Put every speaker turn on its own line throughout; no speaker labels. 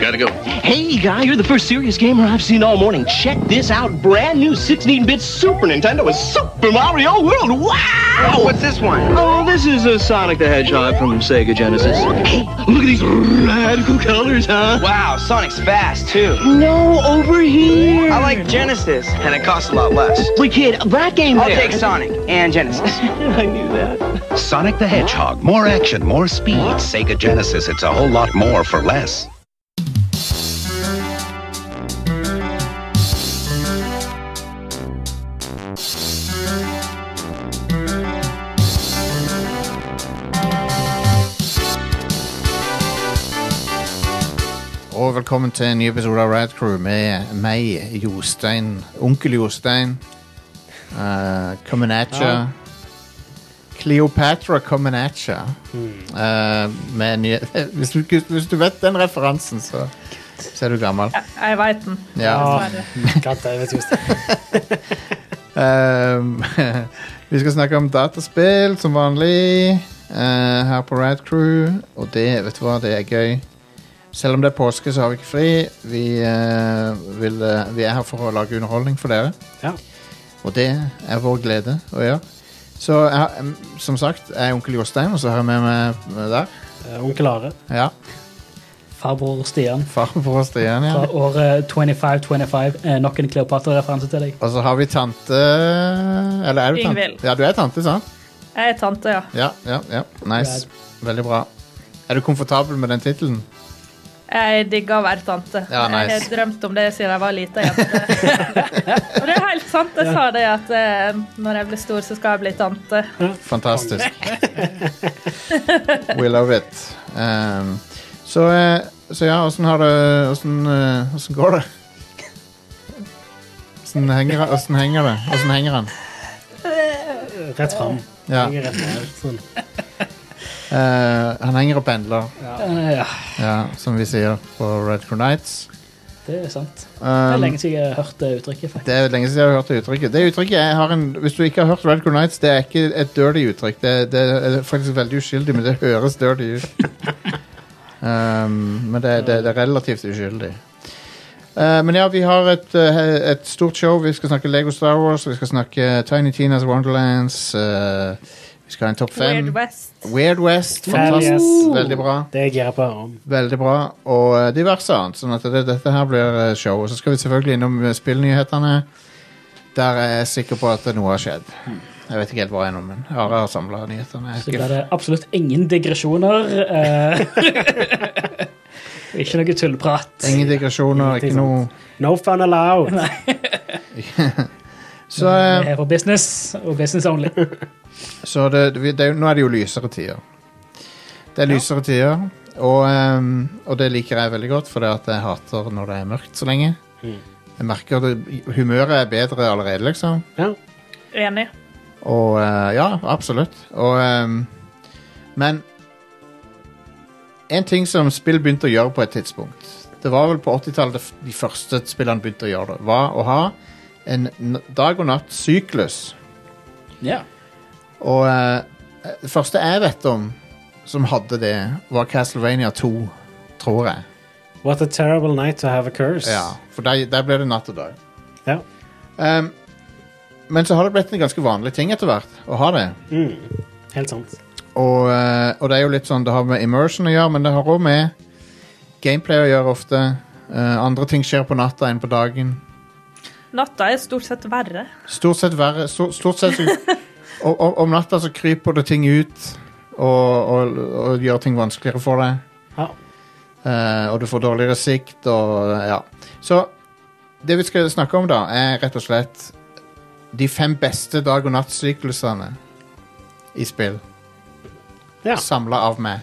Gotta go.
Hey, guy, you're the first serious gamer I've seen all morning. Check this out. Brand new 16-bit Super Nintendo is Super Mario World. Wow!
What's this one?
Oh, this is a Sonic the Hedgehog from Sega Genesis. Hey, look at these radical colors, huh?
Wow, Sonic's fast, too.
No, over here.
I like Genesis, and it costs a lot less.
But kid, that game
I'll
there.
take Sonic and Genesis.
I knew that.
Sonic the Hedgehog. More action, more speed. Sega Genesis, it's a whole lot more for less.
Og velkommen til en ny episode av Rad Crew med meg, Jostein. Onkel Jostein. Uh, coming at ya. Cleopatra coming at ya. Eh, med en ny, hvis, du, ikke- hvis du vet den referansen, så, så er du gammel.
Jeg veit den.
Ja.
Bare.
Goddammit, Jostein.
Ehm, vi skal snakke om dataspill som vanlig eh, her på Rad Crew. Og det, vet du hva, det er gøy. Selv om det er påske, så har vi ikke fri. Vi, eh, vil, eh, vi er her for å lage underholdning for dere.
Ja.
Og det er vår glede å gjøre. Så jeg, har- em, som sagt, jeg er onkel Jostein, og så har jeg med meg med der.
Eh, Onkel Are.
Ja,
Farbror Stian.
Farbror Stian,
Fra
ja.
året 2525. Eh, nok en Kleopatra-referanse til deg.
Og så har vi tante Eller er du
Ingvild.
tante? Ja, du er tante, sant?
Jeg er tante, ja.
Ja, ja, ja. Nice. Veldig bra. Er du komfortabel med den tittelen?
Jeg digger å være tante.
Ja, nice.
Jeg har drømt om det siden jeg var lita jente. Og det er helt sant. Jeg sa det at eh, når jeg blir stor, så skal jeg bli tante.
Fantastisk. We love it. Um, så, eh, så ja, åssen har det Åssen eh, åssen går det? Åssen henger, åssen henger det? Åssen henger han?
Eh, Rett fram.
Ja.
Jeg er Rett frem. Sånn.
eh, han henger og pendler,
Eh, ja,
ja, som vi sier på Red Crew Nights.
det er sant. Det er
Um,
lenge siden jeg har hørt det uttrykket. faktisk.
det er lenge siden jeg har hørt det uttrykket. Det uttrykket jeg har en, Hvis du ikke har hørt Red Crew Nights, det er ikke et dirty uttrykk. Det, det er faktisk veldig uskyldig, men det høres dirty ut. Um, men det, det, det er relativt uskyldig. Eh, men ja, vi har et, eh, et stort show. Vi skal snakke Lego Star Wars, vi skal snakke Tiny Tinas Wonderlands. eh, vi skal ha en topp fem.
Weird West.
Weird West.
Hell
Fantastisk.
yes.
Veldig bra.
Det er jeg gira på å høre om.
Veldig bra, og eh, diverse annet. Sånn at det, dette her blir eh, show. Og så skal vi selvfølgelig innom eh, spillnyhetene. Der er jeg sikker på at noe har skjedd. Jeg vet ikke helt hva ennå, men Are har samla nyhetene. Jeg
Så
er
blir
ikke-
det absolutt ingen digresjoner. eh, ikke noe tullprat.
Ingen digresjoner, ikke noe
No fun allowed.
Så,
Vi
eh,
er for business, og business only.
så det, vi- det, er jo- nå er det jo lysere tider. Det er lysere tider, og, eh, og det liker jeg veldig godt, for det at jeg hater når det er mørkt så lenge. Jeg merker det, humøret er bedre allerede, liksom.
Ja.
Enig.
Og eh, ja, absolutt. Og, ehm, men en ting som spill begynte å gjøre på et tidspunkt Det var vel på 80-tallet det f- de første spillene begynte å gjøre det. Var å ha en n- dag og natt-syklus.
Ja.
Og eh, det første jeg vet om som hadde det, var Castlevania 2, tror jeg.
What a terrible night to have a curse.
Ja, For der, der ble det natt og dag.
Ja.
Ehm, men så har det blitt en ganske vanlig ting etter hvert å ha det.
Mm, Helt sant.
Og, eh, og det er jo litt sånn Det har med immersion å gjøre, men det har òg med gameplay å gjøre ofte. Eh, andre ting skjer på natta enn på dagen.
Natta er stort sett verre.
Stort sett verre Stort, stort sett så- og, og, Om natta så kryper det ting ut og, og, og gjør ting vanskeligere for deg.
Ja.
Eh, og du får dårligere sikt og ja. Så det vi skal snakke om, da, er rett og slett de fem beste dag- og nattsyklusene i spill.
Ja.
Samla av meg.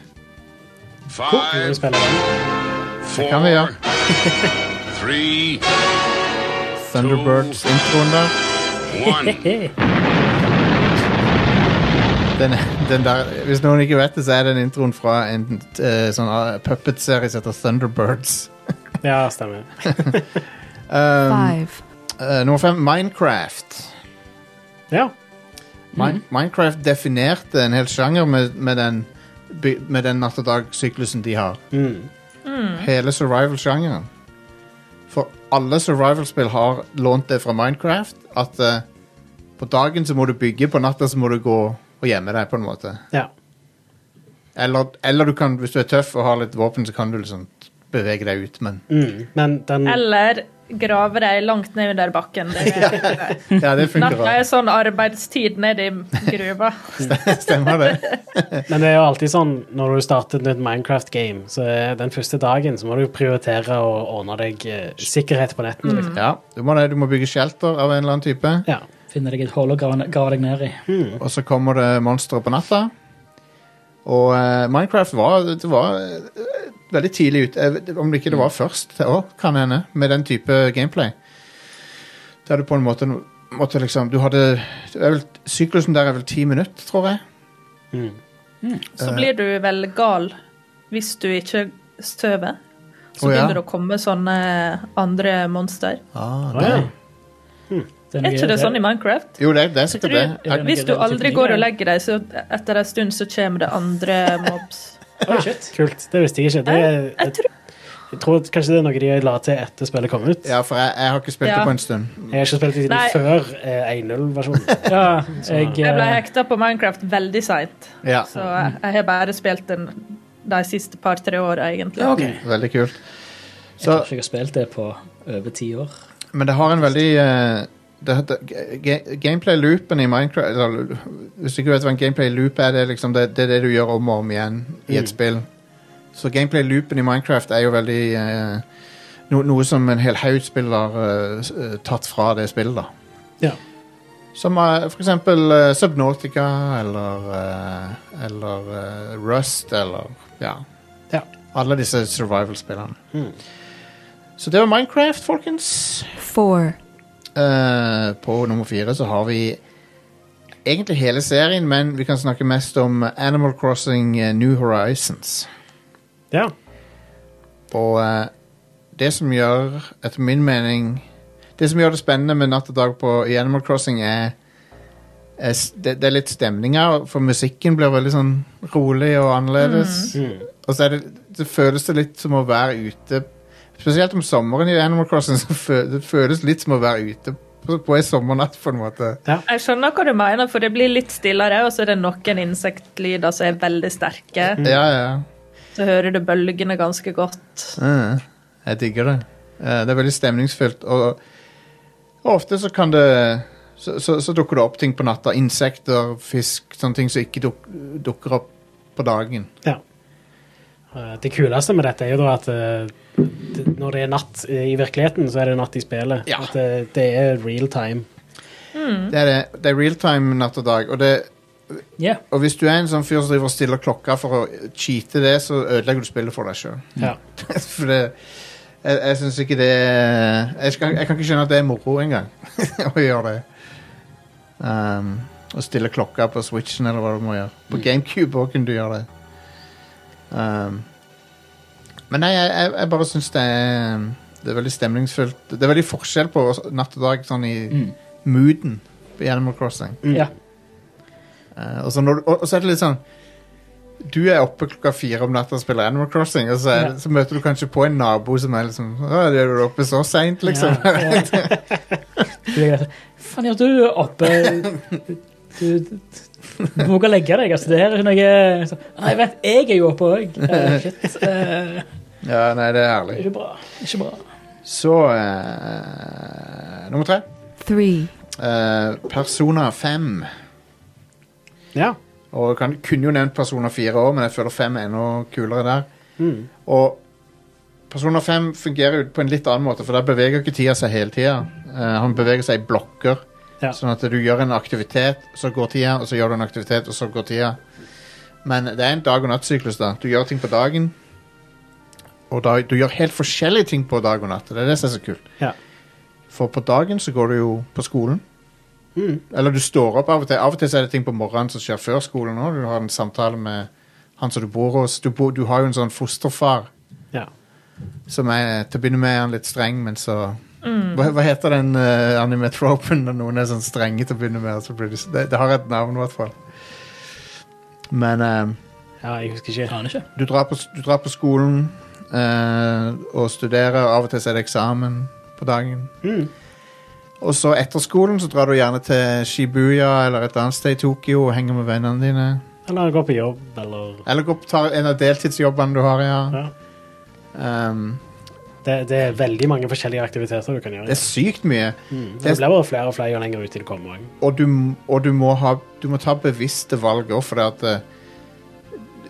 Skal vi
Five,
spille den?
Det kan vi
four,
gjøre.
three,
Thunderbirds-introen der.
one.
Den, den der, hvis noen ikke vet det, så er den introen fra en eh, sånn eh, puppet-serie som heter Thunderbirds.
Ja, stemmer.
Five.
Eh, nummer fem, Minecraft.
Ja.
Mi- Minecraft definerte en hel sjanger med, med den by- med den natt-og-dag-syklusen de har. hele survival-sjangeren. For alle survival-spill har lånt det fra Minecraft. At eh, på dagen så må du bygge, på natta så må du gå og gjemme deg, på en måte.
Ja.
Eller, eller du kan, hvis du er tøff og har litt våpen, så kan du liksom bevege deg ut, men
Mm. Men den
Eller grave deg langt ned under bakken. Det er,
Ja, det funker
Natta
bra.
er sånn arbeidstid nede i gruva.
Stemmer det?
Men det er jo alltid sånn når du starter et nytt Minecraft-game, så er den første dagen så må du prioritere å ordne deg eh, sikkerhet på netten. Liksom.
Ja, du må, det. du må bygge shelter av en eller annen type.
Ja.
Finner deg et hull og graver graver deg ned i.
Og så kommer det monstre på natta. Og eh, Minecraft var, det var eh, veldig tidlig ute. Jeg vet- Om det ikke det var først òg, kan hende, med den type gameplay. Der du på en måte, måtte liksom Du hadde det er vel, Syklusen der er vel ti minutter, tror jeg.
Mm.
Så blir du vel gal hvis du ikke sover. Så
Å, ja.
begynner det å komme sånne andre monster.
Ah,
ja.
Er ikke det sånn i
i
Minecraft?
Jo, det, det er sikkert det.
Jeg
tror-
Jeg-
Hvis du aldri går og legger deg, så etter en stund så kommer det andre mobs.
Kult. Det visste jeg ikke. Det,
Jeg,
jeg,
jeg tror
tror kanskje det er noe de la til etter spillet kom ut.
Ja, for jeg, jeg har ikke spilt
Ja.
det på en stund.
Jeg har ikke spilt i
Nei.
det før eh, 1.0-versjonen.
Ja, jeg,
jeg ble
eh,
hekta på Minecraft veldig seint.
Ja,
Så jeg, jeg har bare spilt den de siste par-tre åra, egentlig.
Veldig kult.
jeg tror ikke jeg har spilt det på over ti år.
Men det har en veldig eh, det, det, ga- Gameplay-loopen i Minecraft eller, Hvis du ikke vet hva en gameplay-loop er, det er liksom det, det er det du gjør om og om igjen
Mm.
i et spill. Så gameplay-loopen i Minecraft er jo veldig eh, no, Noe som en hel haug spill har eh, s- eh, tatt fra det spillet, da.
Ja.
Som eh, for eksempel eh, Subnautica eller eh, Eller eh, Rust eller Ja.
Ja. Mm.
Alle disse survival-spillene. Så det var Minecraft, folkens.
four,
Eh, på nummer fire så har vi egentlig hele serien, men vi kan snakke mest om Animal Crossing eh, New Horizons.
ja.
Og eh, det som gjør, etter min mening Det som gjør det spennende med Natt og dag på, i Animal Crossing, er, er s- det, det er litt stemninger, for musikken blir veldig sånn rolig og annerledes. Og så er det, det føles det litt som å være ute Spesielt om sommeren i Animal Crossing, så fø- det føles litt som å være ute på, på ei sommernatt, på en måte.
Jeg skjønner hva du mener, for det blir litt stillere, og så er det noen insektlyder som er veldig sterke.
Ja, ja.
Så hører du bølgene ganske godt.
Mm. Jeg digger det. Eh, Det er veldig stemningsfylt. Og og ofte så kan det så, så, så dukker det opp ting på natta. Insekter, fisk, sånne ting som ikke duk, dukker opp på dagen.
ja. Eh, Det kuleste med dette er jo da at eh, det- når det er natt eh, i virkeligheten, så er det natt i spillet.
Ja.
At eh, det, det er real time.
Det er, det, det er real time natt og dag. Og, det,
Ja.
og hvis du er en sånn fyr som driver og stiller klokka for å cheate det, så ødelegger du spillet for deg sjøl.
Ja.
For det Jeg, jeg syns ikke det jeg, skal, jeg kan ikke skjønne at det er moro engang å gjøre det. Um, å stille klokka på Switchen eller hva du må gjøre. På GameCube òg kunne du gjøre det. Um, men nei, jeg, jeg, jeg bare syns det er Det er veldig stemningsfullt. Det er veldig forskjell på natt og dag sånn i
Mm.
mooden på Animal Crossing.
ja.
Eh, og, så når, du- og, og så er det litt sånn Du er oppe klokka fire om natta og spiller Animal Crossing, og så, er, det- så møter du kanskje på en nabo som er liksom Å, er du oppe så seint, liksom?
Ja, ja. Du er greit. Faen, ja, du er oppe Du, du, du må gå og legge deg. Altså, det her er noe så, Nei, vent, jeg er jo oppe òg. shit. eh,
Ja, nei, det er herlig.
ikke bra. Ikke bra.
Så eh, Nummer tre.
three,
Eh, Persona 5.
ja.
Og kan, kunne jo nevnt Persona 4 òg, men jeg føler 5 er enda kulere der.
Mm.
Og Persona 5 fungerer jo på en litt annen måte, for der beveger ikke tida seg hele tida. Eh, han beveger seg i blokker,
Ja.
sånn at du gjør en aktivitet, så går tida, og så gjør du en aktivitet, og så går tida. Men det er en dag- og nattsyklus, da. Du gjør ting på dagen, og da, du gjør helt forskjellige ting på dag og natt. og Det er det som er så kult.
Ja.
For på dagen så går du jo på skolen. Eller du står opp av og til. Av og til så er det ting på morgenen som skjer før skolen òg. Du har en samtale med han som du bor hos. Du, bor, du har jo en sånn fosterfar
Ja.
som er til å begynne med er han litt streng, men så hva, hva heter den uh, anime-tropen når noen er sånn strenge til å begynne med? og Så blir de, s- det, det har et navn, i hvert fall. eh, Men eh,
ja, jeg husker ikke.
Aner ikke.
du, drar på, s- du drar på skolen, eh, og studerer. Av og til så er det eksamen på dagen.
Mm.
Og så etter skolen så drar du gjerne til Shibuya eller et annet sted i Tokyo og henger med vennene dine.
Eller gå på jobb, eller
Eller gå på ta en av deltidsjobbene du har, ja.
Ja.
Ehm,
det, det er veldig mange forskjellige aktiviteter du kan gjøre.
det er sykt mye.
Mm. Det blir bare flere og flere jo lenger ut til du kommer. også.
og du, og du, må, ha, du må ta bevisste valg òg, for at eh,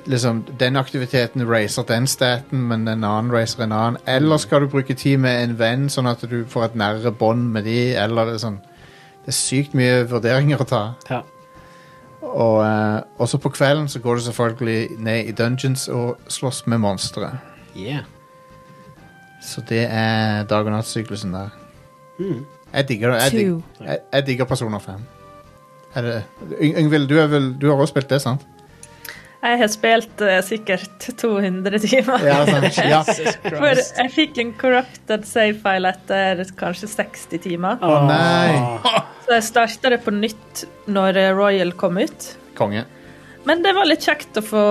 liksom, den aktiviteten racer den staten, men en annen racer en annen. Eller skal du bruke tid med en venn, sånn at du får et nærere bånd med de, eller det er sånn Det er sykt mye vurderinger å ta.
Ja.
Og eh, også på kvelden så går du selvfølgelig ned i dungeons og slåss med monstre.
Yeah.
Så det er dag- og nattsyklusen der.
Mm.
Jeg digger det. Jeg, dig, jeg, jeg digger Personer 5. Er det- Yng- Yngvild, du, er vel, du har også spilt det, sant?
Jeg har spilt eh, sikkert 200 timer.
Ja, altså. sant. Ja.
For jeg fikk en corrupted save-file etter kanskje 60 timer.
Å nei!
Så jeg starta det på nytt når eh, Royal kom ut.
Konge.
Men det var litt kjekt å få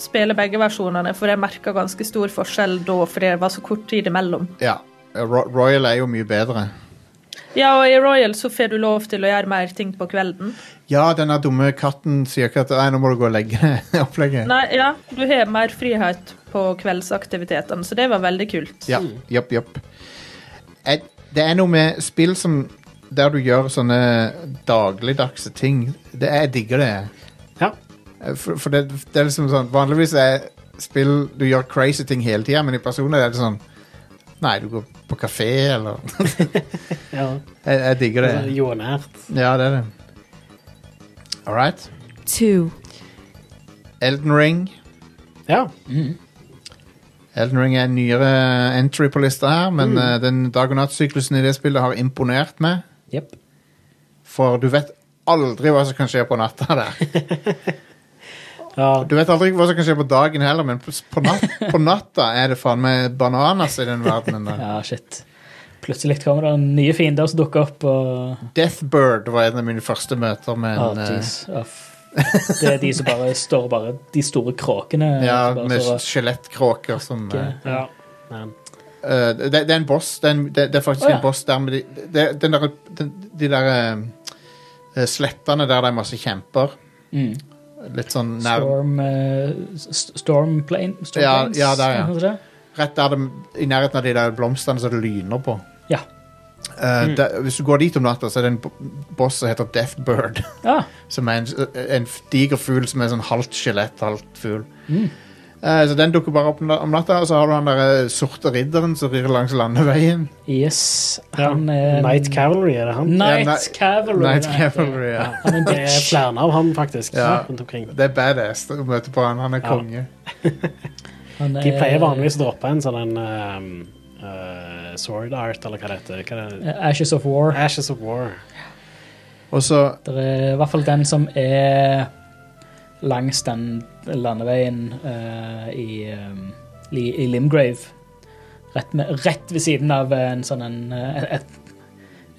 spille begge versjonene, for jeg merka ganske stor forskjell da, fordi det var så kort tid imellom.
Ja. Ro- Royal er jo mye bedre.
Ja, og i Royal så får du lov til å gjøre mer ting på kvelden.
Ja, den der dumme katten sier ikke at Nei, nå må du gå og legge deg. Opplegget.
Nei, ja, du har mer frihet på kveldsaktivitetene, så det var veldig kult.
Ja, jopp, jopp. Jeg- Det er noe med spill som der du gjør sånne dagligdagse ting. Det, jeg digger det.
Ja.
Eh, For, for det, det er liksom sånn Vanligvis er spill Du gjør crazy ting hele tida, men i personer er det sånn Nei, du går på kafé, eller jeg,
ja.
jeg digger det.
Altså, Jo nært.
Ja, det er det. All right.
two,
Elden Ring.
Ja.
Elden Ring er en nyere entry på lista her, men eh, den dag- og nattsyklusen i det spillet har imponert meg.
Jepp.
For du vet aldri hva som kan skje på natta der.
ja.
Du vet aldri hva som kan skje på dagen heller, men på, på, nat på natta er det faen meg bananas i den verdenen der.
Ja, shit. Plutselig kommer det nye fiender som dukker opp, og
Deathbird var en av mine første møter med
Ah,
en eh,
jeez. Ja, f- Det er de som bare står bare De store kråkene.
Ja,
som bare
med
står og-
skjelettkråker som eh,
ja. Men,
Eh, det, det er en boss. Det er, en, det, det er faktisk
Å, ja.
en boss der med de, det- den der, den, de der eh, slettene der det er masse kjemper.
Mm.
Litt sånn nær,
Storm eh, s- Stormplane?
Ja,
Stormplanes?
ja, der, ja.
er det det?
rett der de, i nærheten av de der blomstene som det lyner på.
Ja. Mm.
Eh, der, hvis du går dit om natta, så er det en bo- boss som heter Deathbird.
Ja.
Som er en, en diger fugl som er sånn halvt skjelett, halvt fugl.
Mm.
Eh, så den dukker bare opp om natta, og så har du han der eh, sorte ridderen som rir langs landeveien.
Yes.
ja.
Han er
Night Cavalry, er det han?
Night
Ja, Ni-
Cavalry.
Night
det heter.
Cavalry, ja.
Han er en
Det er
bitch.
flere av han, faktisk.
Ja.
Rundt omkring.
Det er badass å møte på han. Han er
Ja.
konge.
Han er-
De pleier vanligvis å droppe en sånn en ehm, eh, Sword Art, eller hva det heter. Hva det
Eh, Ashes of War.
Ashes of War.
Og så
Det er i hvert fall den som er langs den landeveien eh, i, um, li, i Limgrave. Rett, med, rett ved siden av en sånn en eh, et,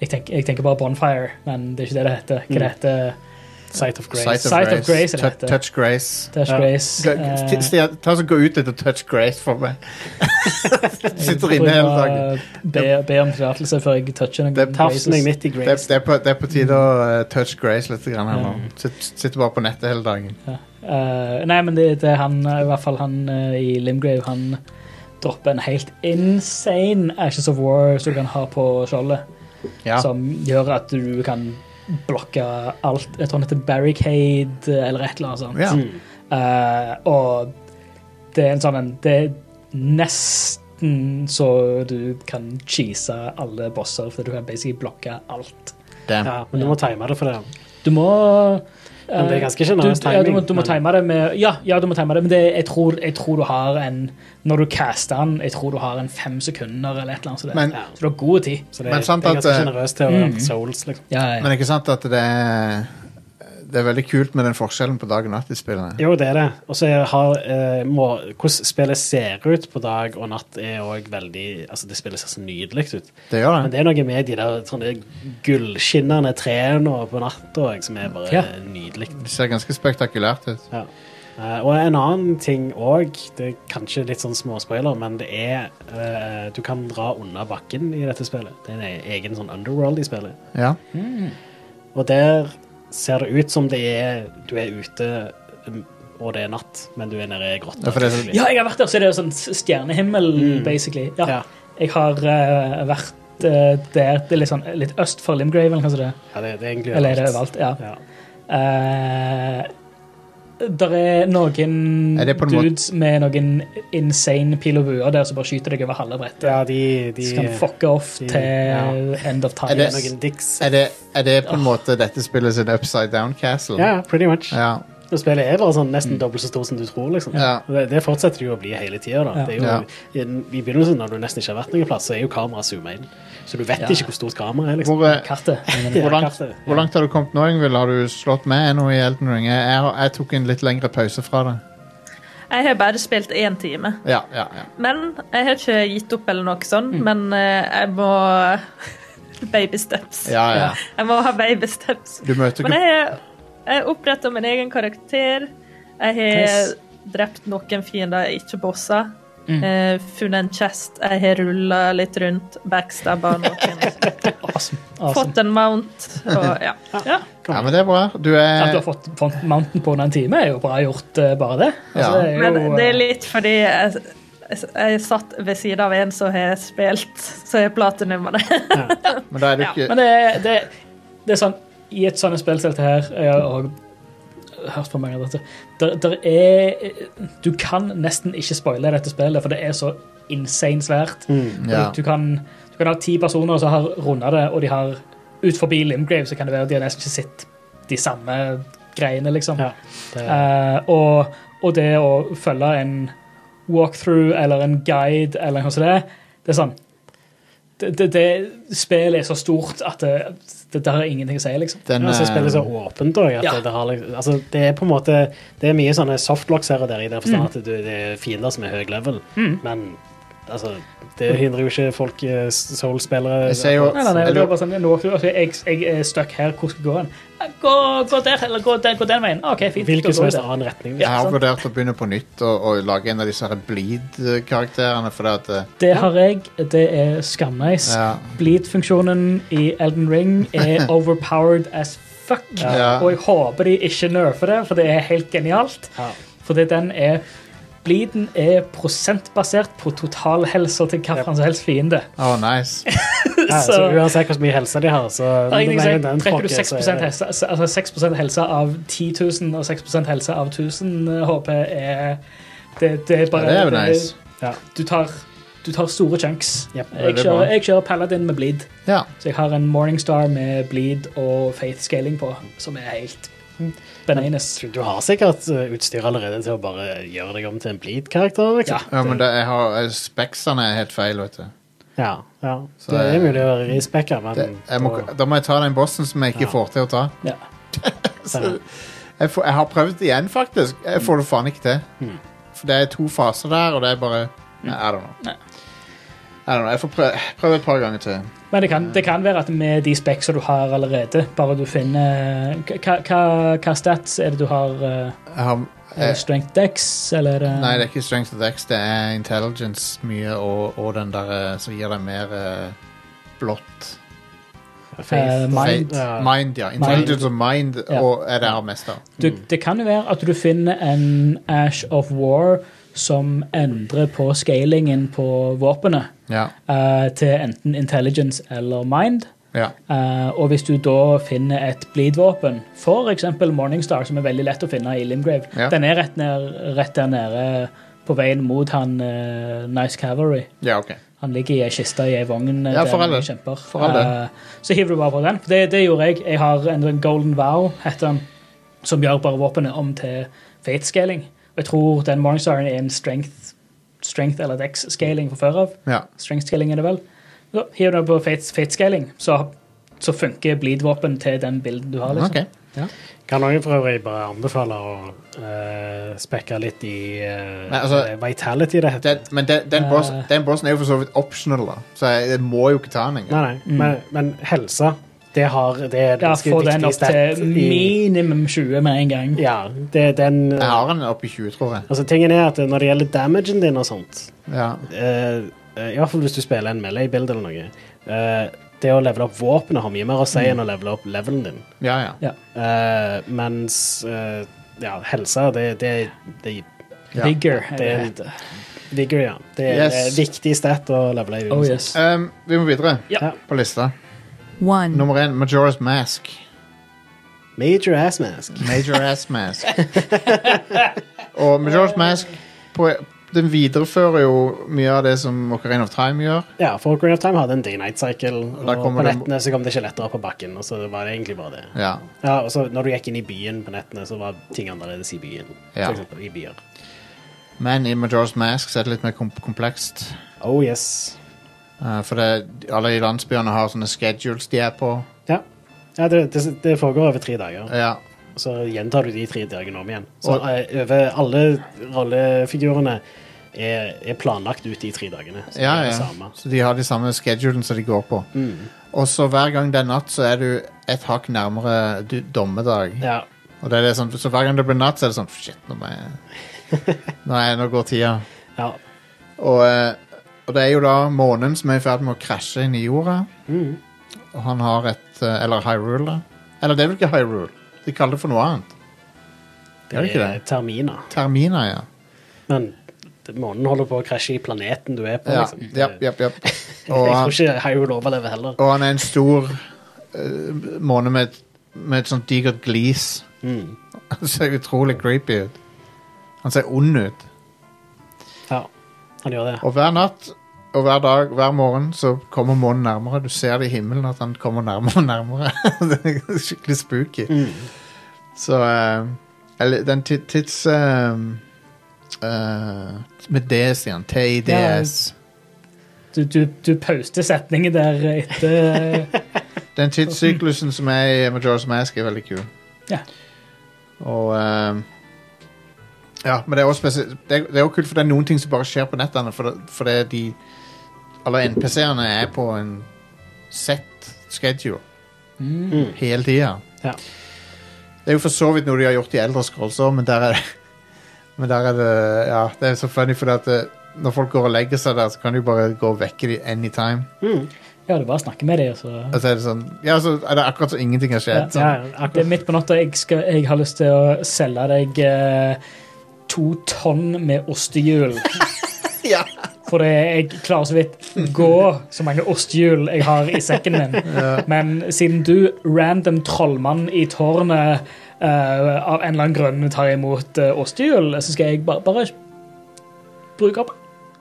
jeg, tenker, jeg tenker bare bonfire, men det er ikke det det heter. Hva
Mm.
det heter
Sight of Grace.
Sight of
Sight
Grace.
of Grace, er det
Tou-
det
touch Grace.
Dash
Ja.
Grace. eh,
Sti- Stian, ta så Gå ut etter Touch Grace for meg. Sitter inne hele dagen.
Be, be om tillatelse før jeg toucher
Det er
noen
Tafsen jeg
graces.
midt i
Det,
Grace.
det, er på, det er på tide
Mm.
å eh, touch Grace litt. Grann, her nå. Sitt- Sitter bare på nettet hele dagen.
Eh, nei, men det, det er han, eh, i hvert fall han eh, i Limgrave, han dropper en helt insane Ashes of War som du kan ha på skjoldet,
Ja.
som gjør at du kan blokke alt. Jeg tror han heter Barricade eh, eller et eller annet sånt.
ja.
Eh, og det er en sånn en Det er nesten så du kan cheese alle bosser, for du kan basically blokke alt.
Damn.
Ja, men du må time det for det.
Du må eh,
Men det er ganske
du,
generøs
ja, du, må,
timing.
du må
men-
time det med Ja, ja du må time det, men det, jeg, tror, jeg tror du har en Når du caster den, jeg tror du har en fem sekunder eller et eller annet. Så, det,
Men-
så du har god tid.
Så det,
Men sant
det er ganske
at, eh,
generøst til å være souls, liksom.
Ja, ja.
Men ikke sant at det er Det er veldig kult med den forskjellen på dag og natt i spillene.
Jo, det er det. Og så er- har eh, må- Hvordan spillet ser ut på dag og natt, er òg veldig Altså, det spillet ser så nydelig ut.
Det gjør
Men
det.
det er noe med de der sånne gullskinnende trærne og på natta òg, som er bare
Ja.
nydelig.
Det ser ganske spektakulært ut.
Ja. Eh, og en annen ting òg, det er kanskje litt sånn småspoiler, men det er eh, Du kan dra under bakken i dette spillet. Det er en egen sånn underworld i spillet.
Ja.
Og der ser det ut som det er Du er ute, um, og det er natt, men du er nede i grotta.
Ja, for det er sånn-
Ja.
Ja, jeg har vært der, så er det jo sånn stjernehimmel, basically. Ja.
Mm. Ja.
Jeg har eh, vært eh, der, det er litt, sånn, litt øst for Limgrave, eller kanskje det?
Ja, det, det er egentlig
Eller er det overalt? Ja.
Ja.
Eh, der er noen
Er det på en måte-
dudes med noen insane pil og buer der som bare skyter deg over halve brettet.
ja, de, de
så kan du fucke off
de-
til
ja.
end of time.
Er det-
Noen dicks.
Er det, er det på en måte dette spillet sin upside down castle?
Ja, ja, pretty much.
Ja.
Og spillet er bare sånn
Mm.
nesten dobbelt så stort som du tror. liksom.
Ja.
Og Det, det fortsetter det jo å bli hele tida. da. Det er jo, i, I begynnelsen, når du nesten ikke har vært noen plass, så er jo kameraet zooma inn. Så du vet ikke hvor stort kameraet er. liksom.
Hvor, eh,
Kartet.
Ja,
hvor, langt,
kartet.
hvor langt har du kommet nå, Ingvild? Har du slått med ennå i Elden Ring? Jeg, jeg, jeg tok en litt lengre pause fra det.
Jeg har bare spilt én time.
Ja, ja, ja.
Men jeg har ikke gitt opp eller noe sånt, men eh, jeg må Baby steps.
ja, ja.
Jeg må ha baby steps.
Du møter
Men
ikke
jeg har- jeg har oppretta min egen karakter. Jeg har
Nice.
drept noen fiender jeg ikke bossa. Eh, funnet en chest. Jeg har rulla litt rundt, backstabba noen.
Awesome. awesome.
Fått en mount. Og, ja.
Ja.
Ja, men det er bra. Du
At du
er
har fått, fått mounten på under en time, er jo bra gjort, eh, bare det. Altså,
Ja.
det er jo,
Men det er
eh,
litt fordi jeg, jeg, jeg satt ved siden av en som har spilt, så har platinummer det.
Men da er du
Ja,
ikke
Men det, er- det, er- det er sånn I et sånt spill som dette her Jeg har også hørt på mange av dette. Der, der er Du kan nesten ikke spoile dette spillet, for det er så insane svært. Og
Mm, Ja.
Du, kan, du kan ha ti personer som har runda det, og de har ut forbi Limgrave, så kan det være de har nesten ikke sett de samme greiene, liksom.
Ja, det,
Eh, og, og det å følge en walkthrough eller en guide eller noe sånt, det, det er sånn det, det, det Spillet er så stort at det, det der er ingenting å si, liksom.
den
ja, så
eh,
spillet så åpent òg.
Ja.
Det, har liksom- altså, det er på en måte Det er mye sånne softlocks her og der, i den
Mm.
forstand at du, det er fiender som er høy level, men altså Det hindrer jo ikke folk, eh, soul-spillere
Jeg ser jo
Nei, nei, nei,
jeg
det er
lurer-
bare sånn, en walkthrough, altså, jeg, jeg er stuck her, hvor skal jeg gå hen? Eh, Gå, gå der, eller gå, der, gå den veien. Ah, OK, fint. da
Hvilken som
går jeg
helst
der.
annen retning.
Jeg har
sant.
vurdert å begynne på nytt og, og lage en av disse her Bleed-karakterene. For det at eh,
Det har jeg. Det er skamnice.
Ja.
Bleed-funksjonen i Elden Ring er overpowered as fuck.
Ja.
Og jeg håper de ikke nerfer det, for det er helt genialt.
Ja.
Fordi den er Bleeden er prosentbasert på totalhelsa til hvilken som helst fiende.
Oh, nice.
Ja, så
Så-
uansett hvor mye helse de har, så
Det er ingenting å si.
med en gang den
Trekker du
tråkker,
6
så er det-
helse, altså 6 helse av 10 000 og 6 helse av 1000 HP er det, det er bare
Ja, det er jo nice.
Ja.
Du tar, du tar store chunks.
Yep.
Jeg,
Veldig bra.
kjører, jeg kjører Paladin med Bleed.
Ja.
Så jeg har en Morningstar med bleed og faith scaling på, som er helt bananas.
Du har sikkert eh, utstyr allerede til å bare gjøre deg om til en bleed-karakter. liksom.
ja, men det, jeg har eh, Speksene er helt feil, vet du.
Ja, ja.
Så
det
jeg-
er mulig å respekke, men
Det, jeg må,
da-
da må jeg ta den bossen som jeg ikke
Mm. Ja.
får til å ta.
Ja.
Jeg, får, jeg har prøvd igjen, faktisk. Jeg får det faen ikke til. For det er to faser der, og det er bare Nei, I don't know. I don't know. Jeg får prøve, prøve et par ganger til.
Men det kan, det kan være at med de speksene du har allerede, bare du finner eh, hva- Hva hva stats er det du har? eh,
Jeg har,
Er det
jeg,
strength dex, eller? er det-
nei, det er ikke strength of dex, det er intelligence mye, og, og den der eh, som gir deg mer eh, blått.
Eh, mind.
Fate. Mind, ja. Intelligence og mind
Ja.
og er det jeg har mest av.
Du, det kan jo være at du finner en Ash of War som endrer på scalingen på våpenet
Ja.
eh, til enten intelligence eller mind.
ja.
Eh, og hvis du da finner et bleed-våpen, f.eks. Morningstar, som er veldig lett å finne i Limgrave
Ja.
Den er rett, ned, rett der nede på veien mot han eh, Nice Cavalry.
Ja, ok.
Han ligger i ei kiste i ei vogn. eh,
Ja,
der
for all del.
han kjemper.
For all del.
Eh, så hiver du bare på den. For det, det gjorde jeg. Jeg har en, en Golden Vow, heter den, som gjør bare våpenet om til fate-scaling. Og jeg tror den Morningstaren er en strength, strength eller dex-scaling fra før av.
Ja.
Strength scaling er det vel. Så hiver du på fate, fate scaling, så, så funker bleed-våpen til den bilden du har. liksom.
Ok.
Kan noen for øvrig bare anbefale å eh, spekke litt i eh,
Nei, altså-
vitality, det heter.
Den, men den, den, bossen, den bossen er jo for så vidt optional, da. Så jeg, jeg må jo ikke ta den engang.
Nei, nei, men, men helse Det, har, det er et
Ja,
ganske
få den
viktig
opp til
i-
minimum 20 med en gang.
Ja, det, den
Jeg har den oppe i 20, tror jeg.
Altså, tingen er at når det gjelder damagen din og sånt
Ja.
eh, eh, I hvert fall hvis du spiller en melee-build eller noe eh, Det å levele opp våpenet har mye mer å si enn å levele opp levelen din.
Ja, ja.
Ja.
Eh, mens eh, ja, helsa, det, det, det
Ja.
Vigor. er
Det-
det heter.
Vigor, ja. Det er
Yes.
det er viktig stat å levele i.
Oh yes.
Ehm, vi må videre
Ja.
på lista.
One.
Nummer én, Majora's Mask.
Major ass mask.
Major Ass Mask. Og Majora's Mask på, den viderefører jo mye av det som Ocarina of Time gjør.
Ja, for Green of Time hadde en day-night-cycle, og
Da kommer
på
det-
nettene så kom det skjeletter opp på bakken, og så var det egentlig bare det.
Ja.
Ja, og så når du gikk inn i byen på nettene, så var ting annerledes i byen.
Ja.
For eksempel i byer.
Men i Majora's Mask så er det litt mer kom komplekst.
Oh yes.
Eh, for det, alle de landsbyene har sånne schedules de er på.
Ja, ja det, det, det foregår over tre dager.
Ja.
Så gjentar du de tre dagene om igjen. Så
Og-
eh, over alle rollefigurene er, er planlagt ut de tre dagene. Så
Ja,
det er det
ja.
samme. Mm.
Så de har de samme schedulene som de går på. Og så hver gang det er natt, så er du et hakk nærmere du, dommedag.
Ja.
Og det er det sånn, så hver gang det blir natt, så er det sånn Shit, nå, må jeg, nå, er jeg, nå går tida.
ja.
Og, eh, og det er jo da månen som er i ferd med å krasje inn i jorda.
Mm.
Og han har et eh, Eller Hyrule, da. Eller det er vel ikke Hyrule. De kaller det for noe annet. Det er det ikke det?
terminer.
Termina, ja.
Men det- månen holder på å krasje i planeten du er på,
Ja,
liksom.
ja, ja, ja. Og,
Jeg tror
han,
ikke Hyrule overlever heller.
og han er en stor eh, måne med, et- med et sånt digert glis.
Mm.
Han ser utrolig creepy ut. Han ser ond ut.
Ja, han gjør det.
Og hver natt og hver dag, hver morgen, så kommer månen nærmere. Du ser det i himmelen at han kommer nærmere og nærmere. det er skikkelig spooky. Så eh, Eller den ti- tids eh, eh, Med DS igjen. TIDS.
Du, du, du pauste setningen der etter eh,
Den tidssyklusen som er i Majora's Mask, er veldig kul.
Ja.
Og eh, Ja, men det er også spesielt Det er- det er også kult, for det er noen ting som bare skjer på nettene, for det- fordi de Alle NPC-ene er på en set schedule hele tida.
Ja.
Det er jo for så vidt noe de har gjort i Eldre Scrolls òg, men der er det Men der er det Ja, det er så funny, fordi at eh, når folk går og legger seg der, så kan de bare gå og vekke dem anytime.
Ja, du bare snakker med dem, og så
Og så er det sånn Ja, så er det akkurat som ingenting har skjedd.
Ja, ja,
Det er
akkurat.
midt på natta. Jeg, skal, jeg har lyst til å selge deg eh, to tonn med ostehjul.
Ja.
For det, jeg klarer så vidt gå så mange ostehjul jeg har i sekken min. Men siden du, random trollmann i tårnet, eh, av en eller annen grunn tar imot eh, ostehjul, så skal jeg bare, bare bruke opp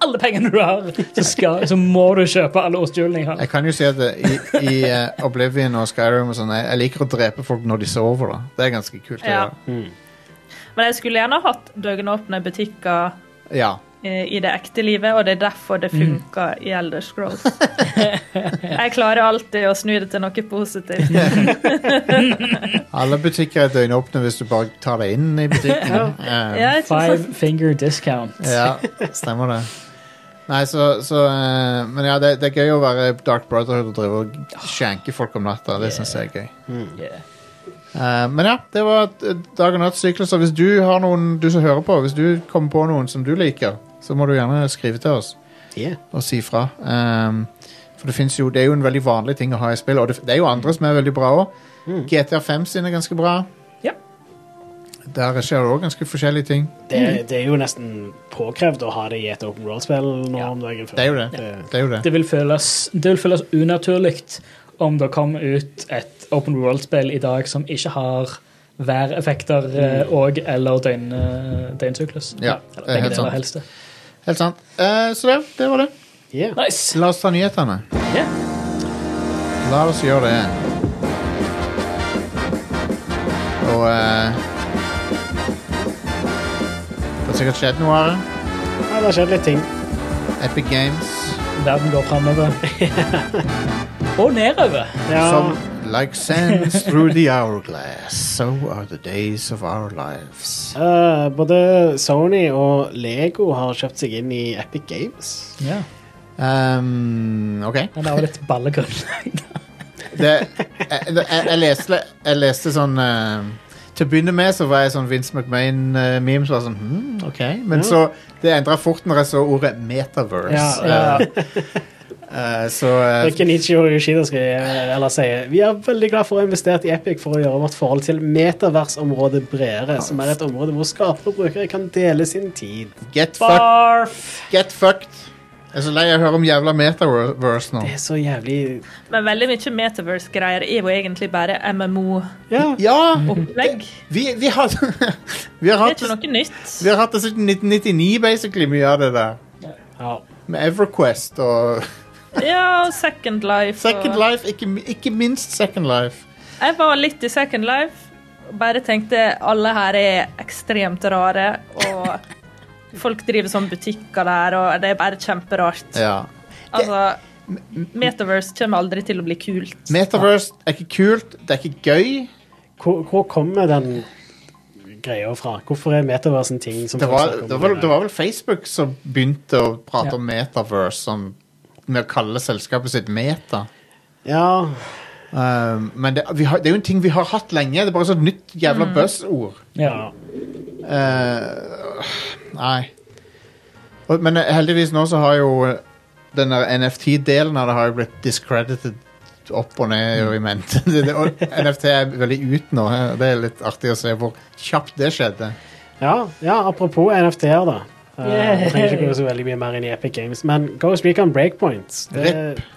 alle pengene du har. Så, skal, så må du kjøpe alle ostehjulene jeg har.
Jeg kan jo si at eh, i, i eh, Oblivion og Skyrim og sånn, jeg, jeg liker å drepe folk når de sover, da. Det er ganske kult. å
Ja.
gjøre.
Men jeg skulle gjerne hatt døgnåpne butikker
ja.
eh, i det ekte livet, og det er derfor det
Mm.
funka i Elder Scrolls. Jeg klarer alltid å snu det til noe positivt.
Alle butikker er døgnåpne hvis du bare tar deg inn i butikken.
Ja,
Eh,
jeg synes
Five finger discount.
ja, stemmer det. Nei, så, så eh, Men ja, det, det er gøy å være Dark Brotherhood og drive og skjenke folk om natta. Det syns jeg er gøy.
Yeah.
Eh, men ja, det var eh, dag og natt-sykluser. Hvis du har noen du som hører på, hvis du kommer på noen som du liker, så må du gjerne skrive til oss.
Yeah.
å si fra. Ehm, for det, finnes jo, det er jo en veldig vanlig ting å ha i spill, og det, det er jo andre som er veldig bra òg. GTA5 sine er ganske bra.
Ja.
Der skjer det òg ganske forskjellige ting.
Det, det er jo nesten påkrevd å ha det i et open world-spill nå om dagen.
Det er jo det.
Det-
det, er jo det.
Det vil føles, det vil føles unaturlig om det kom ut et open world-spill i dag som ikke har væreffekter eh, og- eller døgn, eh, døgnsyklus.
Mm. Ja, det er
eller
helt
begge deler
sant.
helst. det.
Helt sant. Eh, så det, det var det.
Yeah.
Nice!
La oss ta nyhetene.
Ja.
La oss gjøre det. Og eh, Det har sikkert skjedd noe her.
Ja, det har skjedd litt ting.
Epic Games.
Verden går framover. og nedover.
Ja.
Som like sands through the hourglass, so are the days of our lives.
Eh, både Sony og Lego har kjøpt seg inn i Epic Games.
Ja,
Um, ok.
Men det var litt ballegrunn.
det, jeg, jeg, jeg, leste, jeg leste sånn eh, Til å begynne med så var jeg sånn Vince McMahon-meme som var sånn hmm, OK. Men så Det endra fort når jeg så ordet metaverse.
Ja,
Eh, eh, så eh,
Ikke Nietzsche og Yoshida skriver, eller sier Vi er veldig glad for å ha investert i Epic for å gjøre vårt forhold til metaversområdet bredere, som er et område hvor skapere og brukere kan dele sin tid.
get, fuck,
Barf!
get fucked. Jeg er så lei av å høre om jævla metaverse nå.
Det er så jævlig
Men veldig mye Metaverse-greier er jo egentlig bare MMO-opplegg.
Ja.
Ja! Vi, vi, har, vi, har
Det er
hatt,
ikke noe nytt.
vi har hatt det siden 1999, basically, mye av det der.
ja.
Med Everquest og
Ja, og Second Life.
Second
og...
Life, ikke, ikke minst Second Life.
Jeg var litt i Second Life. og Bare tenkte alle her er ekstremt rare, og folk driver sånn butikker der, og det er bare kjemperart.
Ja.
Altså, Metaverse kommer aldri til å bli kult.
Metaverse er ikke kult, det er ikke gøy.
Hvor, hvor kommer den greia fra? Hvorfor er metaversen ting som
Det
folk
var,
snakker om?
det var, det var vel Facebook som begynte å prate
Ja.
om Metaverse som, med å kalle selskapet sitt Meta.
Ja,
Um, men det, vi har, det er jo en ting vi har hatt lenge. Det er bare sånn nytt jævla buzzord.
Ja.
Eh, nei. Og, men eh, heldigvis nå så har jo eh, den der NFT-delen av det har jo blitt discredited opp og ned og i mente. Det- det- og NFT er veldig ut nå. eh, Det er litt artig å se hvor kjapt det skjedde.
ja, ja apropos NFT-er, da. Eh,
Yeah.
Jeg trenger ikke gå så veldig mye mer inn i Epic Games, men Ghost Recon Breakpoints det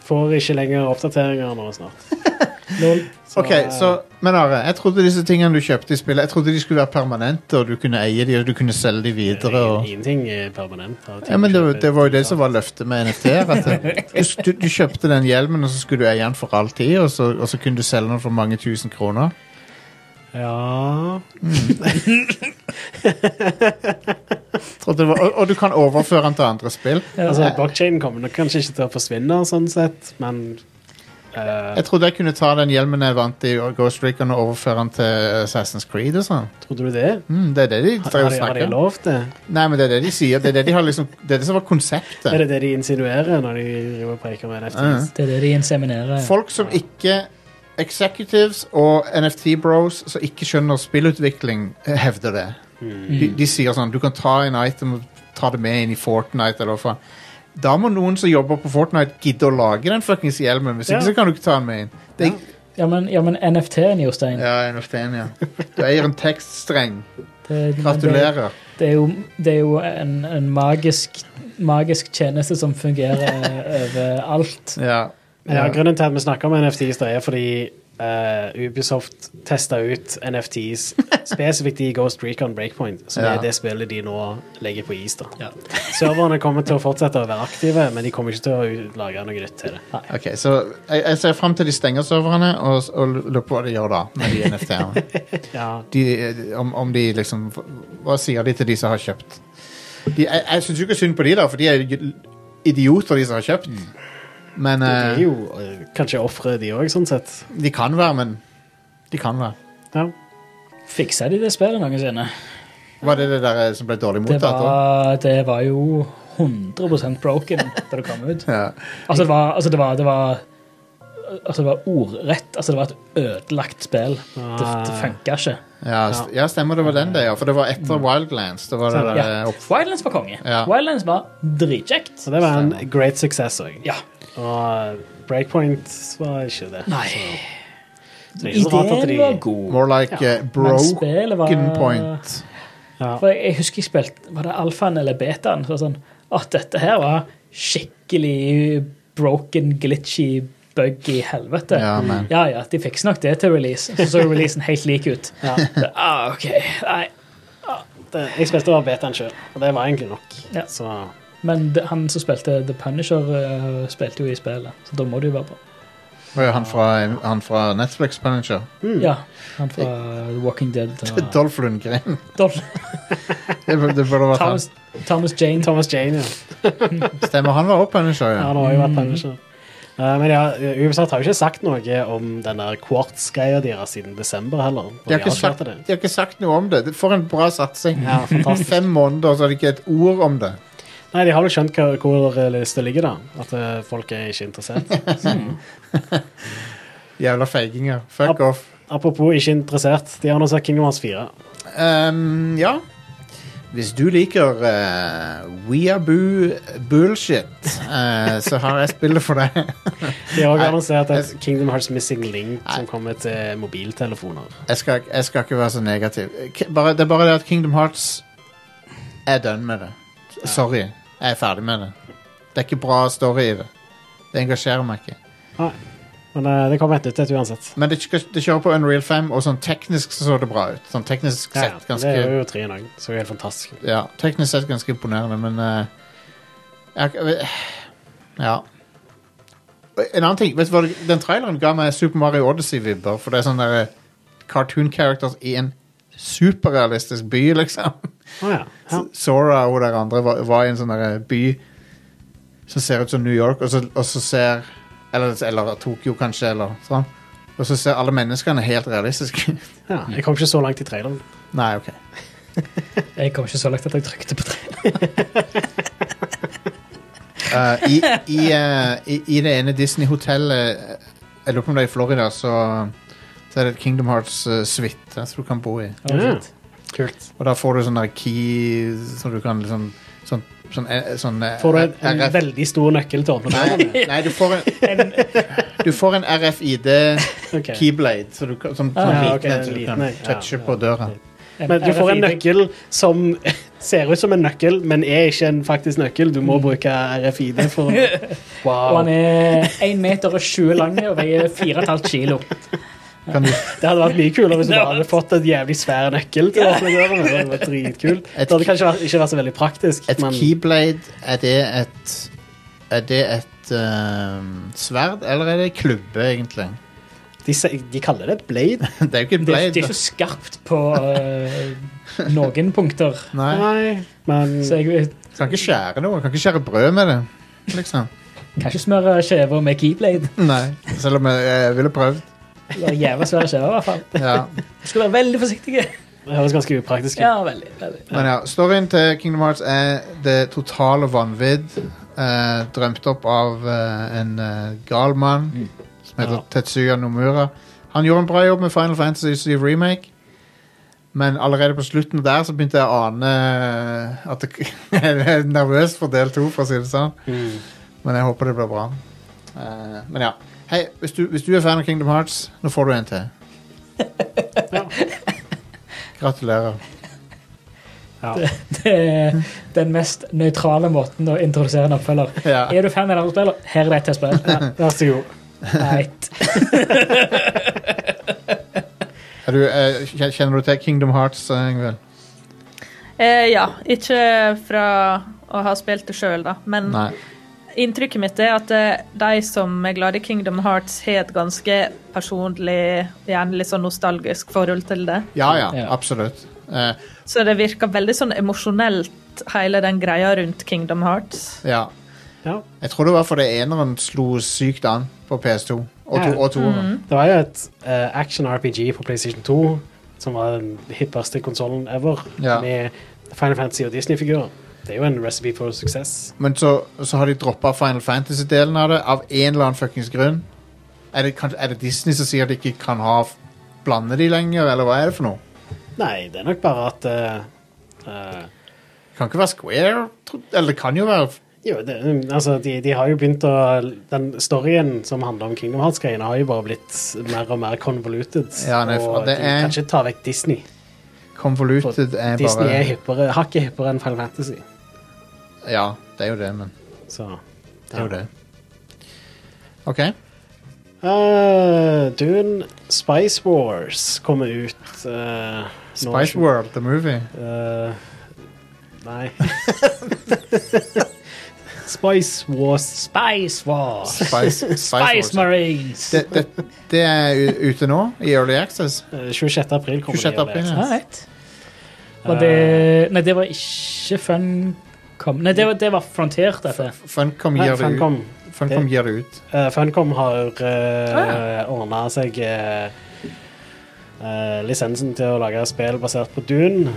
får ikke lenger oppdateringer nå snart. eh,
Lol.
Ok, så, Men Are, jeg trodde disse tingene du kjøpte i spillet Jeg trodde de skulle være permanente, og du kunne eie de og du kunne selge de videre. og...
Ingenting er permanent. av ting
Ja, men
du
det,
kjøper.
det var jo det som var løftet med NFT-er. At det- du, du kjøpte den hjelmen, og så skulle du eie den for all tid, og så, og så kunne du selge den for mange tusen kroner.
Ja
Trodde det var, og, og du kan overføre den til andre spill.
Altså, blockchain kommer nok kanskje ikke til å forsvinne, sånn sett, men eh,
Jeg trodde jeg kunne ta den hjelmen jeg vant i Ghost Recon og overføre den til Assassin's Creed og sånn.
trodde du det?
Mm, det er det de
Har,
drev og
de- har de
snakker om.
lov det?
Nei, men det er det de sier. Det er det, de har liksom, det, er det som var konseptet.
Er det det de insinuerer når de driver og preker med NFTs?
Det er det de inseminerer.
Folk som ikke Executives og NFT-bros som ikke skjønner spillutvikling, eh, hevder det.
Hmm.
De, de sier sånn Du kan ta en item og ta det med inn i Fortnite. Eller hva faen. Da må noen som jobber på Fortnite, gidde å lage den fuckings hjelmen. Hvis ikke
Ja.
så kan du ikke ta den med inn. Det,
Ja, men, ja, men NFT-en, Jostein
ja, NFT-en, ja. Du eier en tekststreng.
det- men Det,
Gratulerer.
det, er jo, det er jo en, en magisk, magisk tjeneste som fungerer overalt.
Ja.
Ja, grunnen til at vi snakker om NFTs da er fordi eh, Ubisoft testa ut NFTs spesifikt i Ghost Recon Breakpoint, som
Ja.
er det spillet de nå legger på is. da. Serverne kommer til å fortsette å være aktive, men de kommer ikke til å u- lage noe nytt til det.
Ok, så jeg, jeg ser fram til de stenger serverne, og, og lurer på hva de gjør da med de NFT-ene.
Ja,
de, om, om de liksom Hva sier de til de som har kjøpt? De, jeg jeg syns jo ikke synd på de, da, for de er jo idioter, de som har kjøpt. Men
De er
eh,
jo eh, kanskje ofre, de òg, sånn sett.
De kan være, men De kan være.
Ja.
Fiksa de det spillet noensinne?
Var det det der eh, som ble dårlig
Det
mottatt? da?
var, det var jo 100 broken da det kom ut.
Ja.
Altså, det var, altså, det var, det var Altså, det var ordrett. Altså, det var et ødelagt spill. Det, det funka ikke.
Ja, st ja, stemmer det var den, det, ja. For det var etter Wildlands. Det var det der,
Ja.
eh, opp...
Wildlands var konge.
Ja.
Wildlands var dritkjekt.
Så det var en great success òg.
Ja.
Og eh, Breakpoint var ikke det.
Nei.
Så det er ikke så rart at
Ideen
de-
var god.
More like eh,
Men spillet
broken
var-
point.
Ja.
For jeg, jeg husker jeg spilte Var det alfaen eller betaen? Så var det sånn, at dette her var skikkelig broken, glitchy bug i helvete.
Ja, men
Ja, ja, de fikser nok det til release. Så så releasen helt lik ut.
Ja.
Så, Ah, OK. Nei.
Det, jeg spilte over betaen sjøl, og det var egentlig nok.
Ja.
Så
Men det- han som spilte The Punisher, eh, spilte jo i spillet, så da må det jo være bra.
Var jo han fra, han fra Netflix Punisher.
Ja, han fra The Walking Dead og
Dolph Lundgren.
Dolph-
Det burde det burde vært han.
Thomas, Thomas Jane.
Thomas Jane, ja.
Stemmer, han var også Punisher,
Ja,
ja.
det har jo vært Punisher. Eh, men ja, Ubisoft har jo ikke sagt noe om den der quartz-greia deres siden desember heller. når
De har, ikke sagt,
avslørte
de har ikke sagt noe om det. Det- For en bra satsing.
Ja, fantastisk.
Fem måneder, så er det ikke et ord om det.
Nei, de har vel skjønt hva, eh, hvor lista ligger, da. At eh, folk er ikke interessert.
Jævla feiginger. Fuck
Ja.
off.
Apropos ikke interessert, de har annonsert Kingdom Hearts 4.
Ehm, ja. Hvis du liker uh, weaboo bullshit, eh, så har jeg spillet for deg.
De har også
Nei,
annonsert et
jeg-
Kingdom Hearts Missing Link
Nei.
som kommer til mobiltelefoner.
Jeg skal, jeg skal ikke være så negativ. K- Bare, det er bare det at Kingdom Hearts er done med det. Sorry. Jeg er ferdig med det. Det er ikke bra story i det. Det engasjerer meg ikke.
Men eh, det kommer et nytt et uansett.
Men det, kj- det kjører på Unreal 5, og sånn teknisk så så det bra ut. Sånn teknisk
Ja, ja,
sett ganske
Det er jo tre i dag, så det er helt fantastisk.
ja, teknisk sett ganske imponerende, men eh, jeg, jeg- Ja. En annen ting, vet du hva, Den traileren ga meg Super Mario Odyssey-vibber. For det er sånne der eh, cartoon characters i en superrealistisk by, liksom.
Å ja. ja.
Sora og hun der andre var, var i en sånn der by som ser ut som New York, og så, og så ser eller, eller Tokyo, kanskje, eller sånn. Og så ser alle menneskene helt realistiske ut.
ja. Jeg kom ikke så langt i traileren.
Nei, OK.
Jeg kom ikke så langt at jeg trykte på tre.
Eh, i, i, eh, i, I det ene Disney-hotellet eh, Jeg lurer på om det er i Florida, så, så er det et Kingdom Hearts-suite som du kan bo i.
Det var
Ja.
fint.
Kult.
Og da får du sånn der key som du kan liksom Sånn, sånn, eh, sånn eh,
Får du en, en
RF
veldig stor nøkkel til å åpne døren?
Nei, nei, du får en Du får en RFID-keyblade
Ok.
så du kan, som, som
Ah,
ja,
liten,
ok,
så du
liten,
kan
ja,
touche
ja.
på døra.
Men du får en
RFID.
nøkkel som ser ut som en nøkkel, men er ikke en faktisk nøkkel. Du må bruke RFID for å
Og
Wow.
han er 1 meter og 20 lang og veier 4,5 kilo.
Kan du,
Det hadde vært mye kulere hvis du bare hadde fått en jævlig svær nøkkel. til å åpne døren. Det hadde vært dritkult. Det hadde kanskje vært- ikke vært så veldig praktisk,
et
men
keyblade, er det et Er det et eh, sverd, eller er det klubbe, egentlig?
de, se- de kaller det et blade.
Det er jo ikke en
Det er,
blade.
det er ikke så skarpt på eh, noen punkter.
Nei,
Nei, men
Så jeg
kan ikke skjære noe. Kan ikke skjære brød med det. Liksom.
kan ikke smøre skjever med keyblade.
Nei, selv om jeg, jeg ville prøvd.
Eller jævla svære skjever, i hvert fall.
Ja.
Du skal være veldig forsiktig.
det høres ganske upraktisk ut.
Ja, veldig, veldig.
Men ja, storyen til Kingdom Hearts er det totale vanvidd. eh, drømt opp av eh, en eh, gal mann som heter
Ja.
Tetsuya Nomura. Han gjorde en bra jobb med Final Fantasy 7 Remake, men allerede på slutten der så begynte jeg å ane eh, at det, jeg er nervøs for del to, for å si det sånn. Men jeg håper det blir bra. Eh, men ja. Hei, hvis du, hvis du er fan av Kingdom Hearts, nå får du en til. Gratulerer.
Det er den mest nøytrale måten å introdusere en oppfølger.
Ja.
Er du fan av den andre spiller? Her er det et til spill. Ja, Vær så god. Right.
Er du, eh, kjen- kjenner du til Kingdom Hearts, eh, Ingvild?
Eh, ja, ikke fra å ha spilt det sjøl, da, men
Mm.
Nei.
inntrykket mitt er at eh, de som er glad i Kingdom Hearts, har et ganske personlig, gjerne litt sånn nostalgisk forhold til det.
Ja ja,
Ja.
absolutt. Eh,
Så det virker veldig sånn emosjonelt, hele den greia rundt Kingdom Hearts.
ja.
Ja.
Jeg tror det var fordi eneren slo sykt an på PS2. Og, to,
Ja.
og toeren.
Det var jo et eh, action RPG på PlayStation 2, som var den hippeste konsollen ever,
Ja.
med Final Fantasy og Disney-figurer. Det er jo en recipe for suksess.
Men så, så har de droppa Final Fantasy-delen av det av en eller annen fuckings grunn. Er det, kan, er det Disney som sier at de ikke kan ha blande de lenger, eller hva er det for noe?
Nei, det er nok bare at eh, eh,
Kan ikke være Square, tro- eller det kan jo være
Jo, det, altså, de, de har jo begynt å Den storyen som handler om Kingdom Hearts-greiene, har jo bare blitt mer og mer convoluted.
Ja, nei, for
og
det
de
er-
kan ikke ta vekk Disney. For
Convoluted er
Disney er
bare
hippere, hakket hippere enn Final Fantasy.
Ja, det er jo det, men
Så
det er jo
ja.
det. OK.
Eh, Dune Spice Wars kommer ut eh, nå-
Spice World, the movie.
Eh, nei. Spice Wars
Spice Wars.
Spice,
Spice
Wars.
Marines.
det, det, det er u- ute nå, i Early Access.
eh, 26. april kommer
26.
de, eller?
april.
All
Ja.
right. Var det Nei, det var ikke Funcom. Nei, det var, det var Frontier, dette.
Funcom
Nei,
gir det ut.
Funcom,
Funcom
Det-
gir det ut.
eh, Funcom har uh,
Ah.
ordna seg eh, eh, lisensen til å lage spill basert på Dune.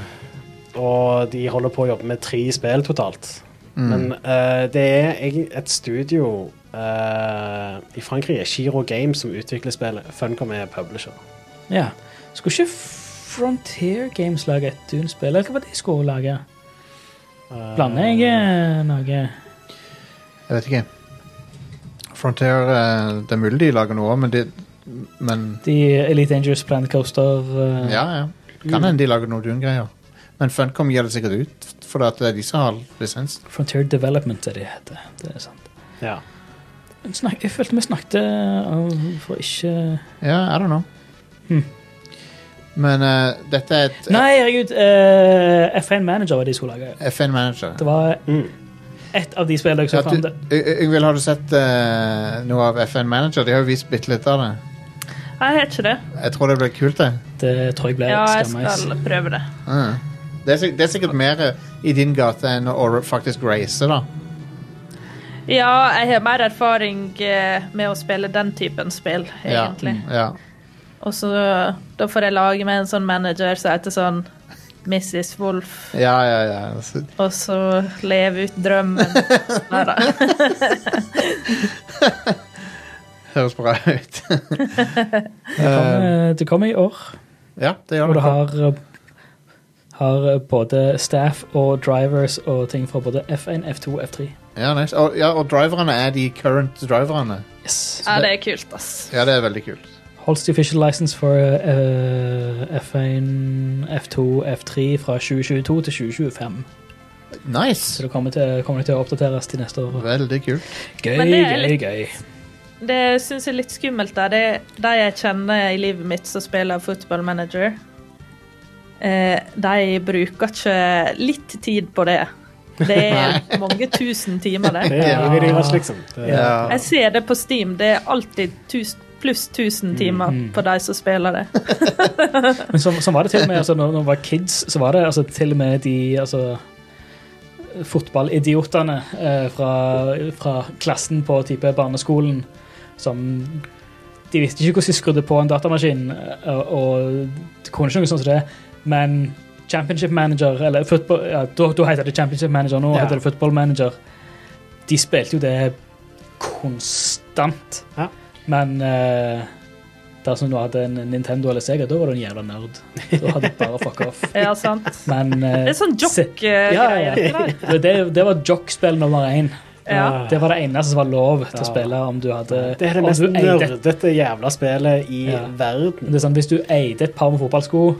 Og de
Mm.
holder på å jobbe med tre spill totalt. Men eh, det er eg- et studio Eh, I Frankrike er Giro Games som utvikler spillet. Funcom er publisher.
Ja. Skulle ikke Frontier Games lage et Dune-spill? Eller hva var det de skulle lage?
Eh,
Blander jeg eh, noe?
Jeg vet ikke. Frontier eh, Det er mulig de lager noe, men de Men
De Elite Dangerous Planet Coaster eh,
ja, ja. Kan hende de lager noen Dune-greier. Men Funcom gir det sikkert ut, for at det er de som har lisens.
Frontier Development er det heter. Det er sant.
Ja.
Men Snak, jeg følte vi snakket om- for ikke
Ja, I don't know. Men eh, dette er et
Nei, herregud! eh, F1 Manager var de skulle lage.
FN Manager.
Det var
Mm.
ett av de spillene jeg så
Ja,
fram
du,
til.
Ø- Øyvind, har du sett eh, noe av FN Manager? De har jo vist bitte litt av det.
Jeg har ikke det.
Jeg tror det blir kult, det.
Det tror jeg ble
Ja, jeg
skammeis.
skal prøve det.
Mm. Det, er, sik- det er sikkert mer eh, i din gate enn å ra- faktisk race, da.
Ja, jeg har mer erfaring eh, med å spille den typen spill,
Ja, Mm.
egentlig.
ja.
Og så da får jeg lage meg en sånn manager som heter sånn Mrs. Wolf,
ja, ja, ja. Så,
og så leve ut drømmen. Nei da.
høres bra ut.
Eh, Det kommer i år,
Um, ja, det gjør
og det
det.
har eh, har eh, både staff og drivers og ting fra både F1, F2 og F3.
Ja, nice. og, ja, og driverne er de current driverne.
Yes.
Ja, det er kult, ass.
Ja, det er veldig kult.
Holds the official license for eh, F1, F2, F3 fra 2022 til 2025. Så
Nice!
det kommer til, kommer det til å oppdateres til neste år.
Veldig kult.
Gøy,
Men det er
gøy,
litt-
gøy.
Det syns jeg er litt skummelt. da. Det er de jeg kjenner i livet mitt som spiller football manager. Eh, de bruker ikke litt tid på det. Det er mange tusen timer,
Det
det.
er livet deres, liksom. Det,
Ja.
Jeg ser det på Steam. Det er alltid tus- pluss
Mm,
1000 timer på de som spiller det.
Men sånn sånn var det til og med altså, når, når vi var kids, så var det altså, til og med de altså, fotballidiotene eh, fra, fra klassen på type barneskolen som De visste ikke hvordan de skrudde på en datamaskin, eh, og, og kunne ikke noe sånt som det, men Championship Manager, eller football, ja, da, da heter det Championship Manager, nå
Ja.
heter det Football Manager. De spilte jo det konstant.
Ja.
Men eh, dersom du hadde en Nintendo eller Sega, da var du en jævla nerd. Da hadde du bare fuck off.
Ja, sant?
Men eh,
Det er sånn
se-
jock-greier.
Ja, ja, ja. Det, det- det var jock-spill nummer én.
Ja.
Det var det eneste som var lov til å
Ja.
spille om du hadde
Ah. det er det
om
mest
du eide,
nerdete jævla spillet i
Ja.
verden.
det er sånn, Hvis du eide et par med fotballsko,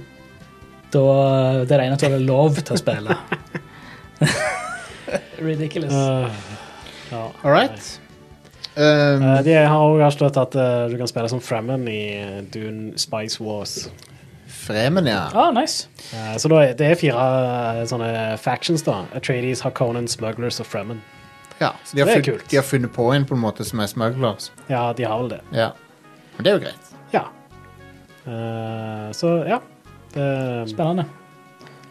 da det er det eneste du hadde lov til å spille. Ridiculous.
Uh, ja.
All right. Um,
Eh, de har også avslørt at eh, du kan spille som Fremen i eh, Dune Spice Wars.
Fremen, ja.
ah, nice.
Eh, så da er, det er fire eh, sånne factions, da. Atreides, Harkonnen, Smugglers og Fremen.
ja så de har,
Det er
funnet,
kult.
de har funnet på en på en måte som er smugglers.
Ja, de har vel det.
Ja. Men det er jo greit.
Ja. Eh, så ja. Det
Spennende.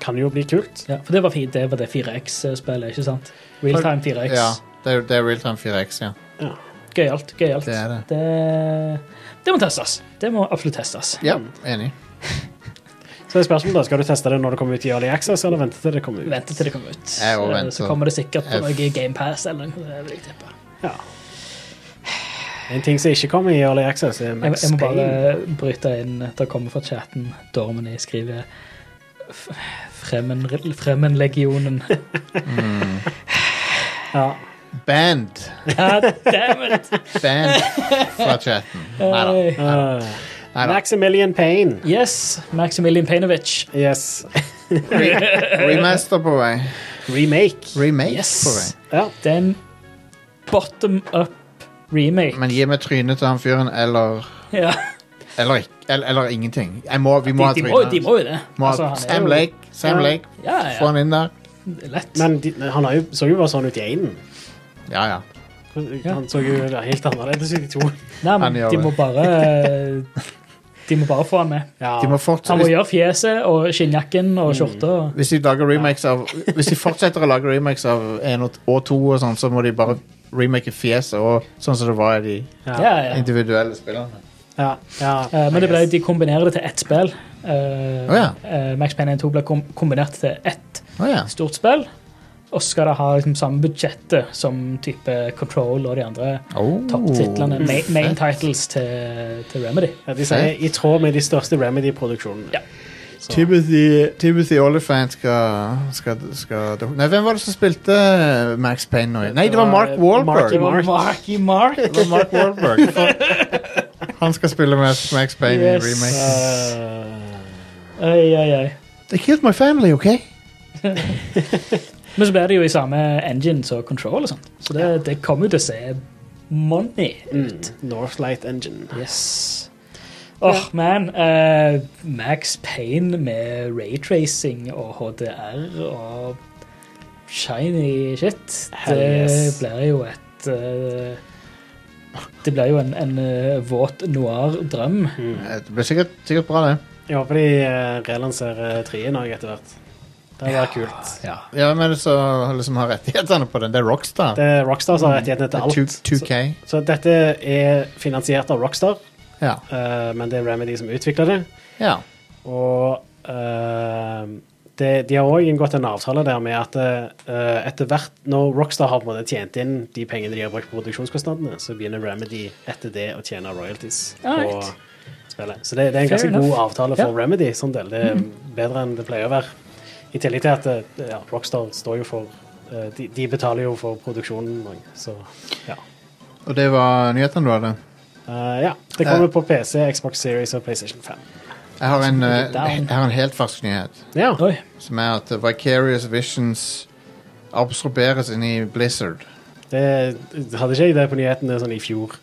kan jo bli kult.
Ja, for det var, fi- det, var det 4X-spillet, ikke sant? Realtime 4X.
Ja, det er, det er Realtime 4X, ja.
Gøyalt. Gøyalt.
Det er det.
Det, det må testes. Det må absolutt testes.
Ja, enig.
Så er spørsmålet da, skal du teste det når det kommer ut i Early Access, eller vente til det kommer ut?
Vente til det kommer ut.
Jeg også
Eh,
venter.
Så kommer det sikkert på
Jeg-
noe GamePass eller noe. Det vil jeg tippe.
Ja. En ting som ikke kommer i Early Access, er
Jeg,
Max
jeg må
Payne.
bare bryte inn. Det kommer fra chatten. Dormeny skriver f- Fremen, Fremenlegionen.
Ja.
Band.
God damn it!
Band fra chatten. Neida.
Eh,
Neida.
Maximilian Payne.
Yes, Maximilian Pejnovic.
Yes.
Remaster på vei.
Remake.
Remake på
Yes.
vei.
Ja.
Den bottom up remake.
Men gi meg trynet til han fyren, eller
ja.
Eller, ikke- eller, eller ingenting. Jeg må, vi må ha
de, de, må, de
trynet.
må jo det.
Må
Altså,
ha-
han er
Sam
jo-
Lake, Sam
Ja.
Lake.
Ja, ja.
Få han inn der.
Lett.
Men de, han har jo, så jo bare sånn ut i enen.
Ja, ja.
Han så jo helt annerledes ut i to.
Nei, men
Han gjør
de
det.
må bare De må bare få han med.
Ja.
De må fortsette
Han må
hvis,
gjøre fjeset og skinnjakken og skjorta. og-
hvis de lager remakes av Hvis de fortsetter å lage remakes av 1 og 2 og sånn, så må de bare remake fjeset og sånn som det var i de
Ja, ja.
individuelle spillerne.
Ja, ja.
Eh, Men det ble, de kombinerer det til ett spill. Eh,
Å, ja.
eh, Max Payne 1 og 2 ble kom kombinert til ett
Å ja.
stort spill. Og så skal det ha liksom, samme budsjettet som type Control og de andre
Oh.
topptitlene, main, main titles til, til Remedy.
Ja, de sier i tråd med de største Remedy-produksjonene.
Ja.
Timothy, Timothy Oliphant skal, skal, skal Nei, hvem var det som spilte Max Payne nå? Nei, det var Mark Wahlberg.
Det var Marky Mark.
Det var Mark Wahlberg. For- Han skal spille Max, Max Payne
Yes.
i remake.
Eh,
Oi, oi, oi.
They killed my family, okay?
Men så blir det jo i samme engine som Control og sånt. Så det, det kommer jo til å se money.
mm, Northlight Engine.
Yes. Åh, man. eh, Max Payne med raytracing og HDR og shiny shit.
Hell
Det
yes.
blir jo et eh, Det blir jo en, en eh, våt noir drøm.
Mm.
Eh, Det blir sikkert, sikkert bra, det.
Jeg håper de eh, relanserer trien òg etter hvert. Det hadde vært kult.
Ja.
Ja, Hvem er det som liksom har rettighetene på den? Det er Rockstar.
Det er Rockstar som har rettighetene
Mm. Det
til
er
alt.
2, 2K.
Så, så dette er finansiert av Rockstar,
Ja.
eh, men det er Remedy som utvikler det.
ja.
Og eh, det, de har òg inngått en avtale der med at eh, etter hvert når Rockstar har på en måte tjent inn de pengene de har brukt på produksjonskostnadene, så begynner Remedy etter det å tjene royalties på
Alright.
spillet. Så det, det er en
Fair
ganske god
enough.
avtale for
Ja. Mm.
Remedy som del. Det er bedre enn det pleier å være. I tillegg til at eh, ja, Rockstar står jo for eh, de, de betaler jo for produksjonen òg, så ja.
Og det var nyhetene du hadde?
Eh, ja. Det kommer på PC, Xbox Series og PlayStation 5.
Jeg har en, eh,
down.
jeg har en helt fersk nyhet.
Ja.
Oi.
Som er at Vicarious Visions absorberes inn i Blizzard.
Det hadde ikke jeg det på nyhetene sånn i fjor.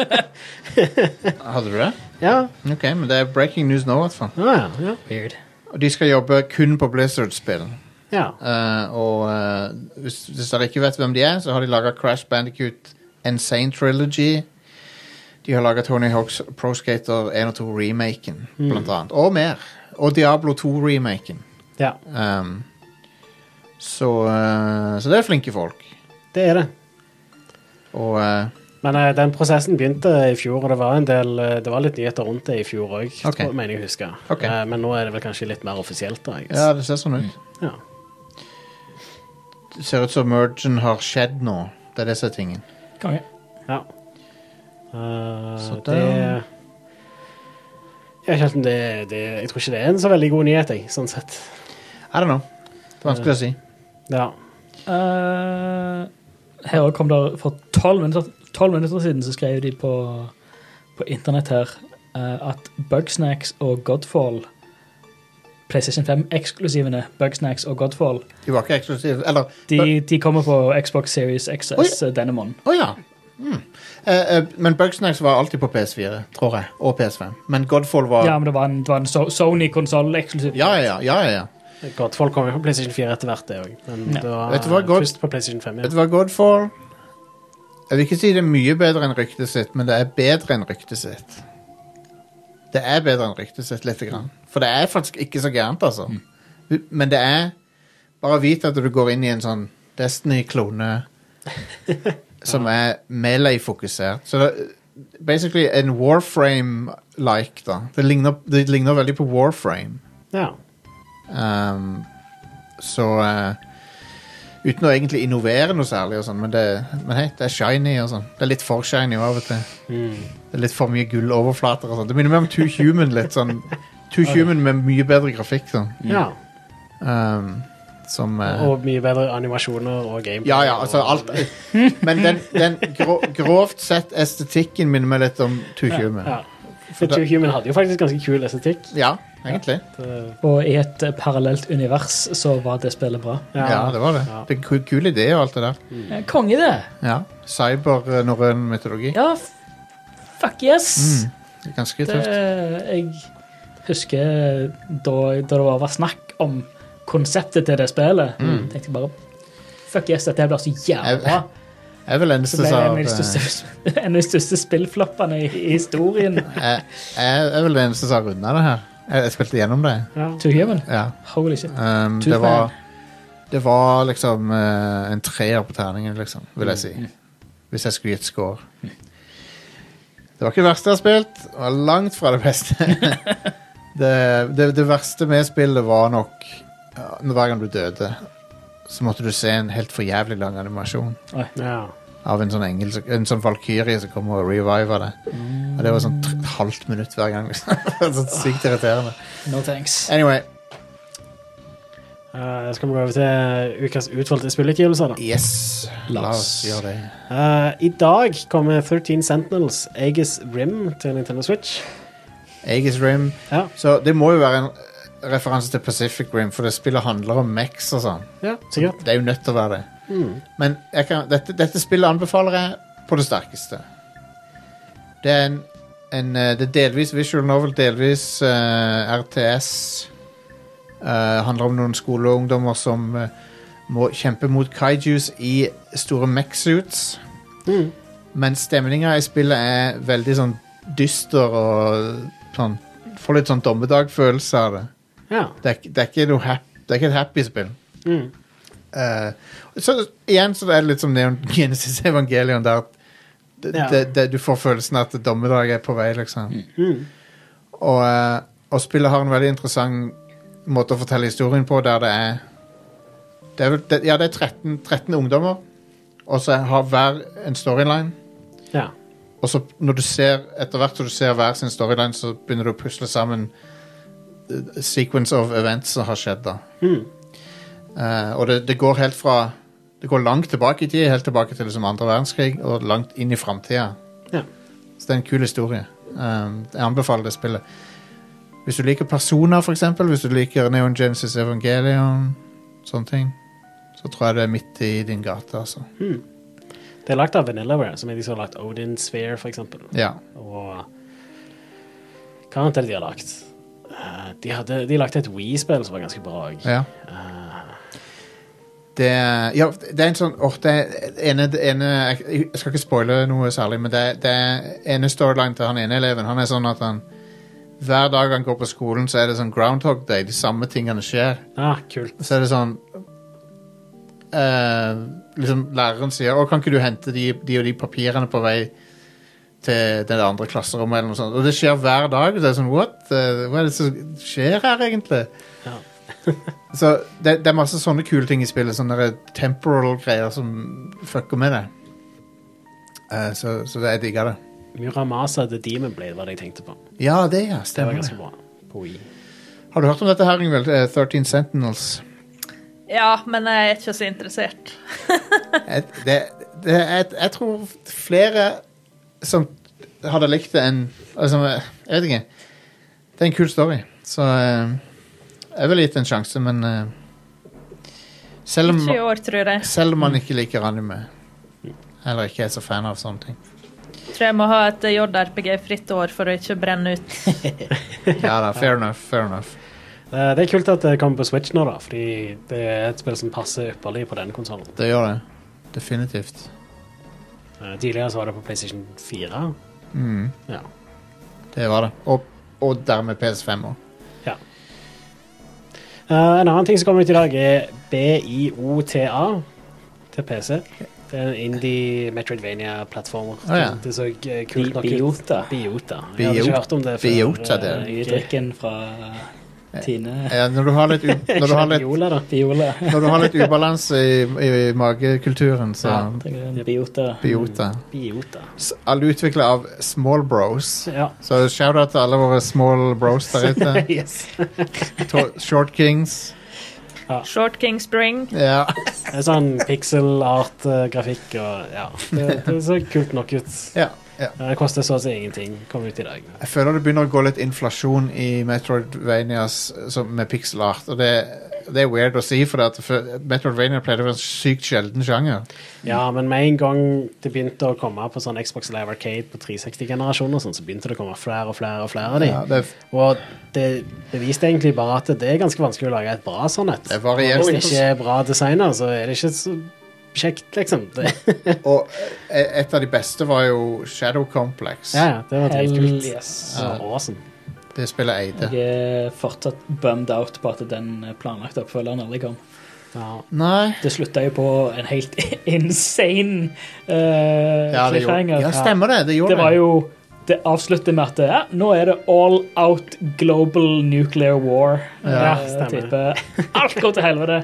Hadde du det?
Ja,
Ok, men det er breaking news nå, i hvert fall.
Ah, ja.
Weird.
Og de skal jobbe kun på Blizzard-spill.
ja.
Eh, og eh, hvis, hvis dere ikke vet hvem de er, så har de laga Crash Bandicoot Insane Trilogy. De har laga Tony Hawks Pro Skater 1 og 2-remaken, blant annet. Og mer. Og Diablo 2-remaken.
ja.
Um, så, eh, så det er flinke folk.
Det er det.
Og eh,
Men eh, den prosessen begynte i fjor, og det var, en del, eh, det var litt nyheter rundt det i fjor òg.
Ok.
Mener jeg å huske.
Ok.
Eh, men nå er det vel kanskje litt mer offisielt, da. jeg guess.
ja, det ser sånn ut.
Ja.
Det ser ut som mergen har skjedd nå. Det er disse tingene.
Konge.
ja. Eh,
Så
det
det-
jeg, vet ikke om det, det, jeg tror ikke det er en så veldig god nyhet, jeg, sånn sett.
I don't know. Det er vanskelig å si.
Ja.
Eh, her også kom det for tolv minutter, 12 minutter siden så skrev de på, på internett her eh, at Bugsnacks og Godfall PlayStation 5-eksklusivene Bugsnacks og Godfall
De var ikke eksklusive. Eller
de, de kommer på Xbox Series XS eh, denne måneden.
Å ja. Mm. Eh, eh, men Bugsnax var alltid på PS4, tror jeg. Og PS5. Men Godfall var
Ja, men det var en, det var en so Sony-konsoll eksklusiv.
Ja, ja, ja. ja, ja.
Godt, folk kommer jo på PlayStation 4 etter hvert, det òg. Men
Ja.
det var
Vet du hva,
eh,
godt-
først på PlayStation 5.
Vet
Ja.
du hva, Godfall Jeg vil ikke si det er mye bedre enn ryktet sitt, men det er bedre enn ryktet sitt. Det er bedre enn ryktet sitt, lite grann. For det er faktisk ikke så gærent, altså. Men det er Bare vit at du går inn i en sånn Destiny-klone som er Melee-fokusert. Så det er basically en Warframe-like, da. Det ligner, det ligner veldig på Warframe.
Ja.
Um, så eh, Uten å egentlig innovere noe særlig, og sånn, men, det, men hei, det er shiny. og sånn. Det er litt for shiny av og til. Det er Litt for mye gulloverflater. og sånn. Det minner meg om Two Human. litt sånn. Two Human med mye bedre grafikk. sånn.
ja.
Um, som eh,
Og mye bedre animasjoner og gameplay.
Ja, ja, altså
og-
alt Men den, den gro, grovt sett estetikken minner meg litt om Two Human.
Ja. For Two Human hadde jo faktisk ganske kul estetikk.
Ja, egentlig.
Det-
Og i et eh, parallelt univers så var det spillet bra.
Ja, det var det.
Ja.
Det er en kul, kul idé og alt det der.
Eh, Konge, det!
Ja. Cyber-norrøn mytologi.
Ja, f- fuck yes!
Mm. Ganske
Det,
tøft.
jeg husker da, da det var snakk om konseptet til det spillet. tenkte jeg bare Fuck yes, dette her blir så jævla
Mm. Jeg-
bra.
Jeg vil eneste
Så ble det
som eh,
en av de største, en av de største spillfloppene i, i historien.
jeg, jeg er vel den eneste som har runda det her. Jeg, jeg spilte gjennom det.
Ja.
To human.
Ja.
Holy shit.
Um,
Too
det, var,
bad.
det var liksom eh, en treer på terningen, liksom, vil jeg si.
Mm.
Hvis jeg skulle gitt score. Det var ikke det verste jeg har spilt. Det var langt fra det beste. det, det, det verste med spillet var nok ja, hver gang du døde. så måtte du se en helt for jævlig lang animasjon
Ja.
av en sånn, engel, en sånn valkyrie som kommer og reviver det. Og det var sånn tr- et halvt minutt hver gang. liksom. Det var sånn sykt irriterende.
No thanks.
Anyway,
Eh, skal vi gå over til eh, ukas utvalgte spillutgivelser, da?
yes. La oss
oss.
gjøre det.
Eh, I dag kommer 13 Sentinels Aegis Rim til Nintendo Switch.
Aegis Rim.
Ja.
Så det må jo være en referanse til Pacific Rim, for det spillet handler om Mex og sånn.
Ja, sikkert.
Det er jo nødt til å være det. Men jeg kan, dette, dette spillet anbefaler jeg på det sterkeste. Det er en, en eh, Det er delvis visual novel, delvis eh, RTS. Eh, handler om noen skoleungdommer som eh, må kjempe mot kaijus i store mech-suits. Men stemninga i spillet er veldig sånn dyster og sånn Får litt sånn dommedag-følelse av det.
Ja.
Det er, ikke- det er ikke noe hap, Det er ikke et happy spill.
Mm.
Eh, så igjen så er det litt som Neon Genesis Evangelion, der at det,
Ja.
det, det, du får følelsen at dommedag er på vei, liksom.
Mm.
Og, eh, og spillet har en veldig interessant måte å fortelle historien på, der det er det er, vel- det, Ja, det er 13, 13 ungdommer, og så har hver en storyline.
ja.
Og så når du ser etter hvert som du ser hver sin storyline, så begynner du å pusle sammen eh, sequence of events som har skjedd, da.
Mm.
Eh, og det, det går helt fra Det går langt tilbake i tid, helt tilbake til liksom andre verdenskrig, og langt inn i framtida.
Ja.
Så det er en kul historie. Um, jeg anbefaler det spillet. Hvis du liker personer, for eksempel, hvis du liker Neon Genesis Evangelion, sånne ting, så tror jeg det er midt i din gate, altså.
Det er lagd av Vanillaware, som er de som har lagd Odin Sphere, for eksempel.
Ja.
Og hva annet er det de har lagt? Eh, De hadde de lagde et Wii-spill som var ganske bra òg.
ja. Det er, ja, det er en sånn åh, det er ene, det ene, Jeg jeg skal ikke spoile noe særlig, men det, det er ene storyline til han ene eleven. Han er sånn at han hver dag han går på skolen, så er det sånn Groundhog Day. De samme tingene skjer.
Ah, kult.
Så er det sånn eh, Liksom Læreren sier å, 'Kan ikke du hente de, de og de papirene på vei til det andre klasserommet?' eller noe sånt. Og det skjer hver dag. Det er sånn, What? Eh, Hva er det som skjer her, egentlig?
Ja.
så det, det er masse sånne kule ting i spillet. Sånne der temporal greier som fucker med det. Eh, så, så det- jeg digger det.
Muramasa The Demon Blade var det jeg tenkte på.
Ja, det,
Det
ja.
var
Stemmer.
ganske
det.
bra. På Wii.
Har du hørt om dette her, Ingvild? Eh, 13 Sentinels.
Ja, men jeg er ikke så interessert.
jeg, det, det, jeg, jeg tror flere som hadde likt det enn altså, Jeg vet ikke. Det er en kul story, så eh, jeg ville gitt det en sjanse, men eh, selv,
Ikke i
om,
år, tror jeg.
selv om man ikke liker anime, eller ikke er så fan av sånne ting
Tror jeg må ha et JRPG-fritt år for å ikke brenne ut.
Ja da, fair enough. fair enough
Eh, Det er kult at det kommer på Switch nå, da, fordi det er et spill som passer ypperlig på denne konsollen.
Det gjør det. Definitivt.
Eh, Tidligere så var det på PlayStation 4.
Mm,
Ja.
det var det. Og, og dermed PS5 òg.
Eh, en annen ting som kommer ut i dag, er BIOTA til PC. Det er en indie Metroidvania-plattformer.
Å, ja.
Det så eh, kult nok ut.
Biota.
Biota. Jeg hadde
Bio-
ikke hørt om det før.
Biota, det er Eh,
eh,
Nye
jeg-
drikken fra Tine.
Ja, når du har litt, u- når du har litt,
Biola, da.
Biola.
når du har litt ubalanse i, i, i magekulturen, så
Ja, drikker en Biota.
Biota.
Biota.
S- Alle utvikla av Small Bros.
Ja.
Så shout-out til alle våre small bros der ute.
yes.
To- Short Kings.
Short King Spring.
Ja.
Det er sånn pixel art-grafikk og ja. Det, det så kult nok ut.
ja, ja.
Eh, Det koster så å si ingenting. Kom ut i dag.
Jeg føler det begynner å gå litt inflasjon i Metroidvanias som- med pixel art. Og det, det er weird å si, for at før- Metroidvania pleide å være en sykt sjelden sjanger.
Ja, men med en gang det begynte å komme på sånn Xbox Live Arcade på 360-generasjonen, og sånn, så begynte det å komme flere og flere og flere av de.
Ja, det,
Og det beviste egentlig bare at det er ganske vanskelig å lage et bra sånn et.
det varierer.
Hvis det ikke er bra designer, så er det ikke så kjekt, liksom. Det,
Og eh, et av de beste var jo Shadow Complex.
ja, ja, det var
Hell
dritkult.
yes.
Så awesome.
Det spillet eide.
Jeg er fortsatt bummed out på at den planlagte oppfølgeren aldri kom.
Ja.
Nei
Det slutta jo på en helt insane eh,
ja, det, gjorde,
cliffhanger.
ja, stemmer det. Det gjorde
Det var jo Det avslutter med at ja, nå er det all out global nuclear war.
Ja,
Eh,
stemmer.
type. Alt går til helvete.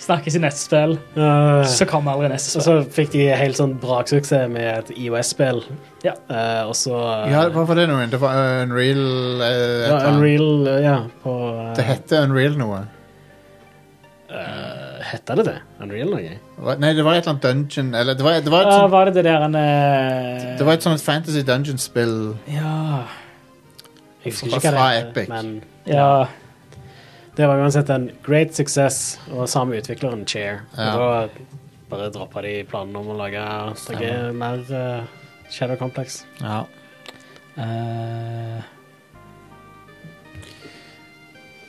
snakkes i neste spill,
Eh,
så kommer aldri neste
og
spill.
så fikk de helt sånn braksuksess med et IOS-spill.
Ja.
Eh, og så eh,
Ja, hva var det nå? igjen? Det var uh, Unreal eh, et
ja,
eller annet.
Unreal eh, Ja, på eh,
Det heter Unreal noe.
Hette det det? Unreal noe?
Hva- Nei, det var et eller annet dungeon eller, det, var, det, var et
Ja,
sånt,
var det det der en eh,
det var et sånt fantasy dungeon-spill.
Ja.
Jeg husker ikke
Fra-
hva
fra
det
Epic.
heter, men
ja.
det var uansett en great success, og samme utvikleren Chair.
Ja.
Og da bare droppa de planen om å lage noe mer eh, Shadow Complex.
Ja.
Eh,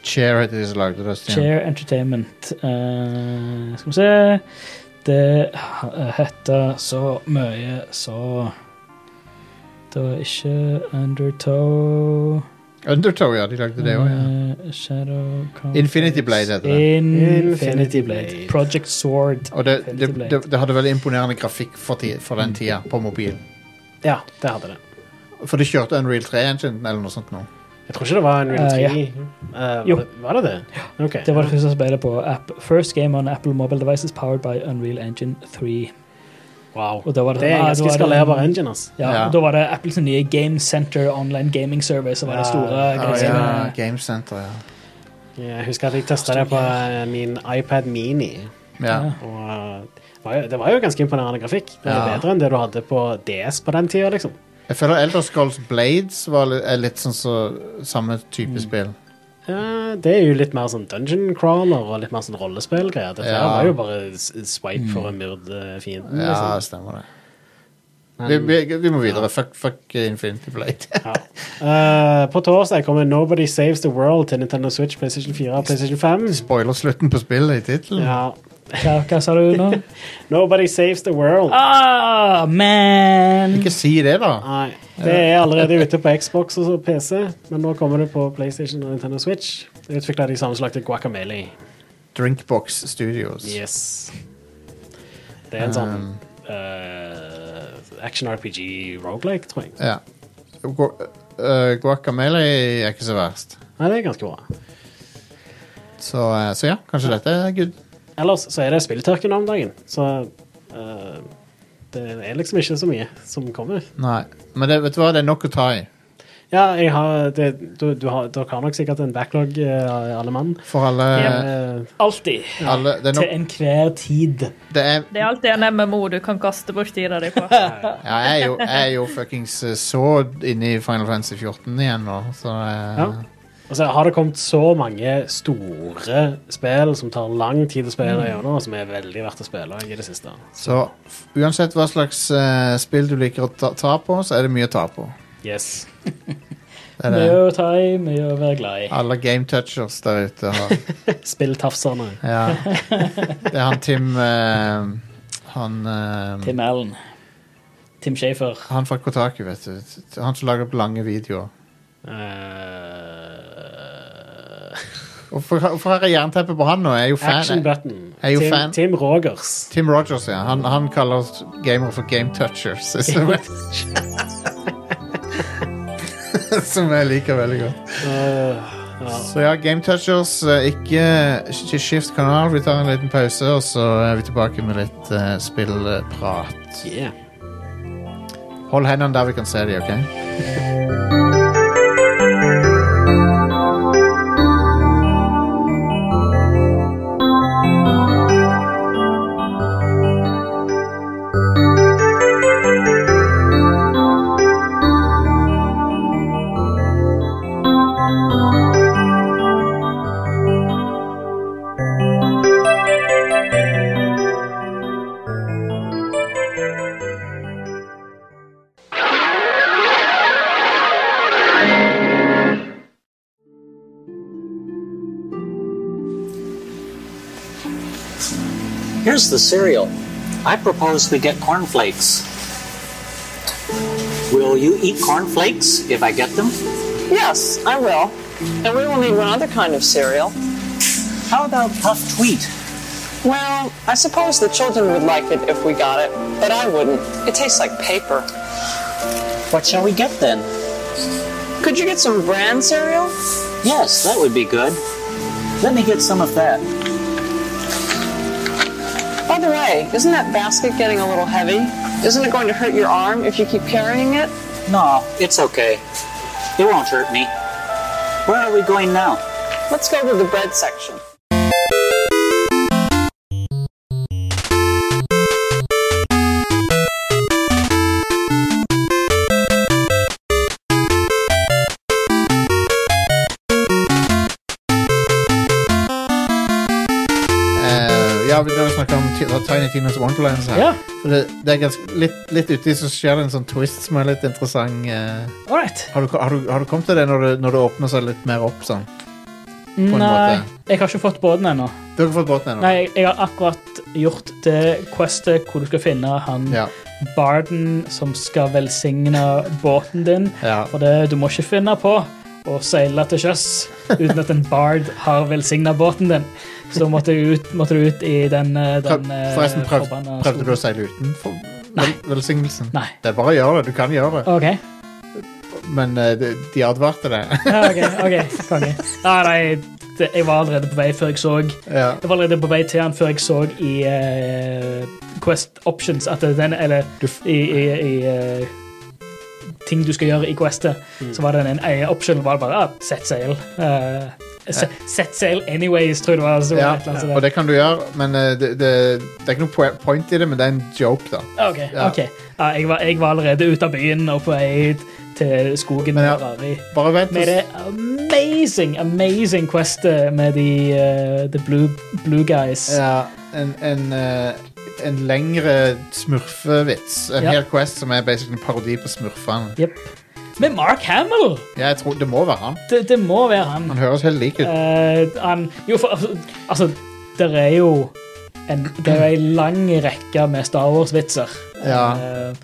Chair heter de som lagde det. Stian.
Chair Entertainment. Eh, skal vi se Det eh, heter så mye så Det var ikke Undertow
Undertow, ja. De lagde det òg. Ja.
eh, Shadow Complex.
Infinity Blade heter det.
Infinity Blade. Project Sword.
Og det, det,
Infinity Blade.
det, det hadde veldig imponerende grafikk for, ti, for den tida på mobil.
Ja, det hadde det.
For det kjørte Unreal 3-engine eller noe sånt nå.
Jeg tror ikke det var Unreal
Eh,
3.
ja.
Eh,
Jo.
var, det, var det det? Ok.
Det var det første spillet på app. First game on Apple mobile devices powered by Unreal Engine 3.
Wow.
Og da var det,
Det er en
ah, da
ganske
var det-
skalerbar engine, altså.
Ja,
Ja.
og Da var det Apples nye Game Center Online Gaming Survey som var det
Ja.
store.
Ja,
Ah,
greia.
ja, Game Center, ja.
Jeg husker at jeg testa det på eh, min iPad Mini.
ja.
Og eh, det var jo- det var jo ganske imponerende grafikk. Det var
Ja.
Bedre enn det du hadde på DS på den tida. Liksom.
Jeg føler Elder Scrolls Blades var litt, er litt sånn så, samme type spill.
Eh, det er jo litt mer sånn dungeon crawler og litt mer sånn rollespillgreier. Dette her
Ja. Mm.
var jo bare s- swipe for å myrde fienden.
Ja,
Liksom.
stemmer det. Vi, vi, vi må videre. Fuck, fuck Infinity Blade.
Ja. Eh, på torsdag kommer Nobody Saves the World til Nintendo Switch, PlayStation 4 og PlayStation 5.
Spoiler slutten på spillet i tittelen.
Ja.
Hva, hva sa du nå?
Nobody Saves the World.
Ah, man!
Ikke si det, da.
Nei, det er allerede ute på Xbox og så PC, men nå kommer det på PlayStation og Nintendo Switch. Utvikla de sammenslagte Guacamele.
Drinkbox Studios.
Yes. Det er en sånn eh, action RPG roguelike, tror jeg.
Ja. Gu- øh, Guacamele er ikke så verst.
Nei, det er ganske bra.
Så, eh, så ja, kanskje dette er good.
Ellers så er det spilltørke nå om dagen, så eh, det er liksom ikke så mye som kommer.
Nei. Men det, vet du hva, det er nok å ta i.
Ja, jeg har det, du, du har, Dere har nok sikkert en backlog, eh, alle mann.
For alle,
Eh,
Alltid.
alle det, er
Til
nok,
enhver tid.
det er
Det er alltid en MMO du kan kaste bort tida di på.
Ja, jeg er jo, jeg er jo fuckings eh, så inne i Final Fantasy 14 igjen nå, så eh,
ja. Altså, har det kommet så mange store spill som tar lang tid å spille gjennom, og som er veldig verdt å spille i det siste.
Så f- uansett hva slags eh, spill du liker å ta, ta på, så er det mye å ta på.
Yes.
Det Ah. er
Mye
det.
å ta i, mye å være glad i.
Alle game touchers der ute har
Spilltafsene.
ja. Det er han Tim eh, Han eh,
Tim Allen. Tim Shafer.
Han fra Kotaku, vet du. Han som lager opp lange videoer.
Eh,
Hvorfor hvorfor har jeg jernteppe på han nå? Jeg er jo
action
fan.
Button.
Jeg er jo
Tim,
fan.
Tim Rogers.
Tim Rogers, ja. Han, han kaller oss gamere for game touchers. Som jeg, som jeg liker veldig godt.
Eh,
Så ja, game touchers. eh, Ikke ikke skift kanal. Vi tar en liten pause, og så er vi tilbake med litt eh, spillprat.
Yeah.
Hold hendene der vi kan se dem, OK?
Here's the cereal. I propose we get cornflakes. Will you eat cornflakes if I get them?
Yes, I will. And we will need one other kind of cereal.
How about puffed wheat?
Well, I suppose the children would like it if we got it, but I wouldn't. It tastes like paper.
What shall we get then?
Could you get some bran cereal?
Yes, that would be good. Let me get some of that.
Hey, isn't that basket getting a little heavy? Isn't it going to hurt your arm if you keep carrying it?
No, it's okay. It won't hurt me. Where are we going now?
Let's go to the bread section.
Eh, ja, vi har snakket om Ti- Tiny Tinas Wonderlands her.
Ja,
For Det, det er ganske, litt, litt uti så skjer det en sånn twist som er litt interessant. eh.
all right.
har, du, har, du, har du kommet til det når det, når det åpner seg litt mer opp sånn? en
Nei,
måte.
jeg har ikke fått båten ennå.
Du har ikke fått båten ennå?
Nei, jeg- jeg har akkurat gjort det questet hvor du skal finne han
Ja,
barden som skal velsigne båten din.
ja.
For det, du må ikke finne på å seile til sjøs uten at en bard har velsigna båten din. Så måtte du ut, måtte du ut i den, eh, den eh,
Forresten, prøv,
forbanna
prøvde du å
skogen.
seile uten for, vel, velsignelsen?
Nei.
Det er bare å gjøre det. Du kan gjøre det.
OK.
Men eh, de, de advarte det.
Ja, ok, ok, Konge. Nei, nei, det, jeg var allerede på vei før jeg så Jeg
ja.
var allerede på vei til han før jeg så i eh, Quest Options at den Eller
Du f-
i, i, i eh, ting du skal gjøre i Questet,
Mm.
så var det en, en option var det bare ah, sett sail. Eh, se- Sett sail anyways, tror jeg det var. Så det var
Ja,
et eller annet sånt
og
der.
det kan du gjøre, men eh, det, det, det er ikke noe po- point i det, men det er en joke, da.
Ok,
Ja.
ok. Ja, jeg, var, jeg var allerede ute av byen og på vei til skogen.
Men
Men,
ja. Bare vent.
men det
og s-
er amazing, amazing quest eh, med de eh, the blue, blue guys.
Ja, en, en, eh, en lengre smurfevits. En
Ja.
hel Quest som er basically en parodi på smurfene.
Jep. Med Mark Hamill!
Ja, jeg tror, det må være han.
Det, det må være han.
Han høres helt lik ut.
Eh, han jo, for altså, altså Det er jo en, det er en lang rekke med Star Wars-vitser.
Ja.
Eh,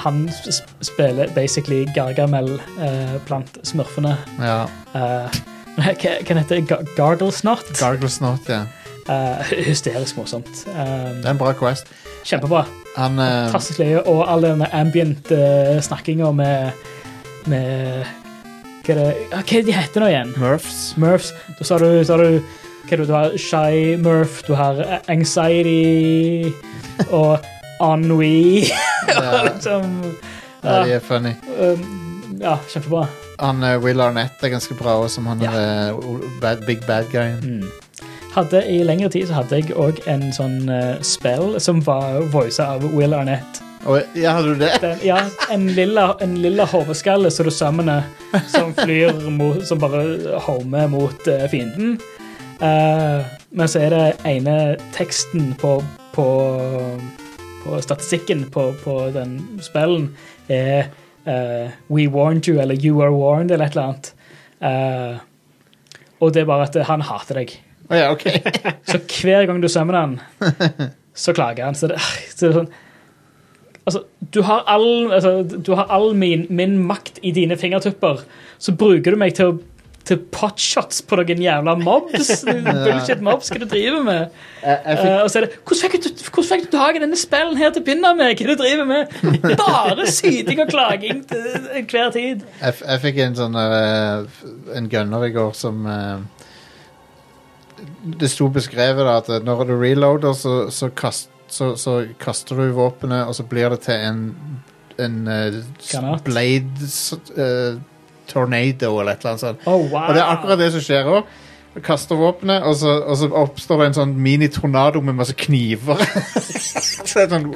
han sp spiller basically Gargamel eh, blant smurfene.
Ja.
Eh, hva hva heter det? Ga- Gardlesnort?
Gargle Snot, ja.
Eh, hysterisk morsomt. Eh,
Det er en bra Quest.
kjempebra.
Han, eh,
Fantastisk løye. Og all denne ambient uh, snakkinga med, med Hva er det ja, Hva er det de heter nå igjen?
Murphs.
Murphs. Da sa du, sa du hva er det, Du har Shy Murph, du har eh, Anxiety og Ennui.
Ja,
liksom,
ja, de er funny.
um, ja, kjempebra.
Han eh, Will Arnett er ganske bra også, som han
Ja.
eh, o- bad, big bad guyen.
hadde I lengre tid så hadde jeg òg en sånn eh, spell som var voisa av Will Arnett.
Og, ja, hadde du det?
Den, ja, en lilla, en lilla hodeskalle som du sammener, som flyr mot, som bare homer mot eh, fienden. Eh, men så er det ene teksten på, på, på statistikken på, på den spellen er eh, We warned you, eller You are warned, eller et eller annet. Eh, og det er bare at han hater deg.
Å ja, ok.
Så hver gang du sømmer den, så klager han. Så det, så det er sånn Altså, du har all, altså, du har all min, min makt i dine fingertupper, så bruker du meg til, å, til potshots på noen jævla mobs. eh, Bullshit mobs, hva du driver med?
Jeg, jeg fikk
Eh, og så er det Hvordan fikk du, hvordan fikk du tak i denne spillen her til å begynne med? Hva du driver med? Bare syting og klaging til hver tid.
Jeg, f- jeg fikk en sånn eh, f- En gunner i går som eh, Det sto beskrevet da, at når du reloader, så, så, kast, så, så kaster du våpenet, og så blir det til en, en eh, s-
Granat.
blade s- eh, tornado eller et eller annet sånt.
Oh, wow.
Og det er akkurat det som skjer òg. Kaster våpenet, og så, og så oppstår det en sånn mini-tornado med masse kniver. så det er sånn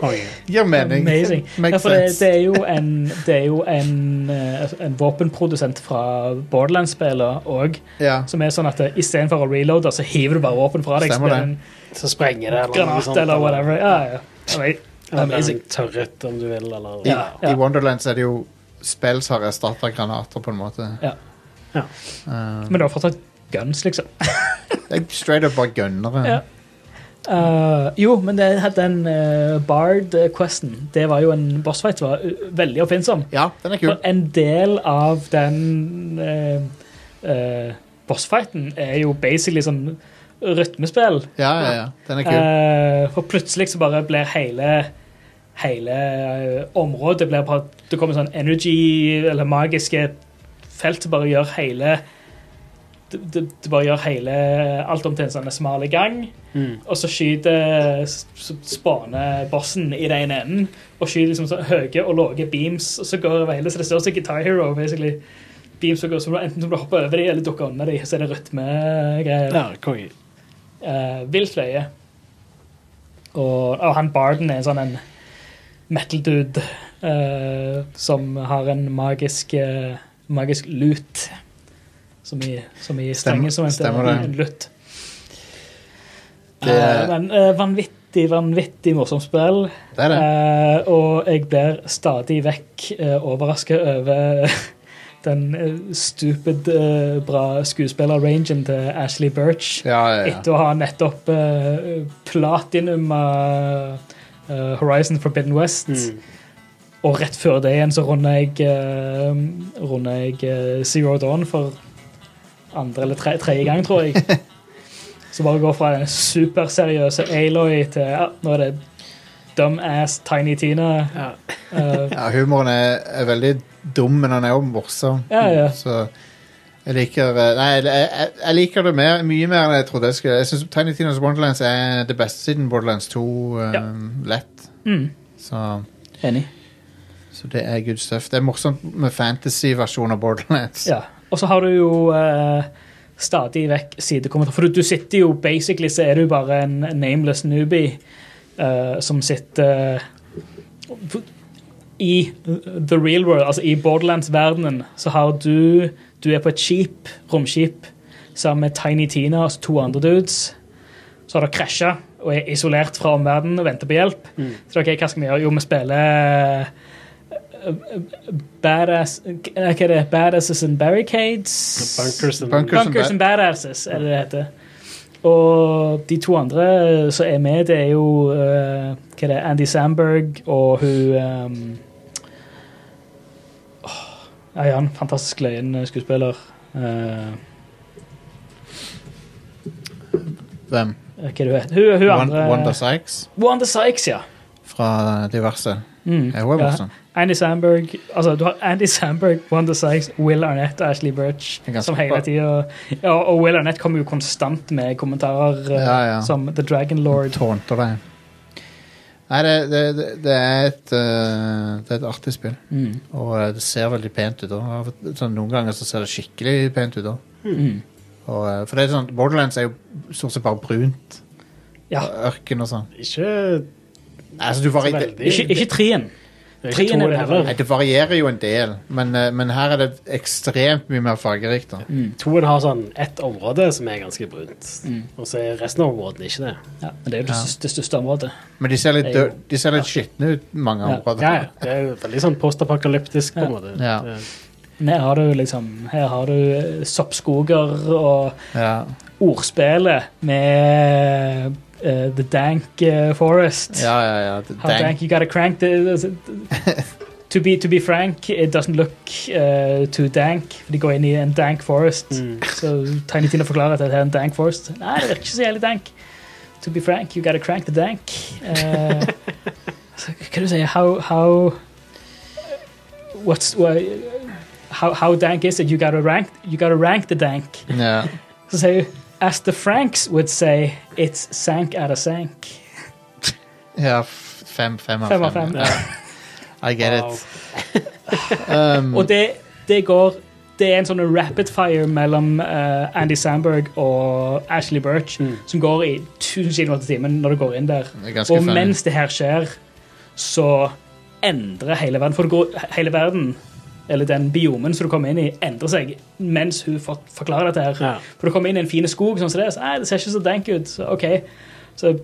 Gir mening.
Amazing. Ja,
Makes
for det,
sense.
det er jo en, det er jo en, eh, en våpenprodusent fra Borderlands-spillet òg,
Ja.
som er sånn at eh, istedenfor å reloade, så hiver du bare våpen fra deg. så
Stemmer
blir det
det.
en
Så sprenger det, eller noe
Granat
sånt.
eller whatever. Ja, ja. Ama-
Eller
Amazing.
en tørret, om du vil, eller
I,
Ja,
I
ja.
Wonderlands er det jo spill som har erstatta granater, på en måte.
Ja.
Ja.
Eh,
Men du har fortsatt guns, liksom.
det er straight up bare gønnere.
Ja. Eh, jo, men det, den eh, Bard-questen, det var jo en bossfight som var eh, veldig oppfinnsom.
Ja, den er kul.
For en del av den eh, eh, bossfighten er jo basically sånn rytmespill.
Ja, ja, ja. Den er kul.
Eh, for plutselig så bare blir hele hele eh, området blir bare, Det kommer sånn energy eller magiske felt som bare gjør hele det, det, det bare gjør hele, alt om til en sånn smal gang.
Mm.
Og så skyter s- s- spanebossen i den ene enden. Og skyter liksom sånn høye og lave beams og så går over hele. Så det står som Guitar Hero. basically. Beams som går som du, Enten som du hopper over dem eller dukker under dem, så er det rytmegreier.
Ja, konge.
Eh, Vilt løye. Og, og han Barden er en sånn en metal-dude eh, som har en magisk, eh, magisk lut. Som i, som i
Stemmer-
strenge som en,
stemmer det.
en lutt.
Det-
Eh, men eh, vanvittig, vanvittig morsomt spill.
Det er det.
Eh, og jeg blir stadig vekk uh, overraska over den eh, stupid eh, bra skuespiller-rangen til Ashley Birch.
Ja, ja, ja.
Etter å ha nettopp uh, platinum eh, eh, Horizon Forbidden West.
Mm.
Og rett før det igjen så runda jeg, eh, runder jeg eh, Zero Dawn for andre eller tre, tredje gang, tror jeg. Så bare går fra den superseriøse Aloy til ja, nå er det dumbass Tiny Tina.
Ja.
Eh,
Ja, humoren er, er veldig dum, men han er jo morsom.
Ja, ja.
Så jeg liker eh, Nei, jeg, jeg, jeg liker det mer, mye mer enn jeg trodde jeg skulle. Jeg syns Tiny Tinas Borderlands er det beste siden Borderlands 2 eh,
Ja.
lett.
mm,
Så,
enig.
så det er good stuff. Det er morsomt med fantasy-versjon av Borderlands.
Ja. Og så har du jo eh, stadig vekk sidekommentarer. For du, du sitter jo basically så er du bare en nameless newbie eh, som sitter I the real world, altså i Borderlands-verdenen, så har du Du er på et skip, romskip, sammen med Tiny Tina og to andre dudes. Så har dere krasja og er isolert fra omverdenen og venter på hjelp. Så dere, hva skal vi gjøre? Jo, vi spiller eh, Badass Hva er det? Badasses and Barricades?
Bunkers and
Bunkers.
Bunkers and Badasses, er det det heter. Og de to andre som er med, det er jo eh, hva er det, Andy Sandberg og hun ehm, åh, Ja, ja, en fantastisk løyen skuespiller. Eh,
Hvem?
Eh, hva er det hun heter? Hun, hun andre
Wanda Sykes
Wanda Sykes, ja.
fra diverse.
Mm.
Ja, hun er
Ja.
morsom.
Andy Sandberg Altså, du har Andy Sandberg, Wanda Sykes, Will Arnett og Ashley Birch.
Det er ganske
Som
bra.
hele tida ja, Og Will Arnett kommer jo konstant med kommentarer eh,
Ja, ja.
som The Dragon Lord.
Tårnter deg. Nei, det, det, det, det er et eh, Det er et artig spill. Og eh, det ser veldig pent ut også. Av og- Sånn, noen ganger så ser det skikkelig pent ut også.
Mm.
Og, eh, for det er sånn, Borderlands er jo stort sett bare brunt.
Ja.
Og Ørken og sånn.
Ikke
Nei, altså, du vari
Så
det,
veldig.
Ikke, ikke trien.
Ikke
Trien er
toeren
det
heller.
nei, det varierer jo en del, men, eh, men her er det ekstremt mye mer fargerikt. da.
Toen har sånn ett område som er ganske brunt,
Mm.
og så er resten av områdene ikke det.
Ja, men det er jo det, største- det største området.
Men de ser litt,
Det er jo-
dø- de ser litt skitne ut, mange
Ja.
områder.
Ja, ja. Det er jo veldig sånn postapokalyptisk på en måte.
Ja.
Det-
Men her har du liksom Her har du eh, soppskoger og
Ja.
ordspillet med eh, The Dank eh, Forest.
ja, ja, ja. det-
How dank.
Dank.
you gotta crank the, to, be, to be frank, it doesn't look uh, too dank. For de går inn i en dank forest. Så Tiny Tina forklarer at det er en dank forest. Nei, det virker ikke så jævlig dank. To be frank, you gotta crank the dank. Eh, så hva er det du sier? How, how What's wha- how, how dank is it? You gotta rank, you gotta rank the dank.
Ja.
Så sier hun As the Franks would say, it's sank out of sank.
ja, f- fem, fem av
Fem av
fem.
fem.
ja. I get
Wow.
it. Um,
Og det, det går Det er en sånn rapid fire mellom eh, Andy Sandberg og Ashley Birch som går i 1000 km i timen når du går inn der.
Mm. det er ganske
Og
funny.
mens det her skjer, så endrer hele verden For det går, hele verden, eller den biomen som du kommer inn i, endrer seg mens hun for, forklarer dette her.
Ja.
For du kommer inn i en fin skog, sånn som det, er, så nei, det ser ikke så dank ut. Så OK. Så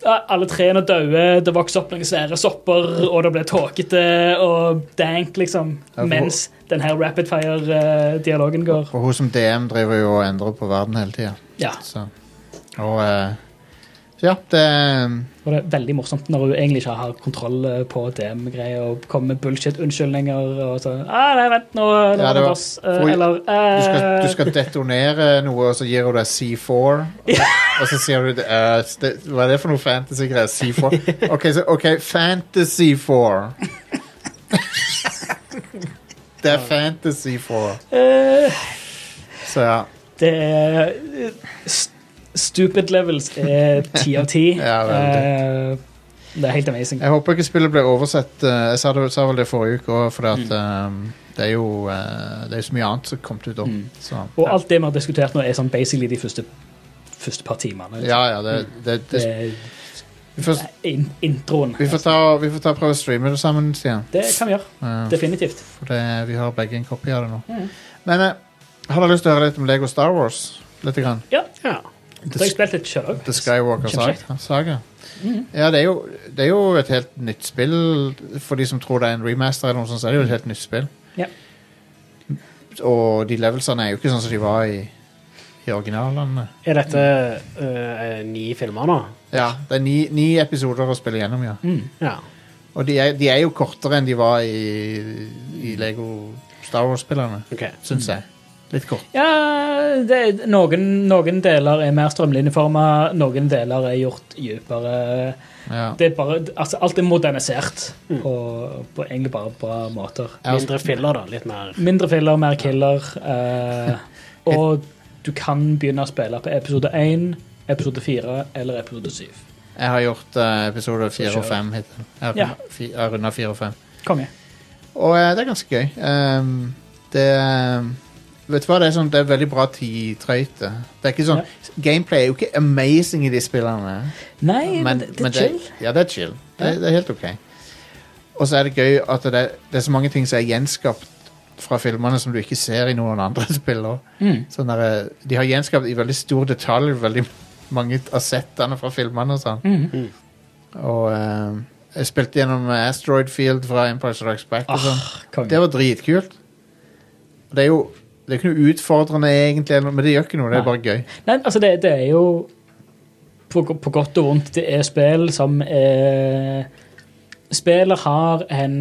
ja, alle trærne døde, det vokste opp noen svære sopper, og det ble tåkete og dank, liksom.
Ja, for-
Mens den her rapid fire-dialogen går.
Og hun som DM driver jo og endrer på verden hele tida.
Ja.
Så. Og eh, så ja, det
Og det er veldig morsomt når hun egentlig ikke har kontroll eh, på DM-greier og kommer med bullshit-unnskyldninger og sånn ah, Nei, vent, nå nå
Ja, det
var det
var-
oss. eh,
for-
Eller
du skal,
eh,
du skal detonere noe, og så gir hun deg C4. Og, og så sier du eh, det, Hva er det for noe fantasy-greier? C4? OK, så, ok, Fantasy 4. Det er Fantasy 4.
eh,
Så ja.
Det er eh, st- Stupid levels er ti av ti.
Ja, veldig.
Eh, Det er helt amazing.
Jeg håper ikke spillet ble oversett. eh, Jeg sa, det, sa vel det forrige uke òg, for at,
Mm.
eh, det er jo eh, det er jo så mye annet som kom ut om. Så.
Og alt det vi har diskutert nå, er sånn basically de første, første par timene.
Ja, ja, det, det, det,
Det er
vi, får,
in introen.
vi, får ta, vi får ta og prøve å streame det sammen, Stian.
Det kan vi gjøre.
Eh,
Definitivt.
For det, vi har begge en kopi av det nå. Men eh, har dere lyst til å høre litt om Lego Star Wars? Litt grann.
Ja.
Ja.
Da har jeg spilt litt sjøl òg.
The Skywalker Saga. saga.
Mhm.
Ja, det er, jo, det er jo et helt nytt spill. For de som tror det er en remaster, eller noe sånt, så er det jo et helt nytt spill.
Ja.
Og de levelsene er jo ikke sånn som de var i, i originalene.
Er dette eh, ni filmer nå?
Ja, det er ni, ni episoder å spille gjennom, ja.
Mm.
Ja.
Og de er, de er jo kortere enn de var i, i Lego Star Wars-spillerne,
OK.
syns jeg. Litt kort.
Ja, det, er- noen, noen deler er mer strømlinjeforma, noen deler er gjort dypere.
Ja.
Det er bare, altså, alt er modernisert
Mm.
på, på egentlig bare bra måter.
altså-
Mindre filler, da. Litt mer
Mindre filler, mer killer. eh, og du kan begynne å spille på episode 1, episode 4 eller episode 7.
Jeg har gjort eh, episode fire og
kjør.
fem hittil. Jeg
Ja.
har fi- jeg har runda fire og fem.
Konge.
Og eh, det er ganske gøy. Ehm, det ehm, Vet du hva, det er sånn, det er veldig bra tidtrøyte. Det er ikke sånn Gameplay er jo ikke amazing i de spillene.
Nei, men, det, det er chill.
ja, det er chill. Det, det er helt OK. Og så er det gøy at det, det er så mange ting som er gjenskapt fra filmene som du ikke ser i noen andre spiller.
Mm.
Sånn der, eh, de har gjenskapt i veldig stor detalj veldig mange av settene fra filmene og sånn.
Mm.
Og eh, jeg spilte gjennom Asteroid Field fra Empire Strikes Back
Ah.
og
altså-
sånn.
Konge.
Det var dritkult. Og Det er jo det er ikke noe utfordrende egentlig, eller noe, men det gjør ikke noe, det er
Nei.
bare gøy.
Nei, altså det, det er jo på, på godt og vondt. Det er spill som eh, Spillet har en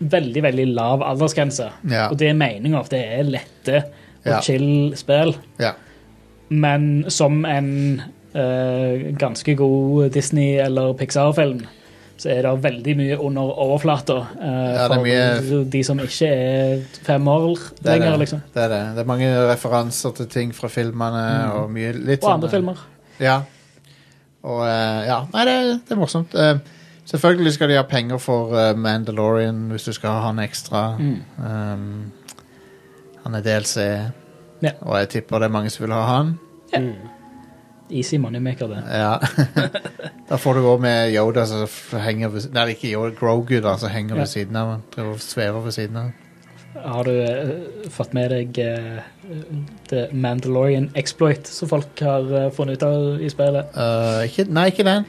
veldig, veldig lav aldersgrense.
Ja.
Og det er meninga at det er lette og
Ja.
chill spill.
Ja.
Men som en eh, ganske god Disney- eller Pixar-film, så er det veldig mye under overflata eh,
Ja, det er
for de som ikke er fem år
Det er
lenger,
det.
liksom.
Det er det. Det er mange referanser til ting fra filmene og mye litt
Mm. Og andre
sånn, eh,
filmer.
Ja. Og eh, ja, nei, det, det er morsomt. Eh, selvfølgelig skal de ha penger for eh, Mandalorian hvis du skal ha han ekstra.
Mm.
Um, han er DLC,
Ja.
og jeg tipper det er mange som vil ha han.
Easy Moneymaker, det.
Ja. da får du gå med Yoda som f- henger ved Nei, ikke Yoda, Grogu da, som henger ved
Ja.
siden av han. Driver og svever ved siden av han.
Har du eh, fått med deg eh, The Mandalorian Exploit, som folk har eh, funnet ut av i spillet?
Eh, ikke, nei, ikke den.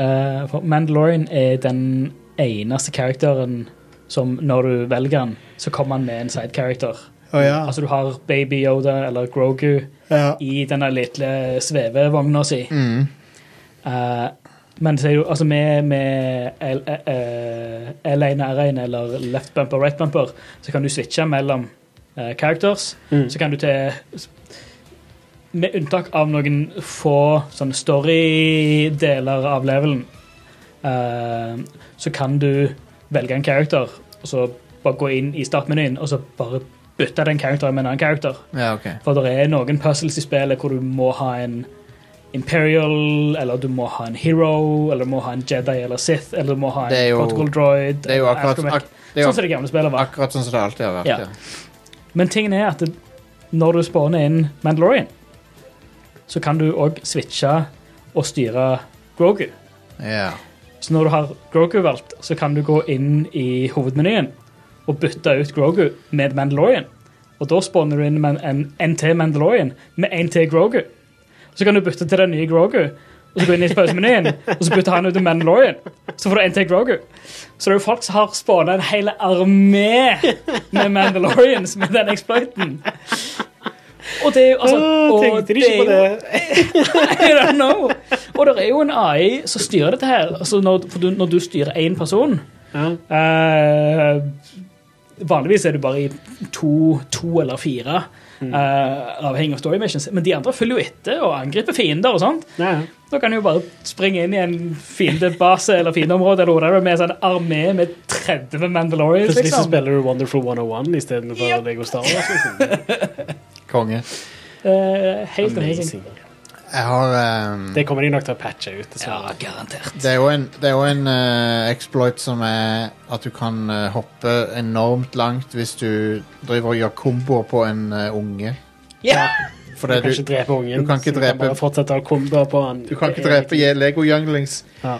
Eh, for Mandalorian er den eneste karakteren som når du velger han, så kommer han med en sidecharacter.
Å ja.
Altså du har Baby Yoda eller Grogu
ja.
i denne lille svevevogna si.
Mm.
Eh, men så er jo, altså med, med L- eh, L1, R1 eller left bumper, right bumper, så kan du switche mellom eh, characters. Så kan du til Med unntak av noen få sånne story-deler av levelen, eh, så kan du velge en character, og så bare gå inn i startmenyen og så bare bytte den characteren med en annen character.
ja, ok.
For det er noen puzzles i spillet hvor du må ha en Imperial, eller du må ha en Hero, eller du må ha en Jedi eller Sith, eller du må ha en
Det er jo-
Protocol Droid.
Det er jo
eller
akkurat,
Astromech.
ak, det er
Sånn som
jo
det gamle spillet var.
akkurat sånn som det alltid har vært.
Ja.
Ja.
Men tingen er at det, når du spawner inn Mandalorian, så kan du òg switche og styre Grogu.
Ja.
Så når du har Grogu valgt, så kan du gå inn i hovedmenyen og bytte ut Grogu med Mandalorian. Og da spawner du inn med en NT Mandalorian med en til Grogu. Så kan du bytte til den nye Grogu, og så gå inn i pausemenyen, og så bytter han ut med Mandalorian. Så får du en til Grogu. Så det er jo folk som har spawna en hel armé med Mandalorians med den exploiten. Og det er jo altså
Mm,
og
Tenkte de
det er
ikke
jo-
på det?
i don't know. Og det er jo en AI som styrer dette her. Altså når, for du, når du styrer én person
Ja.
eh, Vanligvis er du bare i to, to eller fire,
Mm.
eh, avhengig av story missions. Men de andre følger jo etter og angriper fiender. og sånt.
Ja, ja.
Da kan du jo bare springe inn i en fiendebase eller fiendeområde eller whatever, med en sånn armé med 30 Mandalorians.
Plutselig så
liksom.
oh spiller du Wonderful 101 istedenfor Lego Star Wars. Liksom.
Konge.
Eh, helt amazing.
Amazing.
Jeg har ehm,
Det kommer de nok til å patche
Ja,
ut. dessverre.
garantert.
Det er jo en, det er jo en eh, exploit som er at du kan eh, hoppe enormt langt hvis du driver og gjør komboer på en eh, unge.
Ja!
For det
Du kan
du,
ikke drepe ungen.
du kan ikke
så
drepe-
bare fortsette å kumbe på han.
du kan ikke drepe je- Lego Younglings
Ja.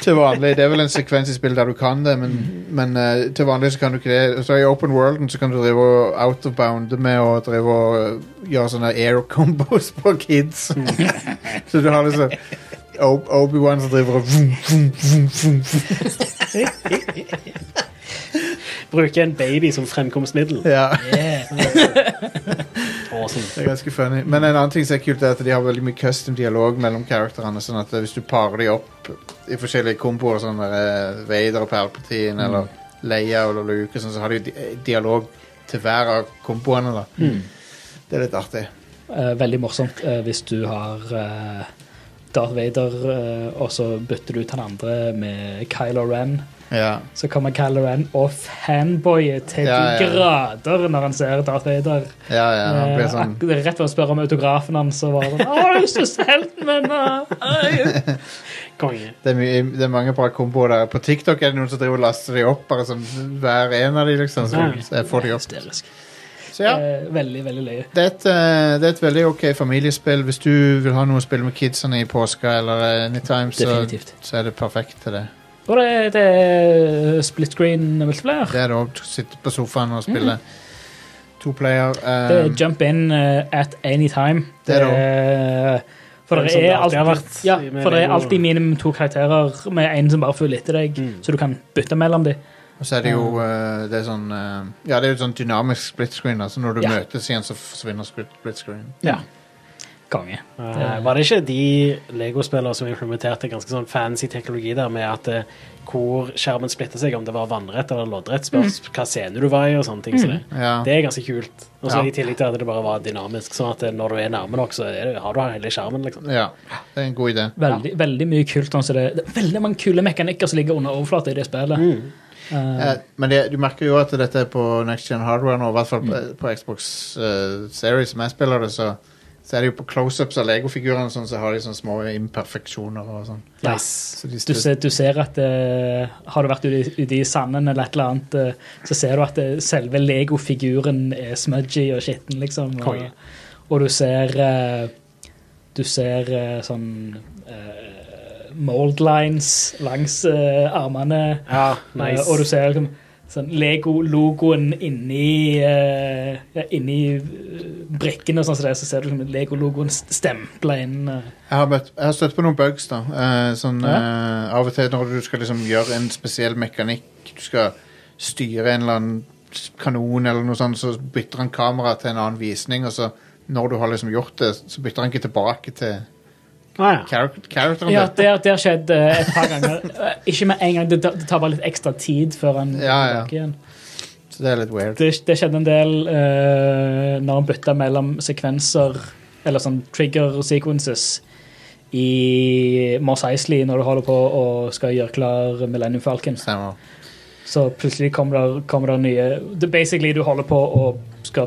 til vanlig. Det er vel en sekvens i spillet der du kan det, men, men eh, til vanlig så kan du ikke det. Så I open worlden så kan du drive og out of bounde med å drive og eh, gjøre sånne air combos på kids. så du har liksom Ob- Obi-Wan som driver og vroom, vroom, vroom, vroom, vroom.
Bruke en baby som fremkomstmiddel.
Ja.
Awesome.
Det er ganske funny. Men en annen ting som er kult, er at de har veldig mye custom dialog mellom karakterene. Sånn at hvis du parer de opp i forskjellige komboer, sånn der eh, Vader og Palpatine eller Leia eller Luke, og sånn, så har de jo di eh, dialog til hver av komboene. da. Det er litt artig.
Eh, veldig morsomt eh, hvis du har eh, Darth Vader, eh, og så bytter du ut han andre med Kylo Ren.
Ja.
Så kommer Kylo Ren og fanboyer til
Ja, ja.
de grader når han ser Darth Vader.
Ja, ja, han
Eh,
blir sånn
ak- rett ved å spørre om autografen hans, så var det sånn Å, du er så sulten, men eh, ei».
Konge.
det er, mye, det er mange bra komboer der. På TikTok er det noen som driver og laster de opp, bare sånn hver en av de, liksom. Så,
Ja.
så jeg får de opp.
Hysterisk.
Så ja.
Eh, veldig, veldig løye.
det er, et, eh, det er et veldig ok familiespill. Hvis du vil ha noe å spille med kidsene i påska eller eh, anytime, så,
Definitivt.
så er det perfekt til det.
Og det, det er split screen multiplier.
Det er det òg. Sitte på sofaen og spille to player. eh,
Mm. Det er jump in eh, at any time.
Det er det
er- for
Det er
det
som det
er,
alltid
alltid,
har vært
ja,
med
for det er
Lego.
alltid minimum to karakterer med en som bare følger etter deg,
Mm.
så du kan bytte mellom dem.
og så er det jo eh, det er sånn eh, Ja, det er jo sånn dynamisk split screen. Altså når du
Ja.
møtes igjen, så forsvinner split split screen.
Konge.
Eh, var det ikke de Lego-spillere som implementerte ganske sånn fancy teknologi der med at eh, hvor skjermen splitter seg, om det var vannrett eller loddrett, spørs
Mm.
hva scene du var i og sånne ting. Så det,
Ja.
det er ganske kult. Og så
Ja.
i tillegg til at det bare var dynamisk, sånn at eh, når du er nærme nok, så er det, har du hele skjermen, liksom.
ja. Det er en god idé.
Veldig, veldig mye kult. sånn som det, det er veldig mange kule mekanikker som ligger under overflaten i
Mm.
det spillet.
Eh, men det, du merker jo at dette er på next gen hardware nå, i hvert
Mm.
fall på, på Xbox eh, Series, som jeg spiller det, så, så er det jo på close-ups av Lego-figurene og sånn, så har de sånne små imperfeksjoner og sånn.
Ja.
Så de
Du
stus-
ser, du ser at eh, Har du vært ute i- ute i sanden eller et eller annet, eh, så ser du at eh, selve Lego-figuren er smudgy og skitten, liksom. Og,
Konge.
og du ser eh, Du ser eh, sånn eh, mold lines langs eh, armene.
Ja,
Eh, og du ser liksom sånn Lego-logoen inni, eh, ja, inni eh, brikkene, og sånn som det, er, så ser du liksom Lego-logoen stempla inn. eh.
Jeg har, møtt, jeg har støtt på noen bugs, da. Eh, sånn, eh, av og til når du skal liksom gjøre en spesiell mekanikk, du skal styre en eller annen s- kanon eller noe sånt, så bytter han kamera til en annen visning, og så når du har liksom gjort det, så bytter han ikke tilbake til
Ah, ja.
character- characteren
Ja,
din.
det har skjedd eh, et par ganger. Eh, Ikke med en gang, det, tar- det tar bare litt ekstra tid før
Ja,
han
ja.
tilbake igjen.
Så det er litt weird.
Det, det skjedde en del eh, når han bytta mellom sekvenser, eller sånn trigger sequences, i Moss Eisley når du holder på og skal gjøre klar Millennium Falcon.
Stemmer.
Så plutselig kommer det, kommer det nye det er Basically, du holder på og skal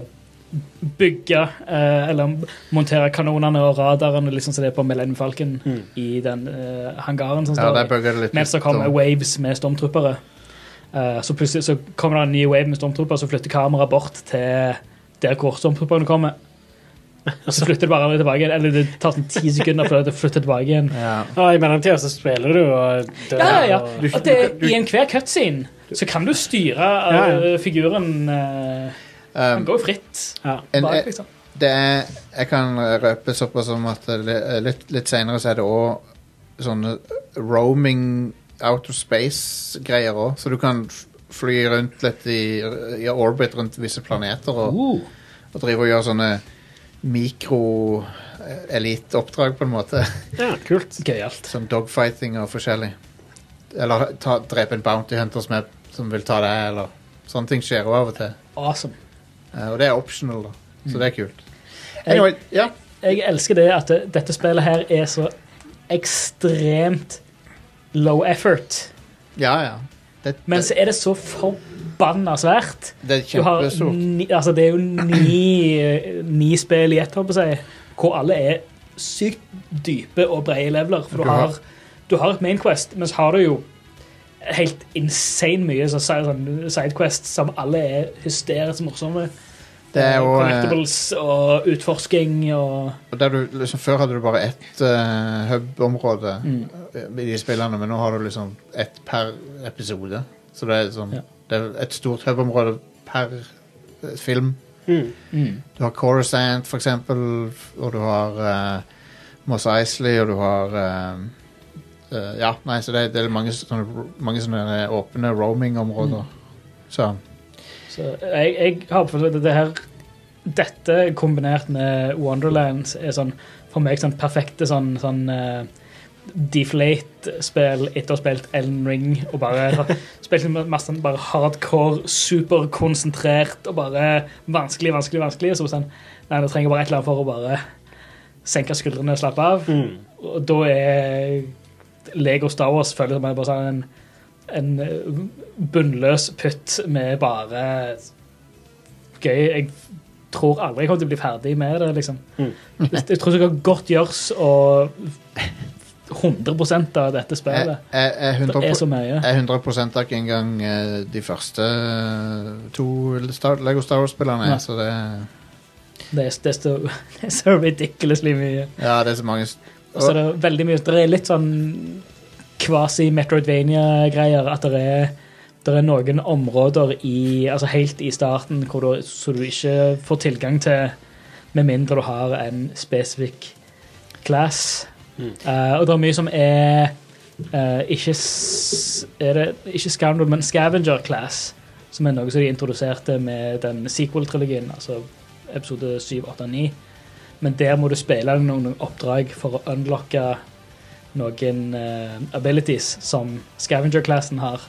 bygge eh, eller montere kanonene og radarene, liksom som det er på Millennium Falcon, i den eh, hangaren. som
Mm. Ja,
står
der
der.
bugger det litt.
Mens det
ut,
kommer
og-
waves med stormtroopere. Eh, så plutselig så kommer det en ny wave med stormtroopere, så flytter kameraet bort til der hvor stormtrooperne kommer. Og så flytter det bare tilbake igjen. Eller det tar sånn ti sekunder før det flytter tilbake igjen.
ja.
Ah, I mellomtida så spiller du og dør.
Ja, ja,
og-
ja. At det, I enhver cutscene så kan du styre
Ja, ja.
eh, figuren eh,
Um,
Den går jo fritt
Ja.
en-
bak, liksom.
det er Jeg kan røpe såpass om at det, litt, litt senere så er det òg sånne roaming out of space-greier òg. Så du kan f- fly rundt litt i, i orbit rundt visse planeter og,
Oh.
og drive og gjøre sånne mikro-eliteoppdrag, på en måte.
ja, kult.
Gøyalt.
Sånn dogfighting og forskjellig. Eller ta, drepe en bounty hunter som, er, som vil ta deg, eller Sånne ting skjer jo av og til.
Awesome.
Eh, Og det er optional, da. Så det er kult. Anyway, ja.
Jeg elsker det at det, dette spillet her er så ekstremt low effort.
Ja, ja. Det,
Men
det-
så er det så forbanna forbanna svært.
Det er
Du har
kjempestort.
ni, altså det er jo ni, ni spill i ett, holdt på å si, hvor alle er sykt dype og brede leveler. For
Du
du
har-
har, du har et main quest, men så har du jo helt insane mye så si- sånn sidequests som alle er hysterisk morsomme.
Det er jo, eh,
Collectibles og utforsking og
Og der du, liksom, før hadde du bare ett eh, hub-område
Mm.
eh, i de spillene, men nå har du liksom ett per episode. Så det er, sånn,
Ja.
det er et stort hub-område per eh, film.
Mm.
Du har Coruscant, for eksempel, og du har eh, Moss Eisley, og du har eh, eh, Ja, nei, så det, er- det er mange sånne, mange sånne åpne roaming-områder.
Mm.
Så
Så jeg, jeg har for det, det her Dette kombinert med Wonderlands er sånn for meg sånn perfekte sånn, sånn eh, deflate-spill etter å ha spilt Elden Ring og bare spilt med masse sånn bare hardcore, superkonsentrert og bare vanskelig, vanskelig, vanskelig. Så sånn, nei, det trenger bare et eller annet for å bare senke skuldrene og slappe av. Og da er Lego Star Wars føles som en- bare sånn en en eh, bunnløs putt med bare gøy. Jeg tror aldri jeg kommer til å bli ferdig med det, liksom.
Mm.
Jeg, jeg tror det kan godt gjøres å 100 av dette
jeg,
spillet.
jeg, jeg, er 100
Det E er så mye.
Jeg er 100 takk ikke engang eh, de første eh, to Star, Lego Star Wars-spillerne.
Nei.
Så det,
Det er, det er, så, det er så ridiculously mye.
ja, det er så mange s-
Og så er det veldig mye Det er litt sånn kvasi-Metroidvania-greier. At det er, det er noen områder i, altså helt i starten hvor du, så du ikke får tilgang til med mindre du har en spesifikk class. Eh, og det er mye som er eh, ikke, s- er det, ikke Scoundrel, men Scavenger Class, som er noe som de introduserte med den sequel-trilogien, altså episode 7, 8 og 9. Men der må du spille noen noen oppdrag for å unlocke noen eh, abilities som Scavenger-klassen har.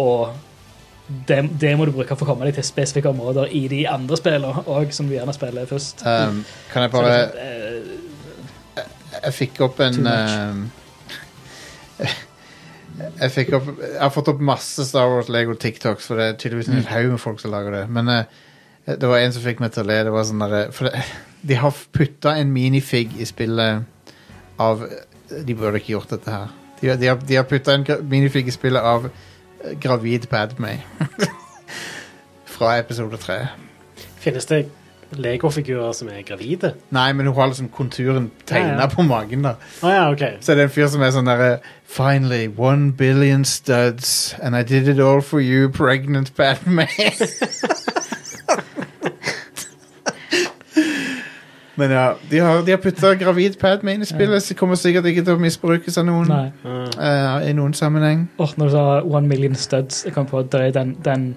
Og det, det må du bruke for å komme deg til spesifikke områder i de andre spillene òg, som du gjerne spiller først.
ehm, Kan jeg
Så
bare
det er sånn, eh,
Jeg fikk opp en
Too much.
ehm, jeg, fikk opp, jeg har fått opp masse Star Wars Lego TikToks, for det er tydeligvis
Mm.
en hel haug med folk som lager det. Men eh, det var en som fikk meg til å le. Det var sånn der, for det, de har putta en minifig i spillet av eh, De burde ikke gjort dette her. De, har- de har, de har putta en gra- minifig i spillet av eh, gravid Padmay. Fra episode tre.
Finnes det Lego-figurer som er gravide?
Nei, men hun har liksom konturen tegna
Ja, ja.
på magen, da.
Å ja, OK.
Så er det en fyr som er sånn derre Finally, one billion studs, and I did it all for you, pregnant Batman. Men ja, de har, de har putta gravid Padme inn i spillet, så kommer sikkert ikke til å misbrukes av noen.
Nei.
eh, I noen sammenheng.
Åh, når du sa One Million Studs, jeg kom på at det er den, den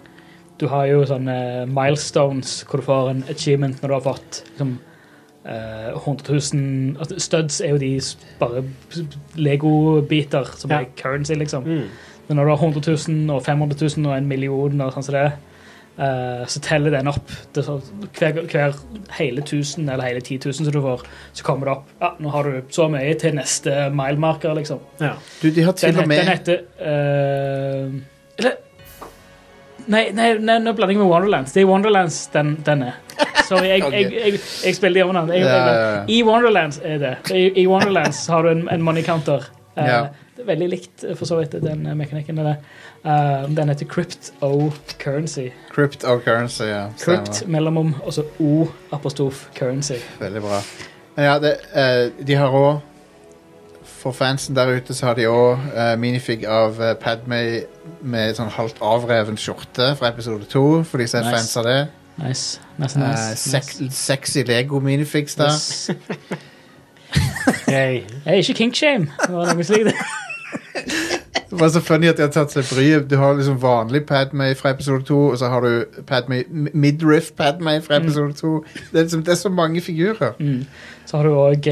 Du har jo sånne eh, milestones hvor du får en achievement når du har fått liksom, eh, 100 000 altså, Studs er jo de s- bare Lego-biter som
Ja.
er currency, liksom.
Mm.
Men når du har 100 000 og 500 000 og en million og sånn som det, eh, så teller den opp. Det er så, hver, hver hele 1000 eller hele 10 000 som du får, så kommer det opp Ja, nå har du så mye til neste milemarker, liksom.
Ja.
Du, de har til
Den,
og
het, den
med
heter eh, Eller nei, nei, nei, nå blander jeg med Wonderlands. Det er Wonderlands den, den er. Sorry, jeg, jeg, jeg, jeg spiller de omnavn. Jeg,
Ja,
jeg,
ja, ja.
I Wonderlands er det. I, i Wonderlands har du en, en money counter. Eh,
Ja.
Det er veldig likt eh, for så vidt den eh, mekanikken. Der. Eh, den heter Crypto Currency.
Cryptocurrency. Ja, stemmer.
Crypt mellomom, og så O apostrof currency.
Veldig bra. Men ja, det, eh, de har òg For fansen der ute så har de òg eh, minifig av eh, Padmay med sånn halvt avreven skjorte fra episode to, for de som er
Nice.
fans av det.
Nice. nice, nice,
Eh,
nice.
sex, Sexy Lego-minifigs der.
Yes.
Hey.
Jeg er ikke kinkshame. Det var noe slikt.
Det var så funny at de har tatt seg bryet. Du har liksom vanlig Padmay fra episode to, og så har du Padmay, midriff Padmay fra
Mm.
episode to. Det, er liksom, det er så mange figurer.
Så har du òg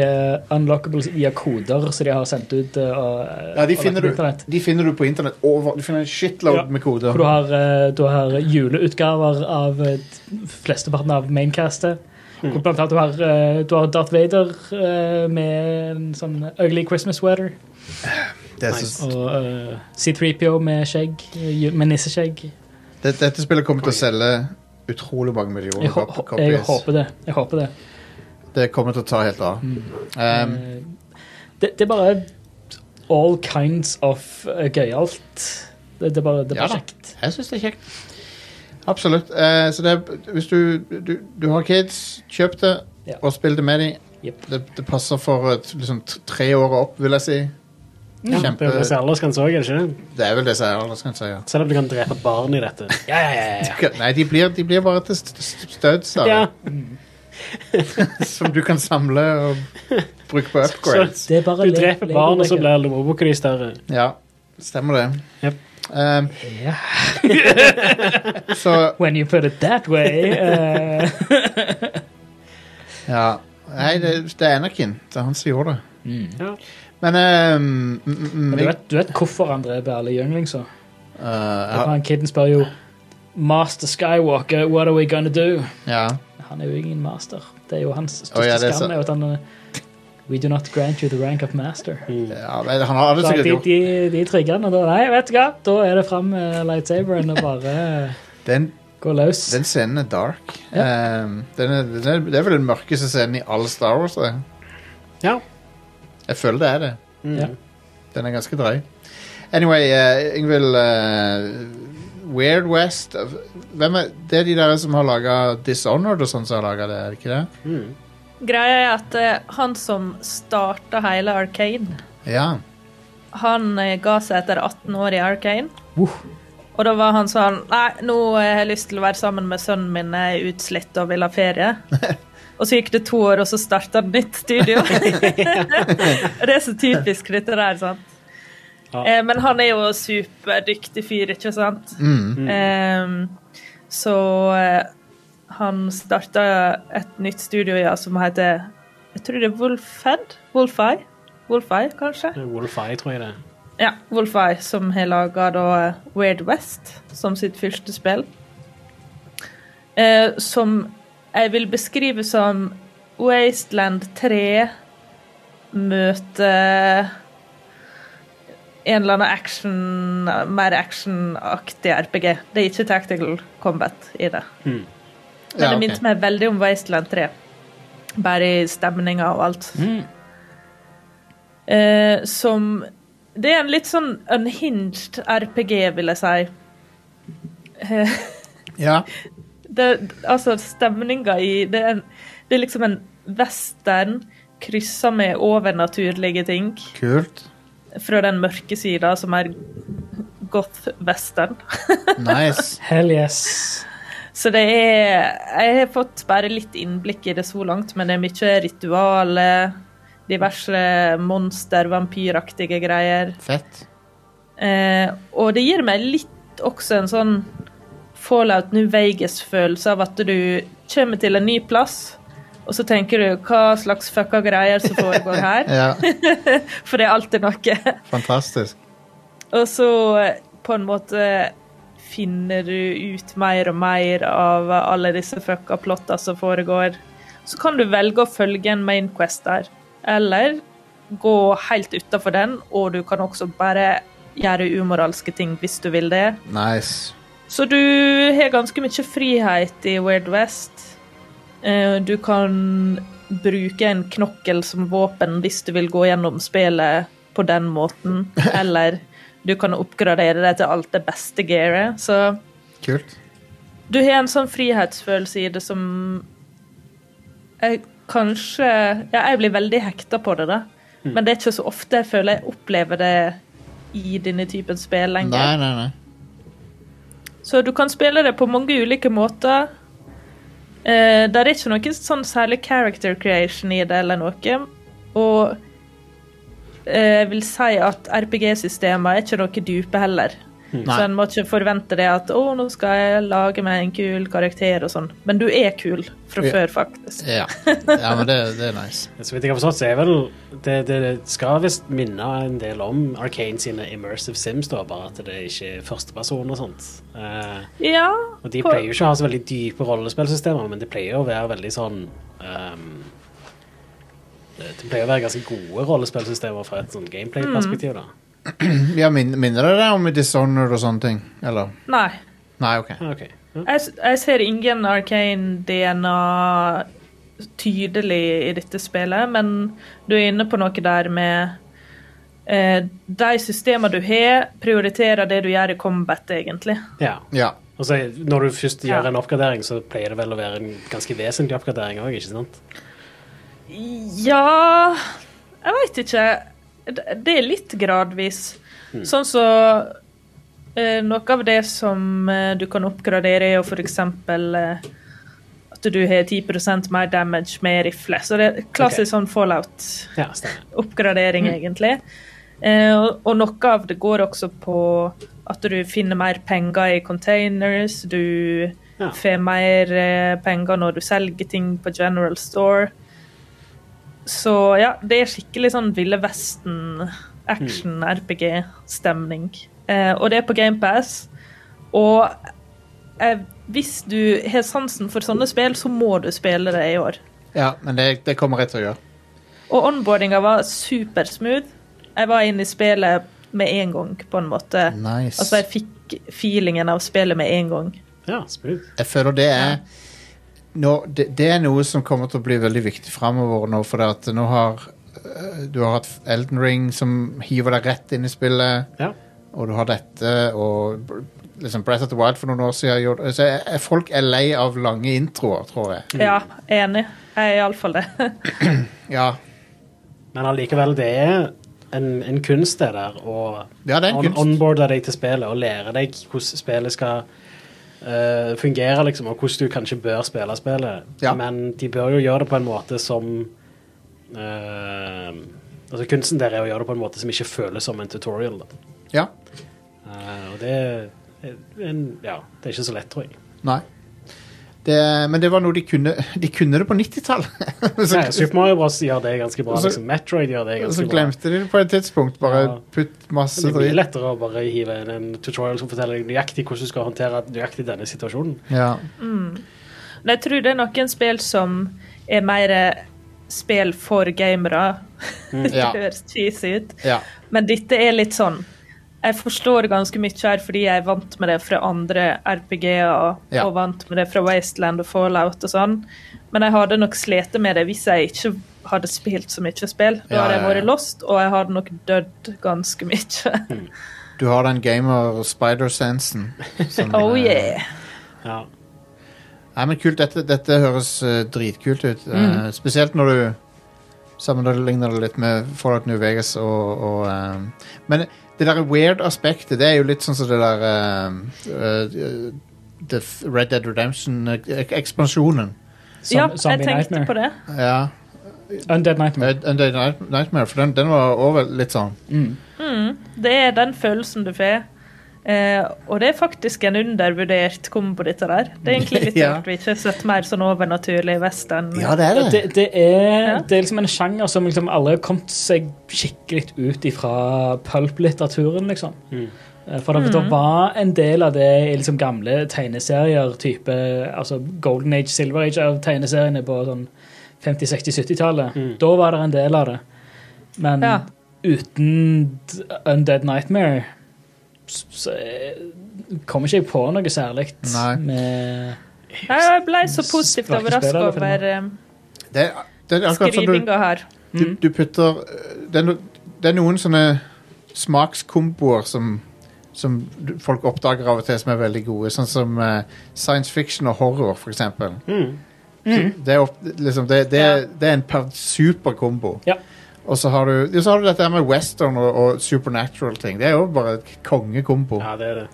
unlockables via koder som de har sendt ut. eh, og, eh,
Ja, de
og
finner
lagt på
du,
internett.
de finner du på internett. over- Du finner en shitload
Ja.
med koder.
Hvor du har, eh, du har juleutgaver av eh, flesteparten av maincastet.
Mm.
Hvor blant annet du har, eh, du har Darth Vader eh, med en sånn ugly Christmas sweater.
Det er så
Og eh, C3PO med skjegg. eh, ju- Med nisseskjegg.
Dette, dette spillet kommer til å selge utrolig mange millioner
Jeg,
kop-
hå- Mm. jeg
copies.
håper det. Jeg håper det.
Det kommer til å ta helt av. Um,
Eh,
det, det er bare all kinds of eh, gøyalt. Det, det er bare, det er
Ja
bare
da.
kjekt.
Jeg syns det er kjekt. Absolutt. Eh, så det er, hvis du, du, du har kids, kjøp det
Ja.
og spill det med dem.
Jep.
Det, det passer for et, liksom, t- tre år og opp, vil jeg si.
Mm. Ja, det er jo disse aldersgrenser også, er det ikke det?
Det er vel det som er aldersgrensa, ja.
Selv om du kan drepe barn i dette. Ja, ja, ja, ja.
Nei, de blir, de blir bare til st- st- stødser
ja.
som du kan samle og bruke på
Så,
upgrades.
Det er bare
du
le-
dreper
Lego
barn, og så
Maker.
blir lommeboka di større.
Ja, stemmer det.
Jep.
Um,
Ja.
så
When you put it that way eh,
Ja. Nei, det, det er Anakin. Det er han som gjorde det.
Ja.
Men um, mm, mm, mm,
men du,
jeg-
vet, du vet hvorfor han dreper alle jønglinger?
eh, jeg har-
Han kiden spør jo Master Skywalker, what are we gonna do?
ja.
Han er jo ingen master. Det er jo hans største
Å, ja, det er
skam.
så-
er jo at han eh, We do not grant you the rank of master.
ja men han har det
Så
sikkert
de,
gjort.
de, de trigger han, og da Nei, vet du hva, da er det fram med lightsaberen og bare
Den,
gå løs.
den scenen er dark. Um, den er, den er, det er vel den mørkeste scenen i alle Star Wars. Det.
Ja.
Jeg føler det er det.
Ja.
Den er ganske drøy. Anyway, uh, Ingvild eh, Weird West eh, hvem er, Det er de der som har laga Dishonored og sånn som har laga det, er det ikke det?
Greia er at eh, han som starta hele Arcane,
Ja.
han eh, ga seg etter 18 år i Arcane. Og da var han sånn Nei, nå eh, har jeg lyst til å være sammen med sønnen min, jeg er utslitt og vil ha ferie. Og så gikk det to år, og så starta han nytt studio. det er så typisk dette der, sant.
Ja.
Eh, men han er jo superdyktig fyr, ikke sant? Eh, så eh, han starta et nytt studio ja, som heter Jeg tror det er Wolfhead? Wolfeye? Wolfeye, kanskje?
Wolf Eye, tror jeg det.
Ja, Wolfeye, som har laga da eh, Weird West som sitt første spill. Eh, som jeg vil beskrive som Wasteland 3 møter en eller annen action, mer actionaktig RPG. Det er ikke tactical combat i det. Men
Hmm. Ja,
det
ok.
minner meg veldig om Wasteland 3. Bare i stemninga og alt.
Hmm.
Eh, som Det er en litt sånn unhinged RPG, vil jeg si.
ja.
Det, altså, stemninga i det er, en, det er liksom en western kryssa med overnaturlige ting
Kult.
fra den mørke sida, som er goth-western.
Nice.
Hell yes.
Så det er Jeg har fått bare litt innblikk i det så langt, men det er mye ritualer, diverse monster, vampyraktige greier.
Fett.
Eh, og det gir meg litt også en sånn Fallout New Vegas-følelse av at du kommer til en ny plass, og så tenker du hva slags fucka greier som foregår her,
Ja,
for det er alltid noe.
fantastisk.
Og så eh, på en måte finner du ut mer og mer av alle disse fucka plotta som foregår. Så kan du velge å følge en main quest der, eller gå helt utafor den, og du kan også bare gjøre umoralske ting hvis du vil det.
Nice.
Så du har ganske mye frihet i Weird West. Eh, Du kan bruke en knokkel som våpen hvis du vil gå gjennom spillet på den måten. Eller du kan oppgradere det til alt det beste gearet. Så
Kult.
du har en sånn frihetsfølelse i det som jeg kanskje Ja, jeg blir veldig hekta på det, da. Men det er ikke så ofte jeg føler jeg opplever det i denne typen spill lenger.
Nei, nei, nei.
Så du kan spille det på mange ulike måter. Eh, det er ikke noe sånn særlig character creation i det eller noe. Og eh, jeg vil si at RPG-systemer er ikke noe dype heller. Så en må ikke forvente det at 'å, nå skal jeg lage meg en kul karakter' og sånn. Men du er kul fra
Ja.
før, faktisk.
Ja, ja men det, det er nice.
Så vidt jeg har forstått, så er vel Det, det skal visst minne en del om Arcane sine immersive sims, da, bare at det ikke er førsteperson og sånt. Eh,
Ja.
og de
på-
pleier jo ikke å ha så veldig dype rollespillsystemer, men det pleier å være veldig sånn ehm, det det pleier å være ganske gode rollespillsystemer fra et sånn gameplay-perspektiv, da.
Ja, min, minner det deg om Dishonored og sånne ting? Eller?
Nei.
Nei, OK.
Jeg, s- jeg ser ingen arcane DNA tydelig i dette spillet, men du er inne på noe der med eh, De systemene du har, prioriterer det du gjør i combat, egentlig.
Ja. Og så når du først gjør en oppgradering, så pleier det vel å være en ganske vesentlig oppgradering òg, ikke sant?
Ja Jeg veit ikke. D- Det er litt gradvis.
Mm.
Sånn så eh, Noe av det som eh, du kan oppgradere, er jo f.eks. Eh, at du har 10 mer damage med rifle. Så det er klassisk sånn
Ja, stemmer.
fallout-oppgradering,
Mm.
egentlig. Eh, og, og noe av det går også på at du finner mer penger i containers. Du får mer eh, penger når du selger ting på General Store. Så ja, det er skikkelig sånn Ville Vesten, action, RPG-stemning. Eh, og det er på GamePass. Og eh, hvis du har sansen for sånne spill, så må du spille det i år.
Ja, men det, det kommer jeg til å gjøre.
Og onboardinga var supersmooth. Jeg var inne i spillet med en gang, på en måte.
Nice.
Altså, jeg fikk feelingen av spillet med en gang.
Ja, smooth.
Jeg føler det er nå, det, det er noe som kommer til å bli veldig viktig framover nå, for at nå har øh, du har hatt Elden Ring som hiver deg rett inn i spillet,
Ja.
og du har dette, og br- liksom Breath of the Wild for noen år siden gjorde Så er, er folk er lei av lange introer, tror jeg.
Ja, enig. Jeg er iallfall det.
Ja.
Men allikevel, det er en, en kunst, det der, å
Ja, det er en
on
kunst.
onboarde deg til spillet og lære deg hvordan spillet skal eh, fungere, liksom, og hvordan du kanskje bør spille spillet. Men de bør jo gjøre det på en måte som eh, Altså, kunsten der er å gjøre det på en måte som ikke føles som en tutorial, da.
Ja.
Eh, og det er en, Ja, det er ikke så lett, tror jeg.
Nei. Det, men det var noe de kunne De kunne det på 90-tallet. Så-
Nei, Super Mario Bros. gjør det ganske bra.
Og så-
Liksom. Metroid gjør det
Og så
ganske bra.
glemte de det på et tidspunkt. Bare
Ja.
putt masse
Men det blir
dritt.
lettere å bare hive inn en tutorial som forteller deg nøyaktig hvordan du skal håndtere nøyaktig denne situasjonen.
Ja.
Mm. Men jeg tror det er noen spill som er mer eh, spill for gamere.
Mm, ja.
det høres cheesy ut.
Ja.
Men dette er litt sånn Jeg forstår ganske mye her fordi jeg er vant med det fra andre RPG-er
Ja.
og vant med det fra Wasteland og Fallout og sånn, men jeg hadde nok slitt med det hvis jeg ikke hadde spilt så mye spill. Da
Ja,
hadde jeg
ja, ja.
vært lost, og jeg hadde nok dødd ganske mye.
Du har den gamer spider-sensen. som,
oh
eh,
yeah.
Nei, men kult. Dette, dette høres eh, dritkult ut. Eh,
Mm.
spesielt når du sammenligner det litt med Fallout New Vegas og, og eh, Men det der weird aspektet, det er jo litt sånn som det der eh, eh, det f- Red Dead Redemption-ekspansjonen.
ja, jeg tenkte på det.
Ja.
Undead Nightmare.
Undead Night- Nightmare, for den, den var over litt sånn.
Mm, det er den følelsen du får. Eh, og det er faktisk en undervurdert kombo, dette der. Det er egentlig litt
Ja.
rart vi ikke har sett mer sånn overnaturlig western.
Det, det, er, det er liksom en sjanger som liksom alle har kommet seg skikkelig ut ifra pulp-litteraturen, liksom. Eh, For det, det
Mhm.
var en del av det i liksom gamle tegneserier, type altså Golden Age, Silver Age av tegneseriene på sånn 50-, 60-, 70-tallet. Da var det en del av det. Men
Ja.
uten d- Undead Nightmare s- så eh, kommer ikke jeg på noe særlig med
Nei, Jeg ble så positivt
Snakkespiller,
overrasket
eller
over eh,
Det, er- det er akkurat som du
skrivinga her.
du,
Mm.
du putter eh, det er, no, det er noen sånne smakskomboer som, som du- folk oppdager av og til som er veldig gode. Sånn som eh, science fiction og horror, for eksempel.
Mm.
Det, er opp, liksom, det, det, er- det er en per- superkombo.
Ja.
Og så har, du, ja, så har du dette her med western og, og supernatural ting. Det er jo bare et kongekombo.
Ja, det er det.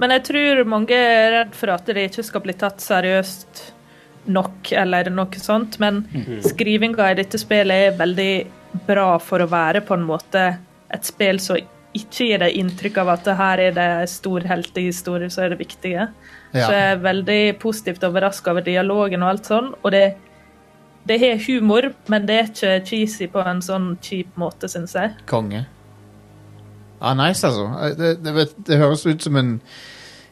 Men jeg tror mange er redd for at det ikke skal bli tatt seriøst nok, eller noe sånt. Men
Mhm.
skrivinga i dette spillet er veldig bra for å være på en måte et spill som ikke gir deg inntrykk av at det her er det en stor heltehistorie som er det viktige.
Ja.
Så jeg er veldig positivt overraska over dialogen og alt sånn. Og det, det har humor, men det er ikke cheesy på en sånn kjip måte, syns jeg.
Konge. Ja, nice, altså. Eh, Det, det, vet, det høres ut som en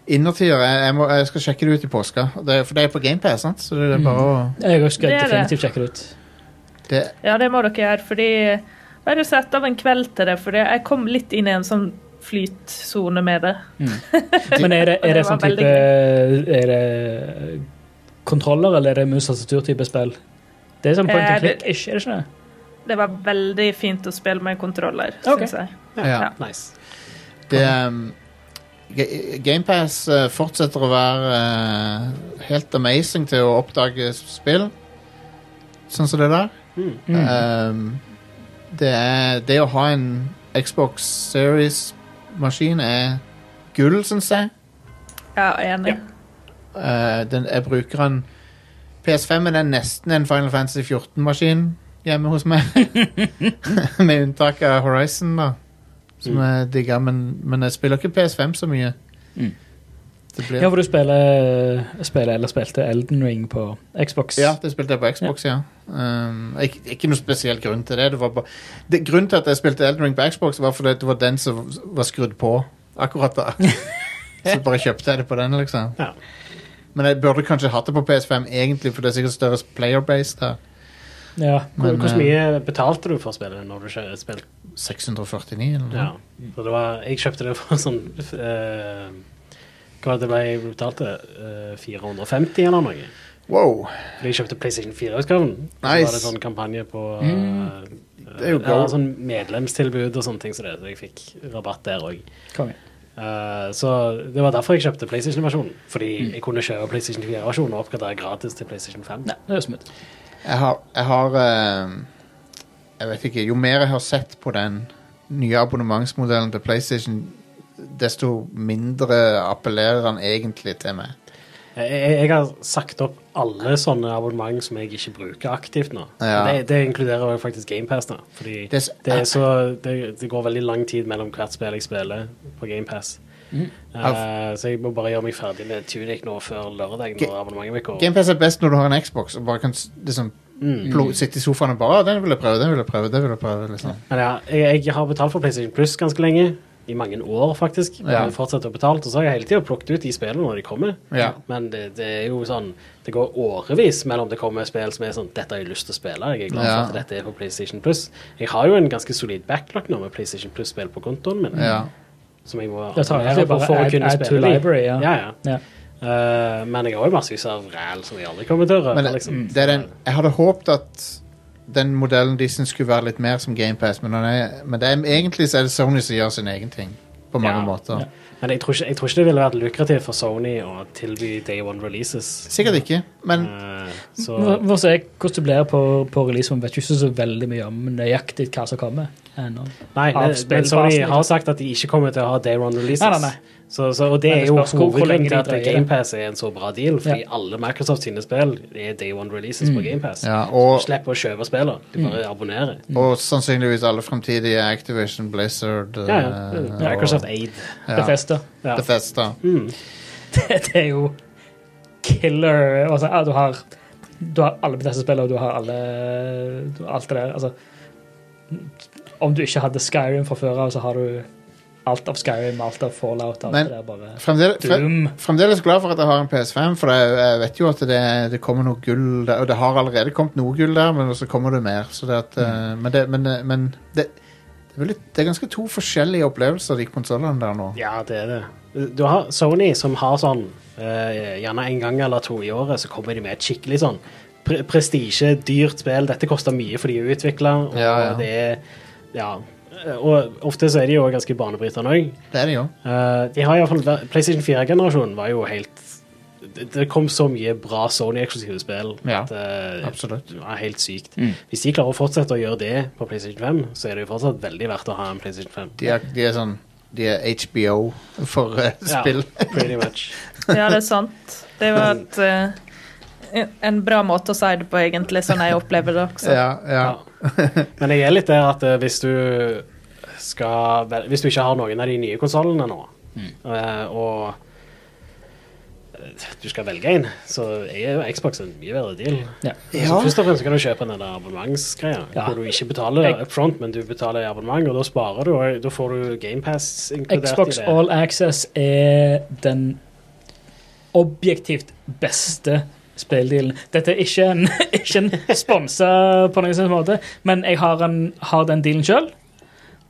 innertier. Jeg, jeg, må- jeg skal sjekke det ut i påska. Det, for det er på GamePass, sant? Så det er bare å
Jeg skal
Det er det.
definitivt sjekke det ut.
det,
Ja, det må dere gjøre, fordi bare sett av en kveld til det, for jeg kom litt inn i en sånn flytsone med det.
Men er det,
Og
er det
var
sånn
veldig
type
gøy.
Er det kontroller, eller er det mus-tastatur-type spill? Det er sånn point
Eh,
and
det-
click-ish, er det ikke det?
Det var veldig fint å spille med kontroller,
Ok.
syns jeg.
Ja.
Nice.
Det um, GamePass eh, fortsetter å være eh, helt amazing til å oppdage s- spill. Sånn som det der. Ehm, det, er, det å ha en Xbox Series-maskin er gull, syns jeg.
Ja, enig.
Eh, den, jeg bruker den PS5 er den nesten en Final Fantasy 14-maskin hjemme hos meg. Med unntak av Horizon, da. Som jeg digger, men, men jeg spiller ikke PS5 så mye.
Mm.
Det blir,
Ja, hvor du spiller, eh, spiller eller spilte Elden Ring på Xbox.
ja, det spilte jeg på Xbox, ja. Um, ikke, ikke noe spesiell grunn til det. det, var bare, det grunnen til at jeg spilte Elden Ring på Xbox, var fordi det var den som var skrudd på akkurat da. så bare kjøpte jeg det på den, liksom.
Ja.
Men jeg burde kanskje hatt det på PS5 egentlig, for det er sikkert større playerbase der.
Ja.
Hvor,
Men, eh,
hvordan mye betalte du for spillet når du kjø- spilte?
649 eller noe.
Ja. Så det var, jeg kjøpte det for sånn eh, Hva var det det ble jeg betalte? Eh, 450 eller noe?
Wow.
Fordi jeg kjøpte PlayStation 4-utgaven. Så
Nice.
var det sånn kampanje på eh,
Det er jo
ja,
gold.
sånn medlemstilbud og sånne ting, så, det, så jeg fikk rabatt der òg.
Kom igjen.
Eh, så Det var derfor jeg kjøpte PlayStation-versjonen. Fordi jeg kunne kjøre PlayStation 4-versjonen og oppgradere gratis til PlayStation 5.
Nei, det er smooth.
Jeg har, jeg, har eh, jeg vet ikke. Jo mer jeg har sett på den nye abonnementsmodellen til PlayStation, desto mindre appellerer den egentlig til meg.
Jeg, jeg jeg har sagt opp alle sånne abonnement som jeg ikke bruker aktivt nå.
Ja.
Det, det inkluderer jo faktisk GamePass nå. Fordi
Det
det,
s- Ah.
er så, det, det går veldig lang tid mellom hvert spill jeg spiller på GamePass. så jeg må bare gjøre meg ferdig med Tunic nå før lørdag.
Ga-
når abonnementet mitt går.
GamePass er best når du har en Xbox og bare kan s- liksom,
Mm.
plo, sitte i sofaen og bare «Å, 'Den vil jeg prøve, den vil jeg prøve', den vil jeg prøve. Liksom.
Men ja, jeg, jeg har betalt for PlayStation Plus ganske lenge. I mange år, faktisk. Men
Ja.
jeg fortsetter å betale. Og så har jeg hele tida plukket ut de spillene når de kommer.
Ja.
Men det, det er jo sånn Det går årevis mellom det kommer spill som er sånn Dette har jeg lyst til å spille. Jeg er glad
Ja.
for at dette er på PlayStation Plus. Jeg har jo en ganske solid backlog nå med PlayStation Plus-spill på kontoen min.
Ja.
Som jeg må
Det tar
abonnere på
egentlig bare
for å
add-
kunne
add to
spille de.
library, ja.
Ja, ja.
Ja.
Eh, men jeg har jo massevis av ræl som jeg aldri kommer til å røre.
Men det, mm.
liksom.
det er den, jeg hadde håpet at den modellen de syntes skulle være litt mer som GamePass, men, den er, men det er, egentlig så er det Sony som gjør sin egen ting. På mange
Ja.
måter.
Men jeg tror, ikke, jeg tror ikke det ville vært lukrativt for Sony å tilby day one releases.
Sikkert ikke, men
Eh, så
Nå nå ser jeg hvordan det blir på, på release. Man vet jo ikke så veldig mye om nøyaktig hva som kommer. ennå.
Nei,
av
men, men
spillfasen,
Sony
liksom.
har sagt at de ikke kommer til å ha day one releases.
Nei, nei, nei.
Så, så, og det
Men det
er jo
spørs hvor- hvor
hovedgrunnen
lenge
til
de
at
drøyer.
GamePass er en så bra deal, fordi
Ja. Mm.
alle Microsoft sine spill er day one releases på GamePass.
Ja, og-
Så du slipper å kjøpe spillene, du bare abonnerer.
Og sannsynligvis alle fremtidige Activision, Blizzard
Ja,
eh,
ja.
og
Microsoft Aid.
Ja.
Bethesda.
Ja.
Bethesda.
Mm. Det, det er jo killer. Altså, ja, du, har, du har alle Bethesda-spillere, og du har alle, du har alt det der. Altså, om du ikke hadde Skyrim fra før av, så har du alt av Skyrim, alt av Fallout, alt
Men-
det der bare
Fremdeles, fre,
Doom.
fremdeles glad for at jeg har en PS5, for jeg, jeg vet jo at det, det kommer noe gull der. Og det har allerede kommet noe gull der, men så kommer det mer. Så det at,
Mm.
eh, Men, det, men, eh, men det, det, er vel litt, det er ganske to forskjellige opplevelser, de konsollene der nå.
Ja, det er det. Du har Sony som har sånn eh, Gjerne en gang eller to i året så kommer de med et skikkelig sånn pre prestisje, dyrt spill. Dette koster mye for de er utvikla, og
Ja, ja.
det er Ja. Og ofte så er de jo ganske banebrytende òg.
Det er det jo.
de har i hvert fall vært- PlayStation 4-generasjonen var jo helt det, det kom så mye bra Sony-eksklusive spill
Ja,
at eh,
absolutt.
det var helt sykt. Hvis de klarer å fortsette å gjøre det på PlayStation 5, så er det jo fortsatt veldig verdt å ha en PlayStation 5.
De er, de er sånn De er HBO for eh,
Ja,
spill.
pretty much.
Ja, det er sant. Det var et, eh, en bra måte å si det på, egentlig, sånn jeg opplever det også.
Ja, ja.
Men jeg er litt der at eh, hvis du skal vel- Hvis du ikke har noen av de nye konsollene nå, eh, og eh, du skal velge en, så er jo Xbox en mye bedre deal.
Ja.
Så først og fremst kan du kjøpe den der abonnementsgreia,
Ja.
hvor du ikke betaler up front, men du betaler i abonnement, og da sparer du, og da får du GamePass inkludert
Xbox
i det.
All Access er den objektivt beste spilldealen. Dette er ikke en, ikke en sponsa på noen slags måte, men jeg har, en, har den dealen sjøl.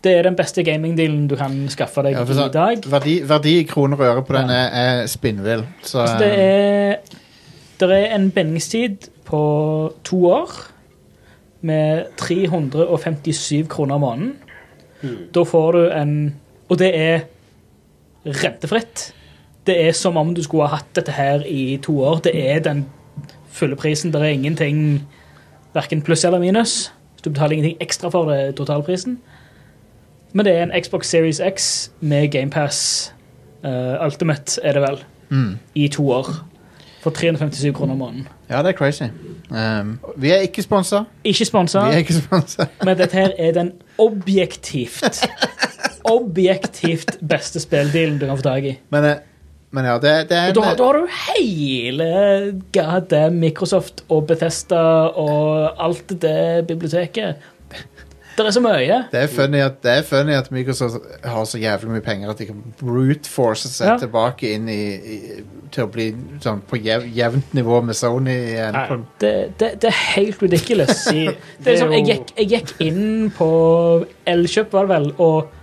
det er den beste gamingdealen du kan skaffe deg
Ja, for
i dag.
sånn, verdi, verdi i kroner og øre på den er, er spinnvill. Så,
Altså, det er Det er en bindingstid på to år med 357 kroner om måneden. Da får du en Og det er rentefritt. Det er som om du skulle ha hatt dette her i to år. Det er den fulle prisen. Det er ingenting verken pluss eller minus. Du betaler ingenting ekstra for det totalprisen. Men det er en Xbox Series X med GamePass uh, Ultimate, er det vel
Mm.
i to år. For 357 kroner om måneden.
eh, ja, det er crazy. Um, vi er ikke sponsa.
Ikke sponsa,
Vi er ikke sponsa.
men dette her er den objektivt Objektivt beste spilldealen du kan få tak i.
Men, eh, men ja, det, det er
Og Da, da har du hele goddamn Microsoft og Bethesda og alt det biblioteket. Det er så mye.
Det er funny at, det er funny at Microsoft har så jævlig mye penger at de kan brute-force seg
Ja.
tilbake inn i, i, til å bli sånn, på jev, jevnt nivå med Sony igjen.
Nei.
Det, det, det er helt ridiculous.
De,
Det er sånn, jeg, gikk, jeg gikk inn på Elkjøp, var det vel, og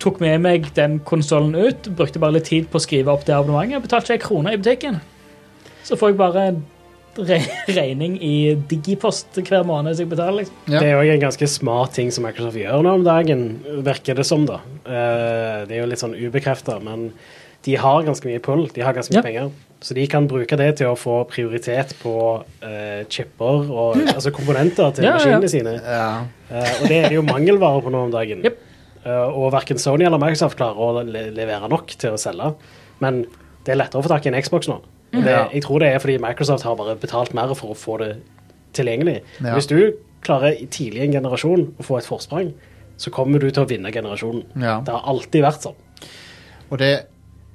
tok med meg den konsollen ut. Brukte bare litt tid på å skrive opp det abonnementet. Betalte ikke ei krone i butikken. Så får jeg bare en re- regning i digipost hver måned som jeg betaler. Liksom.
Ja.
Det er jo en ganske smart ting som Microsoft gjør nå om dagen, virker det som, da. Eh, Det er jo litt sånn ubekrefta, men de har ganske mye pull, de har ganske mye
Ja.
penger. Så de kan bruke det til å få prioritet på eh, chipper og altså komponenter til
Mm. Ja, ja, ja.
maskinene sine.
Ja.
Eh, og det er det jo mangelvare på nå om dagen.
Jep.
Eh, og verken Sony eller Microsoft klarer å le levere nok til å selge. Men det er lettere å få tak i en Xbox nå. Og det,
Ja.
jeg tror det er fordi Microsoft har bare betalt mer for å få det tilgjengelig.
Ja.
Hvis du klarer i tidlig i en generasjon å få et forsprang, så kommer du til å vinne generasjonen.
Ja.
Det har alltid vært sånn.
Og det,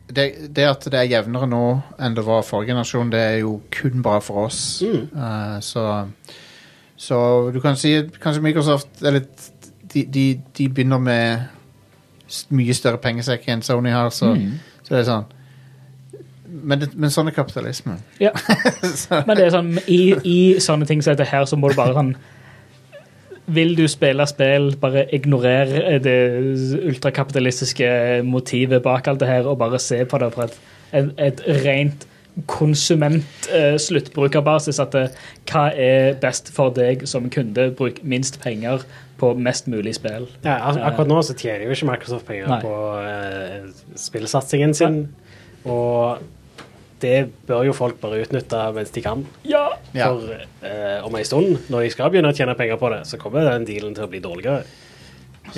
det, det at det er jevnere nå enn det var forrige generasjon, det er jo kun bra for oss. Eh, så, så du kan si at kanskje Microsoft er litt De, de, de begynner med s- mye større pengesekk enn Sony har, så, så det er sånn. Men, det, men sånn er kapitalismen.
Ja. Men det er sånn, i, i sånne ting som dette her, så må du bare sånn Vil du spille spill, bare ignorer det ultrakapitalistiske motivet bak alt det her, og bare se på det fra et, et, et rent konsument-sluttbrukerbasis. at det, hva er best for deg som kunde? Bruk minst penger på mest mulig spill.
Ja, al- akkurat nå så tjener jo ikke Microsoft penger
Nei.
på eh, spillsatsingen sin. Og det bør jo folk bare utnytte mens de kan.
Ja!
Ja.
For eh, om ei stund, når de skal begynne å tjene penger på det, så kommer den dealen til å bli dårligere.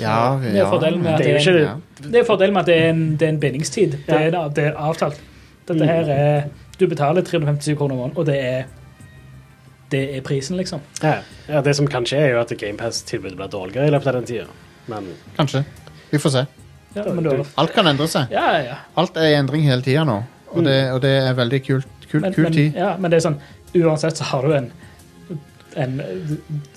Ja,
Det er fordelen med at
Det er jo
det er
ikke
ja.
Det er fordelen med at det er en, det er en bindingstid. Det er, en- det er avtalt. Dette
Mm.
her er Du betaler 357 kroner om måneden, og det er Det er prisen, liksom.
Ja. Ja, det som kan skje, er jo at GamePass-tilbudet blir dårligere i løpet av den tida. Men
Kanskje. Vi får se.
Ja, men da,
Alt kan endre seg.
ja, ja.
Alt er i endring hele tida nå, og det, og det er veldig kult. Kul,
Men,
kul
men,
tid.
ja, men det er sånn Uansett så har du en en eh,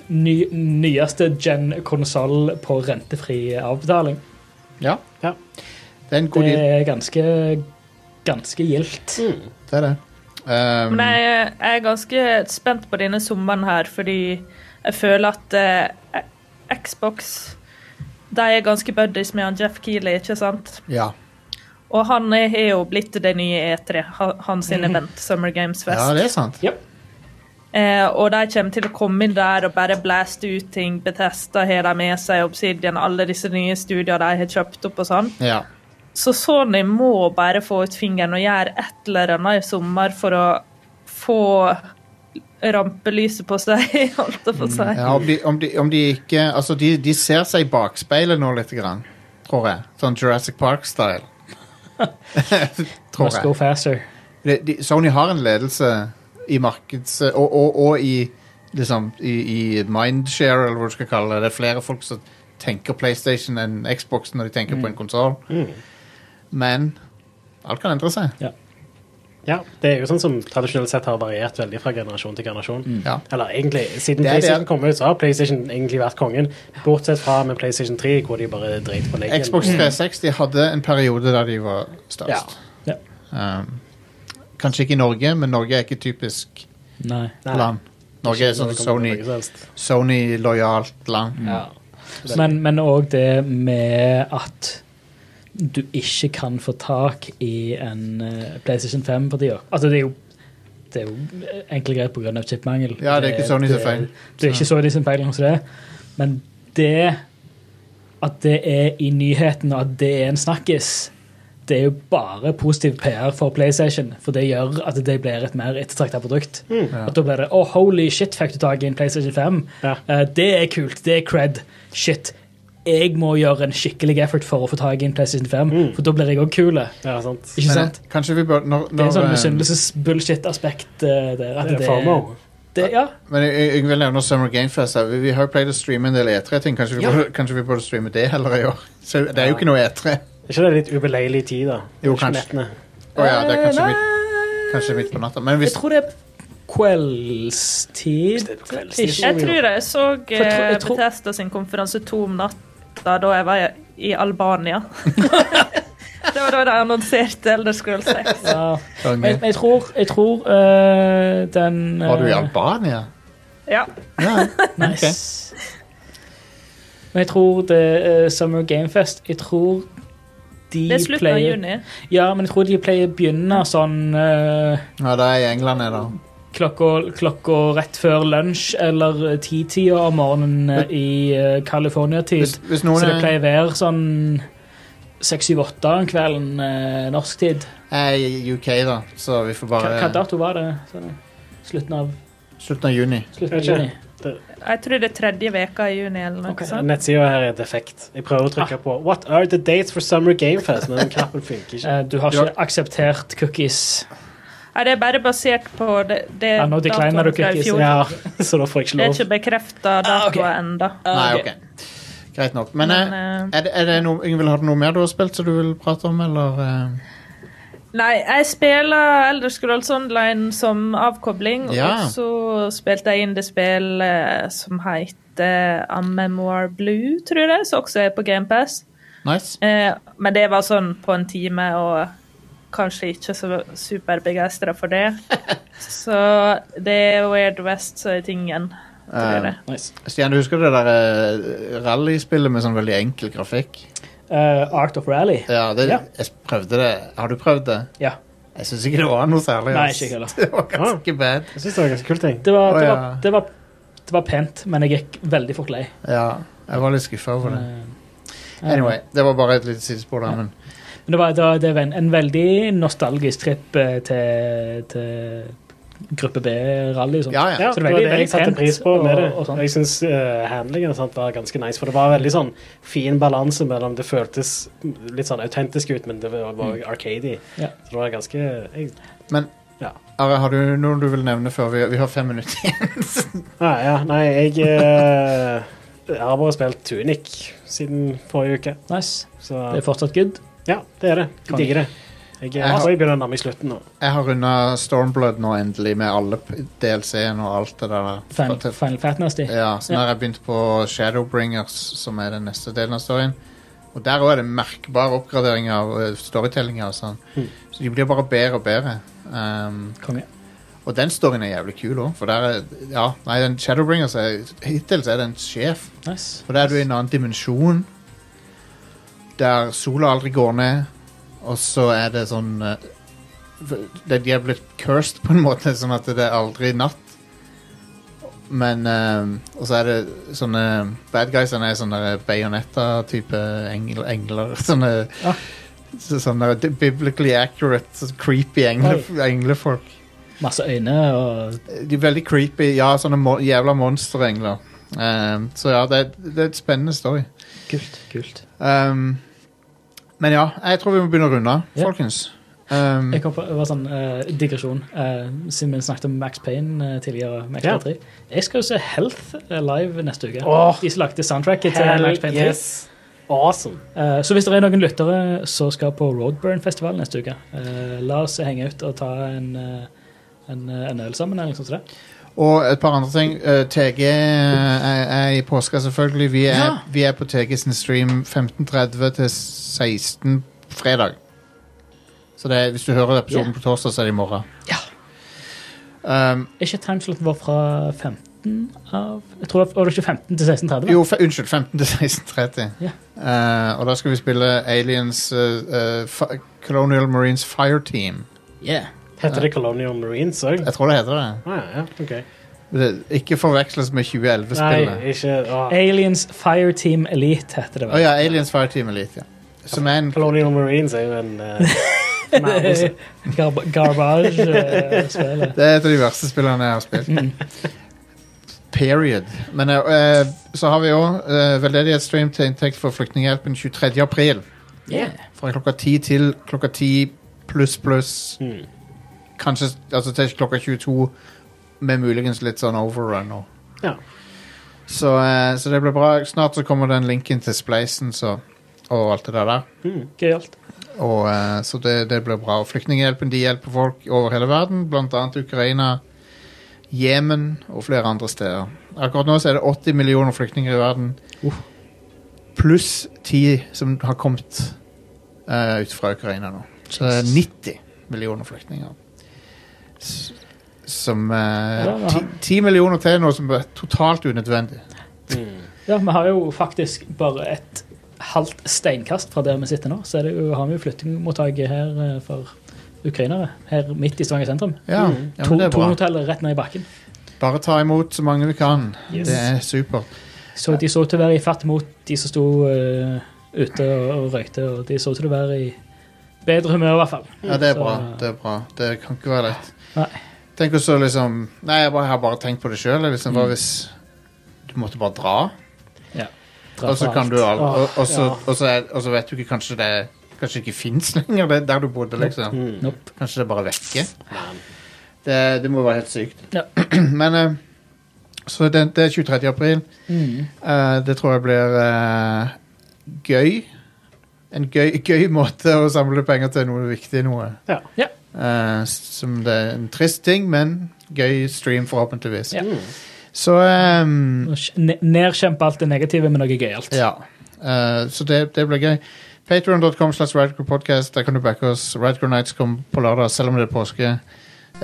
ny, nyeste gen-konsoll på rentefri avbetaling.
Ja.
Ja.
Det er en god
Det
deal.
er ganske ganske gildt.
Det er det. Um,
Men jeg, jeg er ganske spent på denne sommeren her, fordi jeg føler at eh, Xbox De er ganske buddies med han Jeff Keeley, ikke sant?
Ja.
Og han er er jo blitt det nye E3, ha- hans sin event, Summer Games Fest.
Mhm. ja, det er sant.
Eh, og de kommer til å komme inn der og bare blaste ut ting. Bethesda har de med seg, Obsidian, alle disse nye studiene de har kjøpt opp og sånn.
Ja.
Så Sony må bare få ut fingeren og gjøre et eller annet i sommer for å få rampelyset på seg, holdt jeg på å si.
Mm, ja om, de, om, de, om de ikke Altså, de, de ser seg i bakspeilet nå litt, grann, tror jeg. Sånn Jurassic Park-style. tror
Must go
jeg.
faster.
De, de, Sony har en ledelse i markeds... Og, og, og i liksom i, i mindshare, eller hva du skal kalle det. Det er flere folk som tenker PlayStation enn Xbox når de tenker på en konsoll. Men alt kan endre seg.
ja, det er jo sånn som tradisjonelt sett har variert veldig fra generasjon til generasjon.
Mm. Ja.
Eller egentlig, siden
Det er det.
PlayStation kom ut, så har PlayStation egentlig vært kongen. Bortsett fra med PlayStation 3, hvor de bare dreit på leken.
Xbox 360 hadde en periode der de var størst.
Ja.
Um, kanskje ikke i Norge, men Norge er ikke typisk
Nei.
Nei,
land. Norge er sånn
det kommer til
Sony,
noe som helst.
Sony lojalt land.
Ja.
Men- Men òg det med at du ikke kan få tak i en eh, PlayStation 5 for tida. Altså, det er jo det er jo eh, enkle greier pga. chipmangel. Eh,
Ja, det er ikke Sony sin
det-
feil.
Det er ikke Sony sin feil, kanskje det. Men det at det er i nyhetene, og at det er en snakkis, det er jo bare positiv PR for PlayStation. For det gjør at det blir et mer ettertrakta produkt.
Mm. Ja.
At da blir det 'Å, holy shit, fikk du tak i en PlayStation 5?' Eh, det er kult. Det er cred. Shit. Jeg må gjøre en skikkelig effort for å få tak i en PlayStation 5, for da blir jeg òg kul. eh. Ikke
Men,
sant?
eh, Kanskje vi bør når,
Det er en sånn
når, eh,
misunnelses-bullshit-aspekt eh, der. At
Det er
det,
FOMO.
Det, ja.
Men jeg, jeg- jeg vil nevne Summer Game Fest. her. Vi, vi har jo pleid å streame en del E3-ting. Kanskje, vi
Ja.
burde- kanskje vi burde streame det heller i år? Så det er jo ikke noe E E3.
Er ikke det litt ubeleilig tid, da?
Jo,
Ikke
kanskje.
nettene.
Å ja, det er kanskje
Eh,
midt, kanskje midt på natta. Men
Jeg
hvis
tror det er kveldstid. Ikke-
Jeg tror jeg så
jeg tror- jeg tror-
Betesta sin konferanse to om natta da jeg var i- i Albania. det var da de annonserte Elder Scroll 6.
Ja.
Konge.
Men jeg tror, jeg tror eh, den eh,
Var du i Albania?
Ja.
Nice. Men jeg tror det er Summer Game Fest Jeg tror de
Det er slutten av
pleier-
juni.
Ja, men jeg tror de pleier å begynne sånn eh,
Ja, det er i England, jeg, da.
klokka, klokka rett før lunsj eller ti-tida om morgenen eh, i eh, California-tid.
Hvis- hvis noen
Så det
er-
pleier å være sånn seks-syv-åtte om kvelden eh, norsk tid.
Jeg er i UK, da, så vi får
Hva, hva
bare
dato var det? Sånn, slutten av,
Slutten av juni.
Jeg
slutten av
vet
juni?
ikke. Det-
Jeg tror det er tredje veka i juni eller noe sånt.
Nettsida her er defekt. Jeg prøver å
Ah.
trykke på What are the dates for Summer Game Fest? Men den knappen funker ikke.
Eh, Du har ikke akseptert cookies.
Nei, det er bare basert på det, det
Ja, nå decliner du
Eh, datoen fra i
cookies.
fjor.
Ja, Ah,
så da får jeg ikke
Det er
lov.
ikke bekrefta dato ennå.
Nei, OK. Greit nok. Men,
Men,
eh, er det, er det noe, Ingvild, har du noe mer du har spilt som du vil prate om, eller eh?
Nei, jeg spiller Elder Scrolls Online som avkobling,
Ja.
og så spilte jeg inn det spill eh, som heter A Memoir Blue, tror jeg, som også er på GamePass.
Nice.
Eh, men det var sånn på en time, og kanskje ikke så superbegeistra for det. så det er Weird West som er tingen. tror jeg.
Eh, Stian, du husker det der eh, rallyspillet med sånn veldig enkel grafikk?
Eh, Art of Rally.
Ja, det,
Ja.
jeg prøvde det. Har du prøvd det?
Ja.
Jeg syns ikke det var noe særlig.
Nei,
ass.
ikke jeg heller.
Det var ganske bad.
Jeg synes det var ganske kult, jeg.
Det var,
Å,
det,
ja.
var, det, var, det var pent, men jeg gikk veldig fort lei.
Ja, jeg var litt skuffa over det.
Eh,
Anyway, det var bare et lite sidespor der, men
Men det var, det var, det var en, en veldig nostalgisk tripp eh, til, til gruppe B-rally. og sånt.
Ja, ja.
Ja,
Så
det
det
var
var veldig,
det jeg
veldig
satte
pent.
pris på med det.
og, sånn. og sånt.
Jeg syns handlingen og sånt var ganske nice, for det var veldig sånn fin balanse mellom Det føltes litt sånn autentisk ut, men det var var arcadey.
Mm. Ja.
Så det var ganske jeg,
Men
Ja.
Are, har du noe du vil nevne før vi, vi har fem minutter igjen?
Nei, Ah, ja, nei, jeg eh, Jeg har bare spilt Tunic siden forrige uke,
Nice.
så
Det er fortsatt good.
Ja, det er det. Jeg
Kan-
digger det. Jeg, jeg,
Jeg har-
tror jeg begynner å nærme i slutten nå.
jeg har runda Stormblood nå endelig, med alle p- DLC-en og alt det der.
Final,
For at-
Final Fat Nasty.
Ja, så nå har jeg begynt på Shadowbringers, som er den neste delen av storyen. Og der òg er det merkbar oppgradering av eh, storytellinga og sånn. Så de blir bare bedre og bedre. Um,
Konge.
og den storyen er jævlig kul òg, for der er Ja, nei, den Shadowbringers er Hittil så er det en sjef,
Nice.
for der er du i en annen dimensjon. Der sola aldri går ned, og så er det sånn eh, f- De er blitt cursed, på en måte, sånn at det er aldri natt. Men eh, Og så er det sånne Bad guysene er sånne Bayonetta-type engel, engler. Sånne,
Ah.
så- sånne biblically accurate, så creepy engle, englefolk.
Masse øyne og
De er veldig creepy. Ja, sånne mo jævla monsterengler. Eh, så ja, det, er- det er et spennende story.
Kult. kult.
Um, men ja, jeg tror vi må begynne å runde, av,
Ja.
folkens. Um,
Jeg kom på, det var sånn eh, digresjon, eh, siden vi snakket om Max Payne eh, tidligere. Max
Ja.
Payne 3. Jeg skal jo se Health eh, live neste uke.
Åh.
De som lagde soundtracket til Max Payne 3.
Awesome.
Eh, så hvis det er noen lyttere som skal på Roadburn-festival neste uke, eh, la oss henge ut og ta en, eh, en, eh, en øl sammen. eller noe sånt som det.
og et par andre ting. Uh, TG er, er i påska, selvfølgelig. Vi er,
Ja.
vi er på TG sin stream 15.30 til 16 fredag. Så det er, hvis du hører episoden
Ja.
på torsdag, så er det i morgen.
Ja.
Um,
Er ikke timeslotten vår fra 15 midten av Jeg tror det var- var det ikke 15 til 16.30?
Jo, fe, unnskyld. 15 til 16.30. Eh, og da skal vi spille Aliens eh, eh, Fi- Colonial Marines Fireteam.
Yeah.
Heter det Colonial Marines òg?
Jeg tror det heter det.
Ah, ja, ok.
det. Ikke forveksles med 2011-spillet.
Nei, ikke ah.
Aliens Fireteam Elite heter det
Å ja, Aliens Fireteam Elite. Ja. Som er en
Colonial Marines er jo en
vel. Garb Garbage-spillet.
Det er et av de verste spillene jeg har spilt. Period. Men eh, eh, så har vi òg uh, veldedighetsstream til inntekt for Flyktninghjelpen 23. april.
Yeah.
Fra klokka 10 til klokka 10 pluss pluss. Kanskje altså til klokka 22, med muligens litt sånn overrun. Og.
Ja.
Så, eh, så det blir bra. Snart så kommer den linken til Spleisen så, og alt det der. der.
Gøyalt.
Og, eh, så det, det blir bra. Og Flyktninghjelpen de hjelper folk over hele verden, bl.a. Ukraina, Jemen og flere andre steder. Akkurat nå så er det 80 millioner flyktninger i verden, pluss 10 som har kommet eh, ut fra Ukraina nå. Så det er 90 millioner flyktninger. S som eh,
Ja, Mm. det er
ti-
han.
10 millioner til nå som er totalt unødvendig.
Ja, vi har jo faktisk bare et halvt steinkast fra der vi sitter nå. Så er det jo, har vi jo flyttingmottaket her eh, for ukrainere. Her midt i Stavanger sentrum.
Ja,
Mm.
ja, men
to
det er bra.
to hoteller rett ned i bakken.
Bare ta imot så mange vi kan.
Yes.
Det er supert.
Så de så til å være i fatt mot de som sto eh, ute og, og røykte, og de så til å være i bedre humør i hvert fall.
Ja, det er
Så-
bra. Det er bra. Det kan ikke være lett.
Nei.
Tenk også liksom Nei, jeg, bare, jeg har bare tenkt på det sjøl. Liksom,
Mm.
hva hvis du måtte bare dra?
Ja.
Og så kan du al- og, og, så,
Ja.
og, så er, og så vet du ikke Kanskje det Kanskje ikke fins lenger, det, der du bodde, liksom.
Nope. Mm. Nope.
Kanskje det er bare vekke. Det, det må være helt sykt.
Ja.
Men eh, Så det, det er 23. april.
Mm.
Eh, det tror jeg blir eh, gøy. En gøy, gøy måte å samle penger til noe viktig noe.
Ja.
Ja.
Eh, som det er en trist ting, men gøy stream forhåpentligvis.
Ja.
Så ehm,
Ne- Nedkjempe alt det negative med noe gøyalt.
ja. Eh, så det, det blir gøy. Patreon.com slash radicalpodcast. Der kan du backe oss. Radical Nights kom på lørdag, selv om det er påske.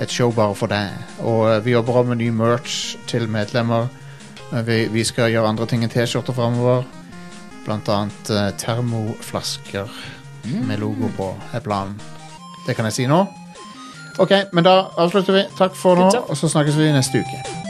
Et show bare for deg. Og eh, vi jobber også med ny merch til medlemmer. Eh, vi, vi skal gjøre andre ting enn T-skjorter framover. Blant annet eh, termoflasker med logo på er planen. Det kan jeg si nå. OK, men da avslutter vi. Takk for nå, og så snakkes vi neste uke.